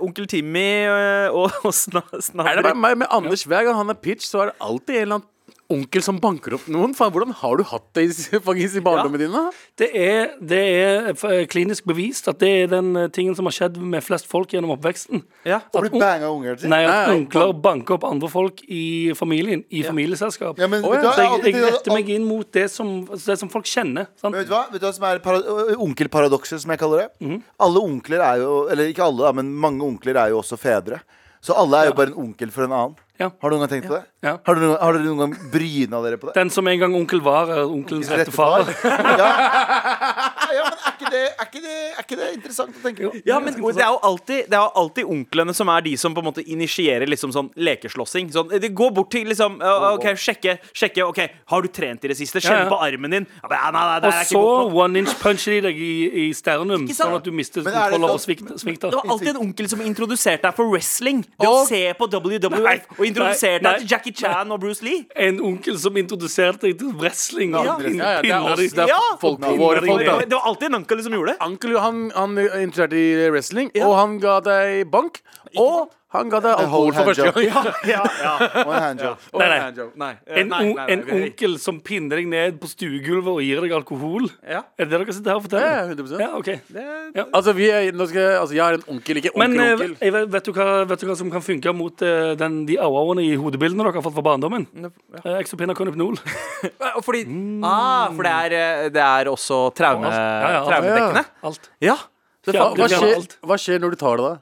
[SPEAKER 2] onkel Timmy eh, og, og sna,
[SPEAKER 5] er det
[SPEAKER 2] snadder.
[SPEAKER 5] bare meg med Anders? Hver gang han er pitch, så er det alltid en eller annen onkel som banker opp noen. Faen, hvordan har du hatt det i, faktisk, i barndommen din, da?
[SPEAKER 4] Det er, det er eh, klinisk bevist at det er den eh, tingen som har skjedd med flest folk gjennom oppveksten.
[SPEAKER 2] Ja.
[SPEAKER 3] Å bli
[SPEAKER 4] un-
[SPEAKER 3] banga av unger til?
[SPEAKER 4] Nei, at
[SPEAKER 5] Nei,
[SPEAKER 4] onkler banker opp andre folk i familien, i familieselskap.
[SPEAKER 3] Ja, men,
[SPEAKER 5] Å,
[SPEAKER 3] vet du,
[SPEAKER 5] ja.
[SPEAKER 3] hva?
[SPEAKER 4] så
[SPEAKER 3] jeg, har
[SPEAKER 4] jeg,
[SPEAKER 3] alltid-
[SPEAKER 4] jeg retter meg inn mot det som, det som folk kjenner. Sant?
[SPEAKER 3] Men vet du hva? Vet du hva som er para- øh, onkelparadokset, som jeg kaller det?
[SPEAKER 4] Mhm.
[SPEAKER 3] Alle onkler er jo Eller ikke alle, da, men mange onkler er jo også fedre. Så alle er jo bare en onkel for en annen.
[SPEAKER 4] Ja.
[SPEAKER 3] Har du noen gang tenkt på det?
[SPEAKER 4] Ja.
[SPEAKER 3] Har, du noen, har dere noen gang bryna dere på det?
[SPEAKER 4] Den som en gang onkel var, er onkelens
[SPEAKER 3] Rette
[SPEAKER 4] rette far.
[SPEAKER 3] ja. ja, men er ikke, det, er, ikke det, er ikke det interessant å tenke på?
[SPEAKER 2] Ja, men det er jo alltid, det er jo alltid onklene som er de som på en måte initierer liksom sånn lekeslåssing. Sånn, de går bort til liksom «Å, OK, sjekke, sjekke. OK, har du trent i det siste?
[SPEAKER 4] Ja,
[SPEAKER 2] Kjenn
[SPEAKER 4] ja.
[SPEAKER 2] på armen din. Ja, men, nei, nei, det
[SPEAKER 4] Og
[SPEAKER 2] er ikke
[SPEAKER 4] så
[SPEAKER 2] godt nok.
[SPEAKER 4] one inch puncher de deg i, i sternum,
[SPEAKER 2] Ikke sant?
[SPEAKER 4] sånn at du mister
[SPEAKER 3] Men er det
[SPEAKER 4] kontroll over
[SPEAKER 3] sånn-
[SPEAKER 4] svikt- svikter.
[SPEAKER 2] Det var alltid en onkel som introduserte deg for wrestling. Det å
[SPEAKER 5] Og-
[SPEAKER 2] se på WWF og introduserte
[SPEAKER 4] nei,
[SPEAKER 2] deg til Jackie Chan og Bruce Lee.
[SPEAKER 4] En onkel som introduserte deg til wrestling. Og
[SPEAKER 2] Ja.
[SPEAKER 4] pin-
[SPEAKER 5] Ja, ja, det er
[SPEAKER 4] pinner
[SPEAKER 5] oss.
[SPEAKER 4] deg.
[SPEAKER 5] Det er
[SPEAKER 2] Ja.
[SPEAKER 5] folk,
[SPEAKER 4] Nei,
[SPEAKER 5] våre
[SPEAKER 4] det-
[SPEAKER 5] folk, da.
[SPEAKER 2] Det var alltid en onkel som gjorde det.
[SPEAKER 5] Ankel han, han interesserte i wrestling, og han ga deg bank. Og Han ga deg
[SPEAKER 3] En whole
[SPEAKER 5] alkohol for første
[SPEAKER 3] handjob.
[SPEAKER 5] gang. Ja.
[SPEAKER 2] Ja, ja.
[SPEAKER 3] Og en handjob.
[SPEAKER 5] Og
[SPEAKER 4] Nei,
[SPEAKER 5] en
[SPEAKER 4] nei.
[SPEAKER 5] handjob. Nei, eh,
[SPEAKER 4] En,
[SPEAKER 5] nei,
[SPEAKER 4] on-
[SPEAKER 5] nei, nei,
[SPEAKER 4] en
[SPEAKER 5] vi-
[SPEAKER 4] onkel som pinner deg ned på stuegulvet og gir deg alkohol?
[SPEAKER 2] Ja.
[SPEAKER 4] Er det det dere sitter her og
[SPEAKER 5] Ja, ja,
[SPEAKER 4] forteller?
[SPEAKER 5] 100%.
[SPEAKER 4] Ja, ok
[SPEAKER 2] Det-
[SPEAKER 5] Altså, vi er, nå skal jeg, altså, jeg er en onkel, ikke
[SPEAKER 4] Men eh,
[SPEAKER 5] onkel-onkel.
[SPEAKER 4] jeg vet, vet, du hva, vet du hva som kan funke mot eh, den, de au-auene i hodebildene dere har fått fra barndommen?
[SPEAKER 2] Ja.
[SPEAKER 4] Eh, Exopin og Konopnol.
[SPEAKER 2] Eh, og Fordi, ah, for det er, eh, det er også traume,
[SPEAKER 4] Mm. Ja, ja, altså,
[SPEAKER 2] traumedekkende.
[SPEAKER 4] Alt.
[SPEAKER 2] Ja.
[SPEAKER 5] Så fa-
[SPEAKER 4] Ja,
[SPEAKER 5] hva,
[SPEAKER 4] du kan ha
[SPEAKER 5] skjer,
[SPEAKER 4] alt.
[SPEAKER 5] hva skjer når du tar det, da?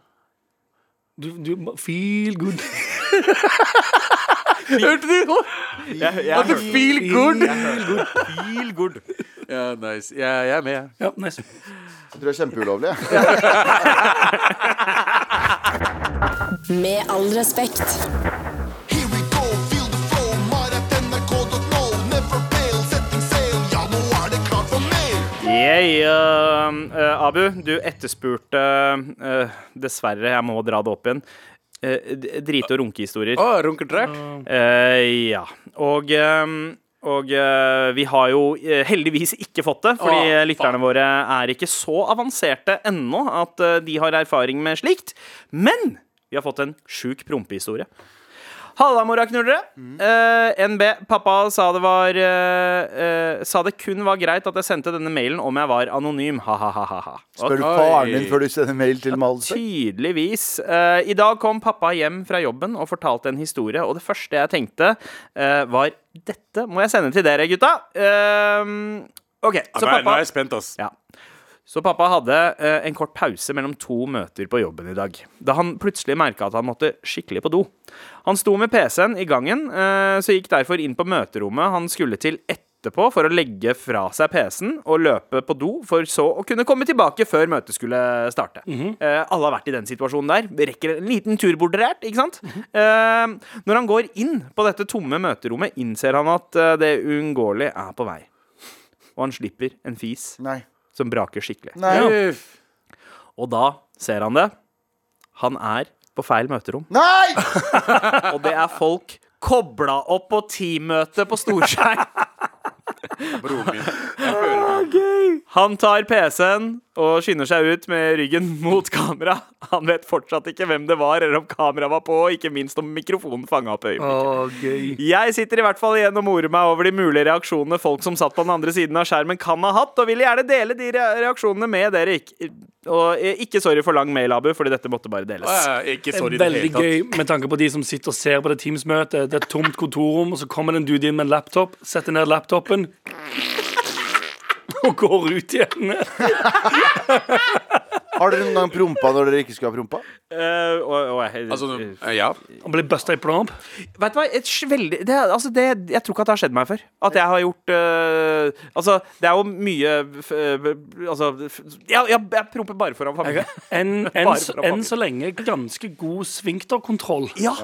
[SPEAKER 4] Du, du feel good.
[SPEAKER 5] Hørte du nå?
[SPEAKER 2] Jeg, jeg,
[SPEAKER 4] Altså,
[SPEAKER 5] At du feel good?
[SPEAKER 2] feel good.
[SPEAKER 5] Ja, nice. Jeg, jeg er med, jeg.
[SPEAKER 4] Ja, nice.
[SPEAKER 3] Jeg tror det er kjempeulovlig. jeg.
[SPEAKER 1] Med all respekt.
[SPEAKER 8] Here we go, feel the flow, mar.nrk.no. Never fail, setting sail. Ja, nå er det klart for mer.
[SPEAKER 2] Jeg, eh, eh, Abu, du etterspurte eh, Dessverre, jeg må dra det opp igjen. eh, d- drite- og runkehistorier.
[SPEAKER 5] Å, runketrack.
[SPEAKER 2] Eh, ja. Og, ehm, og eh, vi har jo eh, heldigvis ikke fått det, fordi
[SPEAKER 5] Åh,
[SPEAKER 2] eh, lytterne våre er ikke så avanserte ennå at eh, de har erfaring med slikt. Men vi har fått en sjuk prompehistorie. Halla, moraknullere. Eh, NB. Pappa sa det var eh, eh, Sa det kun var greit at jeg sendte denne mailen om jeg var anonym. Ha-ha-ha.
[SPEAKER 3] Spør du faren din før du sender mail til Malsøk?
[SPEAKER 2] Tydeligvis. Eh, I dag kom pappa hjem fra jobben og fortalte en historie, og det første jeg tenkte, eh, var Dette må jeg sende til dere, gutta. Eh, OK. Så pappa,
[SPEAKER 5] spent, ass.
[SPEAKER 2] ja. så pappa hadde eh, en kort pause mellom to møter på jobben i dag, da han plutselig merka at han måtte skikkelig på do. Han sto med PC-en i gangen, eh, så gikk derfor inn på møterommet han skulle til etterpå for å legge fra seg PC-en og løpe på do, for så å kunne komme tilbake før møtet skulle starte. Eh, alle har vært i den situasjonen der. Vi rekker en liten tur borderert, ikke sant? Eh, når han går inn på dette tomme møterommet, innser han at eh, det uunngåelige er på vei. Og han slipper en fis
[SPEAKER 3] Nei.
[SPEAKER 2] som braker skikkelig.
[SPEAKER 3] Nei.
[SPEAKER 2] Og da ser han det. Han er på feil møterom.
[SPEAKER 3] Nei!
[SPEAKER 2] Og det er folk kobla opp på teammøte på Storskjær.
[SPEAKER 5] Broren min. Jeg føler meg.
[SPEAKER 2] Han tar PC-en og skynder seg ut med ryggen mot kamera. Han vet fortsatt ikke hvem det var, eller om kameraet var på, og ikke minst om mikrofonen fanga opp øyeblikket.
[SPEAKER 4] gøy.
[SPEAKER 2] Jeg sitter i hvert fall igjen og morer meg over de mulige reaksjonene folk som satt på den andre siden av skjermen kan ha hatt, og vil gjerne dele de re- reaksjonene med dere. Ikk- Og eh, ikke sorry for lang mail, Abu, fordi dette måtte bare
[SPEAKER 5] Å,
[SPEAKER 2] deles.
[SPEAKER 5] ja, Ikke sorry i det hele
[SPEAKER 4] Veldig
[SPEAKER 5] tatt.
[SPEAKER 4] gøy med tanke på de som sitter og ser på det Teams-møtet. Det er et tomt kontorrom, og så kommer det en dude inn med en laptop, setter ned laptopen og går ut igjen.
[SPEAKER 3] Har dere noen gang prompa når dere ikke skulle ha prompa?
[SPEAKER 2] Eh, og, og, jeg-
[SPEAKER 5] Altså,
[SPEAKER 2] eh,
[SPEAKER 5] eh, ja.
[SPEAKER 4] Han blir busta i plomb.
[SPEAKER 2] Vet du hva, et sj- veldig, det, er- altså det, jeg tror ikke at det har skjedd meg før. At jeg har gjort øh, Altså, det er jo mye f, øh, Altså f, jeg, jeg, jeg promper bare foran familien.
[SPEAKER 4] Enn enn
[SPEAKER 2] Bare
[SPEAKER 4] så-
[SPEAKER 2] fra
[SPEAKER 4] enn så lenge ganske god svinkterkontroll.
[SPEAKER 2] Ja,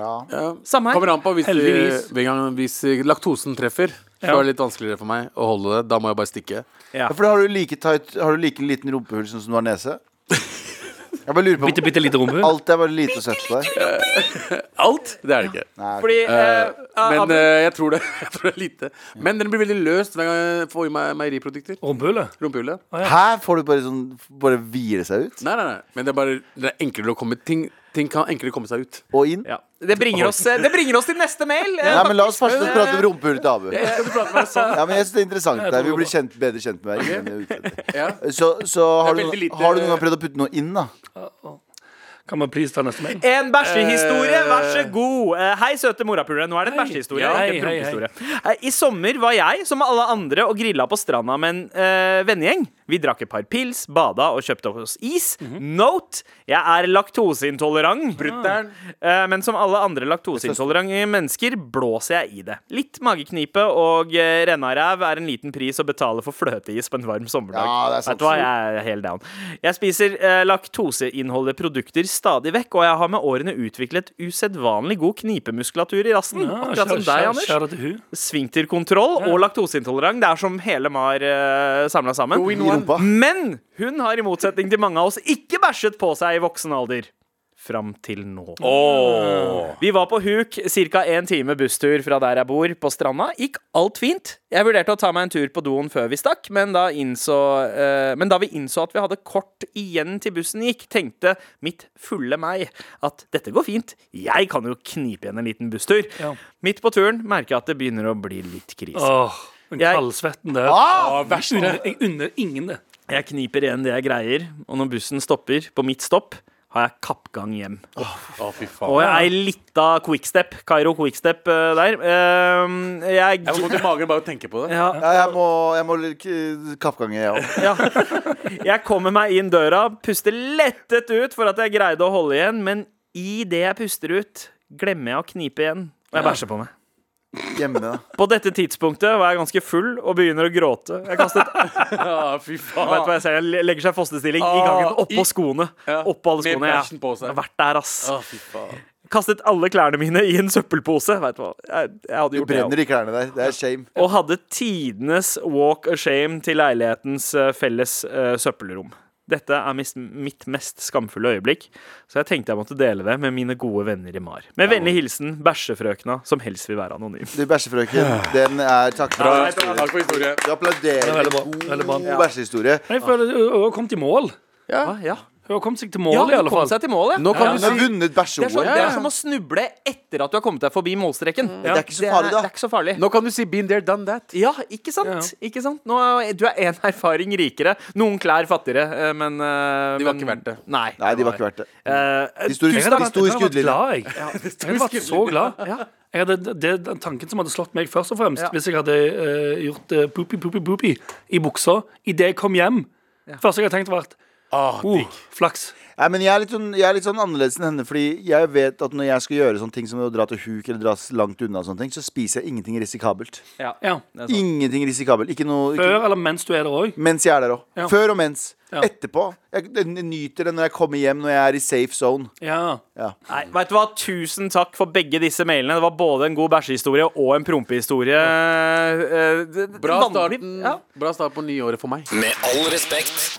[SPEAKER 2] Samme her.
[SPEAKER 5] Kommer an på hvis, eh,
[SPEAKER 4] Heldigvis.
[SPEAKER 5] hver gang, hvis eh, laktosen treffer. Så
[SPEAKER 4] Ja.
[SPEAKER 5] er det litt vanskeligere for meg å holde det. Da må jeg bare stikke.
[SPEAKER 3] Ja, for da har du like, tight, har du like liten rumpehull som du har nese? Jeg bare lurer på
[SPEAKER 4] Bitte, bitte lite rumpe.
[SPEAKER 3] Alt er bare lite å sette på deg.
[SPEAKER 5] Alt? Det er det ikke.
[SPEAKER 3] Nei,
[SPEAKER 2] Fordi
[SPEAKER 5] Eh,
[SPEAKER 2] men,
[SPEAKER 5] men eh, jeg, tror det, jeg tror det er lite. Men den blir veldig løst hver gang jeg får i meg meieriprodukter.
[SPEAKER 4] Rumpehullet.
[SPEAKER 5] Rumpehullet.
[SPEAKER 3] Her får du bare sånn Bare hvile seg ut
[SPEAKER 5] Nei, nei, nei. Men det er bare det er enklere å komme ting, ting kan enklere komme seg ut.
[SPEAKER 3] og inn.
[SPEAKER 2] ja. det, bringer oss, øh, det bringer oss til neste mail.
[SPEAKER 3] Nei, men La oss først prate om rumpehullet til Abu. Ja, men jeg synes det er interessant der. Vi blir kjent, bedre kjent med hverandre.
[SPEAKER 5] Ja.
[SPEAKER 3] Så, så har, du,
[SPEAKER 5] Det er veldig lite-
[SPEAKER 3] har du noen gang prøvd å putte noe inn, da?
[SPEAKER 4] Kan vi please ta neste mail?
[SPEAKER 2] En bæsjehistorie, vær så god. Eh, Hei, søte morapulere. Nå er det en
[SPEAKER 4] Øh. Hei.
[SPEAKER 2] bæsjehistorie.
[SPEAKER 4] Ja,
[SPEAKER 2] ikke en
[SPEAKER 4] hei, hei,
[SPEAKER 2] prompehistorie. Eh, I sommer var jeg, som alle andre, og grilla på stranda med en eh, vennegjeng. Vi drakk et par pils, bada og kjøpte oss is. Note! Jeg er laktoseintolerant. Eh, Men som alle andre laktoseintolerante mennesker blåser jeg i det. Litt mageknipe og eh, rennaræv er en liten pris å betale for fløteis på en varm sommerdag.
[SPEAKER 3] Ja, det er sant.
[SPEAKER 2] Vet du hva, jeg er helt down. Jeg spiser eh, laktoseinnholdige produkter stadig vekk, og jeg har med årene utviklet usedvanlig god knipemuskulatur i rassen. akkurat som deg, Anders.
[SPEAKER 4] Kjære til hun.
[SPEAKER 2] Svinkterkontroll og laktoseintolerant. Det er som hele Mar uh, samla sammen.
[SPEAKER 3] I rumpa?
[SPEAKER 2] Men hun har i motsetning til mange av oss ikke bæsjet på seg i voksen alder. fram til nå. Vi var på huk ca. en time busstur fra der jeg bor, på stranda. Gikk alt fint. Jeg vurderte å ta meg en tur på doen før vi stakk, men da, innså, eh, men da vi innså at vi hadde kort igjen til bussen gikk, tenkte mitt fulle meg at dette går fint. Jeg kan jo knipe igjen en liten busstur.
[SPEAKER 4] Ja.
[SPEAKER 2] Midt på turen merker jeg at det begynner å bli litt krise.
[SPEAKER 4] Åh, den
[SPEAKER 2] Jeg-
[SPEAKER 4] kaldsvetten der. jeg, unner, jeg unner ingen det.
[SPEAKER 2] Jeg kniper igjen det jeg greier, og når bussen stopper, på mitt stopp, har jeg kappgang hjem.
[SPEAKER 5] Å, fy faen.
[SPEAKER 2] Og jeg er litt av quickstep, Kairo quickstep eh, der. Ehm, jeg,
[SPEAKER 5] Jeg får vondt i magen bare å tenke på det.
[SPEAKER 2] ja,
[SPEAKER 3] Ja, jeg må, jeg må litt k- kappgange, jeg òg.
[SPEAKER 2] ja. jeg kommer meg inn døra, puster lettet ut for at jeg greide å holde igjen, men i det jeg puster ut, glemmer jeg å knipe igjen. Og jeg bæsjer på meg.
[SPEAKER 3] Hjemme, da.
[SPEAKER 2] På dette tidspunktet var jeg ganske full og begynner å gråte. Jeg kastet
[SPEAKER 5] Ja, fy
[SPEAKER 2] Vet du hva
[SPEAKER 5] faen.
[SPEAKER 2] jeg ser? Jeg legger seg i fosterstilling i
[SPEAKER 5] Ah,
[SPEAKER 2] gangen,
[SPEAKER 5] i-
[SPEAKER 2] oppå skoene.
[SPEAKER 5] Ja,
[SPEAKER 2] Oppå alle
[SPEAKER 5] med
[SPEAKER 2] skoene. ja.
[SPEAKER 5] bæsjen på seg.
[SPEAKER 2] Jeg har vært der, ass.
[SPEAKER 5] Å, fy faen.
[SPEAKER 2] Kastet alle klærne mine i en søppelpose. Vet du hva? Jeg, jeg hadde
[SPEAKER 3] Du
[SPEAKER 2] gjort det
[SPEAKER 3] brenner i klærne der. Det er shame.
[SPEAKER 2] også. Og hadde tidenes walk of shame til leilighetens eh, felles eh, søppelrom. Dette er mis, mitt mest skamfulle øyeblikk, så jeg tenkte jeg måtte dele det med mine gode venner i MAR. Med vennlig hilsen bæsjefrøkna, som helst vil være anonym.
[SPEAKER 3] Du, bæsjefrøken, den er Takk for
[SPEAKER 5] Bra.
[SPEAKER 3] det.
[SPEAKER 5] Takk for historien.
[SPEAKER 3] Du applauderer.
[SPEAKER 4] Veldig bra. Veldig bra.
[SPEAKER 3] God bæsjehistorie.
[SPEAKER 4] Men jeg føler hun hun har kommet i mål.
[SPEAKER 2] Ah, ja.
[SPEAKER 4] Hun har kommet seg til mål, i alle fall.
[SPEAKER 2] til målet.
[SPEAKER 5] Nå kan
[SPEAKER 3] Hun har vunnet
[SPEAKER 2] Det er, sånn,
[SPEAKER 3] bæsje-OL.
[SPEAKER 2] det er som å snuble etter at du har kommet deg forbi målstreken.
[SPEAKER 3] Det er ikke så farlig, da.
[SPEAKER 2] Det er ikke så farlig.
[SPEAKER 5] Nå kan du si 'been there, done that'.
[SPEAKER 2] Ja, ikke sant? Ikke sant? Nå er, du er én erfaring rikere. Noen klær fattigere, eh, men eh,
[SPEAKER 5] De var
[SPEAKER 2] men-
[SPEAKER 5] ikke verdt det.
[SPEAKER 2] Nei.
[SPEAKER 3] Nei, de var ikke verdt det.
[SPEAKER 2] Eh,
[SPEAKER 3] Historisk,
[SPEAKER 4] Jeg hadde vært-
[SPEAKER 3] historisk
[SPEAKER 4] jeg
[SPEAKER 3] skuddlinje.
[SPEAKER 4] hadde vært glad, jeg. Jeg hadde vært så glad. Jeg hadde, det er den tanken som hadde slått meg først og fremst,
[SPEAKER 2] Ja.
[SPEAKER 4] hvis jeg hadde eh, gjort uh, poopy, poopy, poopy i buksa idet jeg kom hjem. Første gang jeg tenkte, var at oh, flaks.
[SPEAKER 3] Nei, men jeg er, litt sånn, jeg er litt sånn annerledes enn henne. Fordi jeg vet at når jeg skal gjøre sånne ting som å dra til huk eller dra langt unna, og sånne ting så spiser jeg ingenting risikabelt.
[SPEAKER 2] ja.
[SPEAKER 4] Ja.
[SPEAKER 2] Det er sant.
[SPEAKER 3] Ingenting risikabelt. Ikke noe ikke,
[SPEAKER 4] Før eller mens du er der òg.
[SPEAKER 3] Mens jeg er der òg.
[SPEAKER 4] Ja.
[SPEAKER 3] Før og mens.
[SPEAKER 4] Ja.
[SPEAKER 3] Etterpå. Jeg, jeg nyter det når jeg kommer hjem, når jeg er i safe zone.
[SPEAKER 4] Ja.
[SPEAKER 3] Ja.
[SPEAKER 2] Nei, vet du hva? Tusen takk for begge disse mailene. Det var både en god bæsjehistorie og en prompehistorie. Eh, det- det-
[SPEAKER 5] Bra
[SPEAKER 2] vanlig-
[SPEAKER 5] starten,
[SPEAKER 2] Ja.
[SPEAKER 5] bra start på nyåret for meg.
[SPEAKER 8] Med all respekt.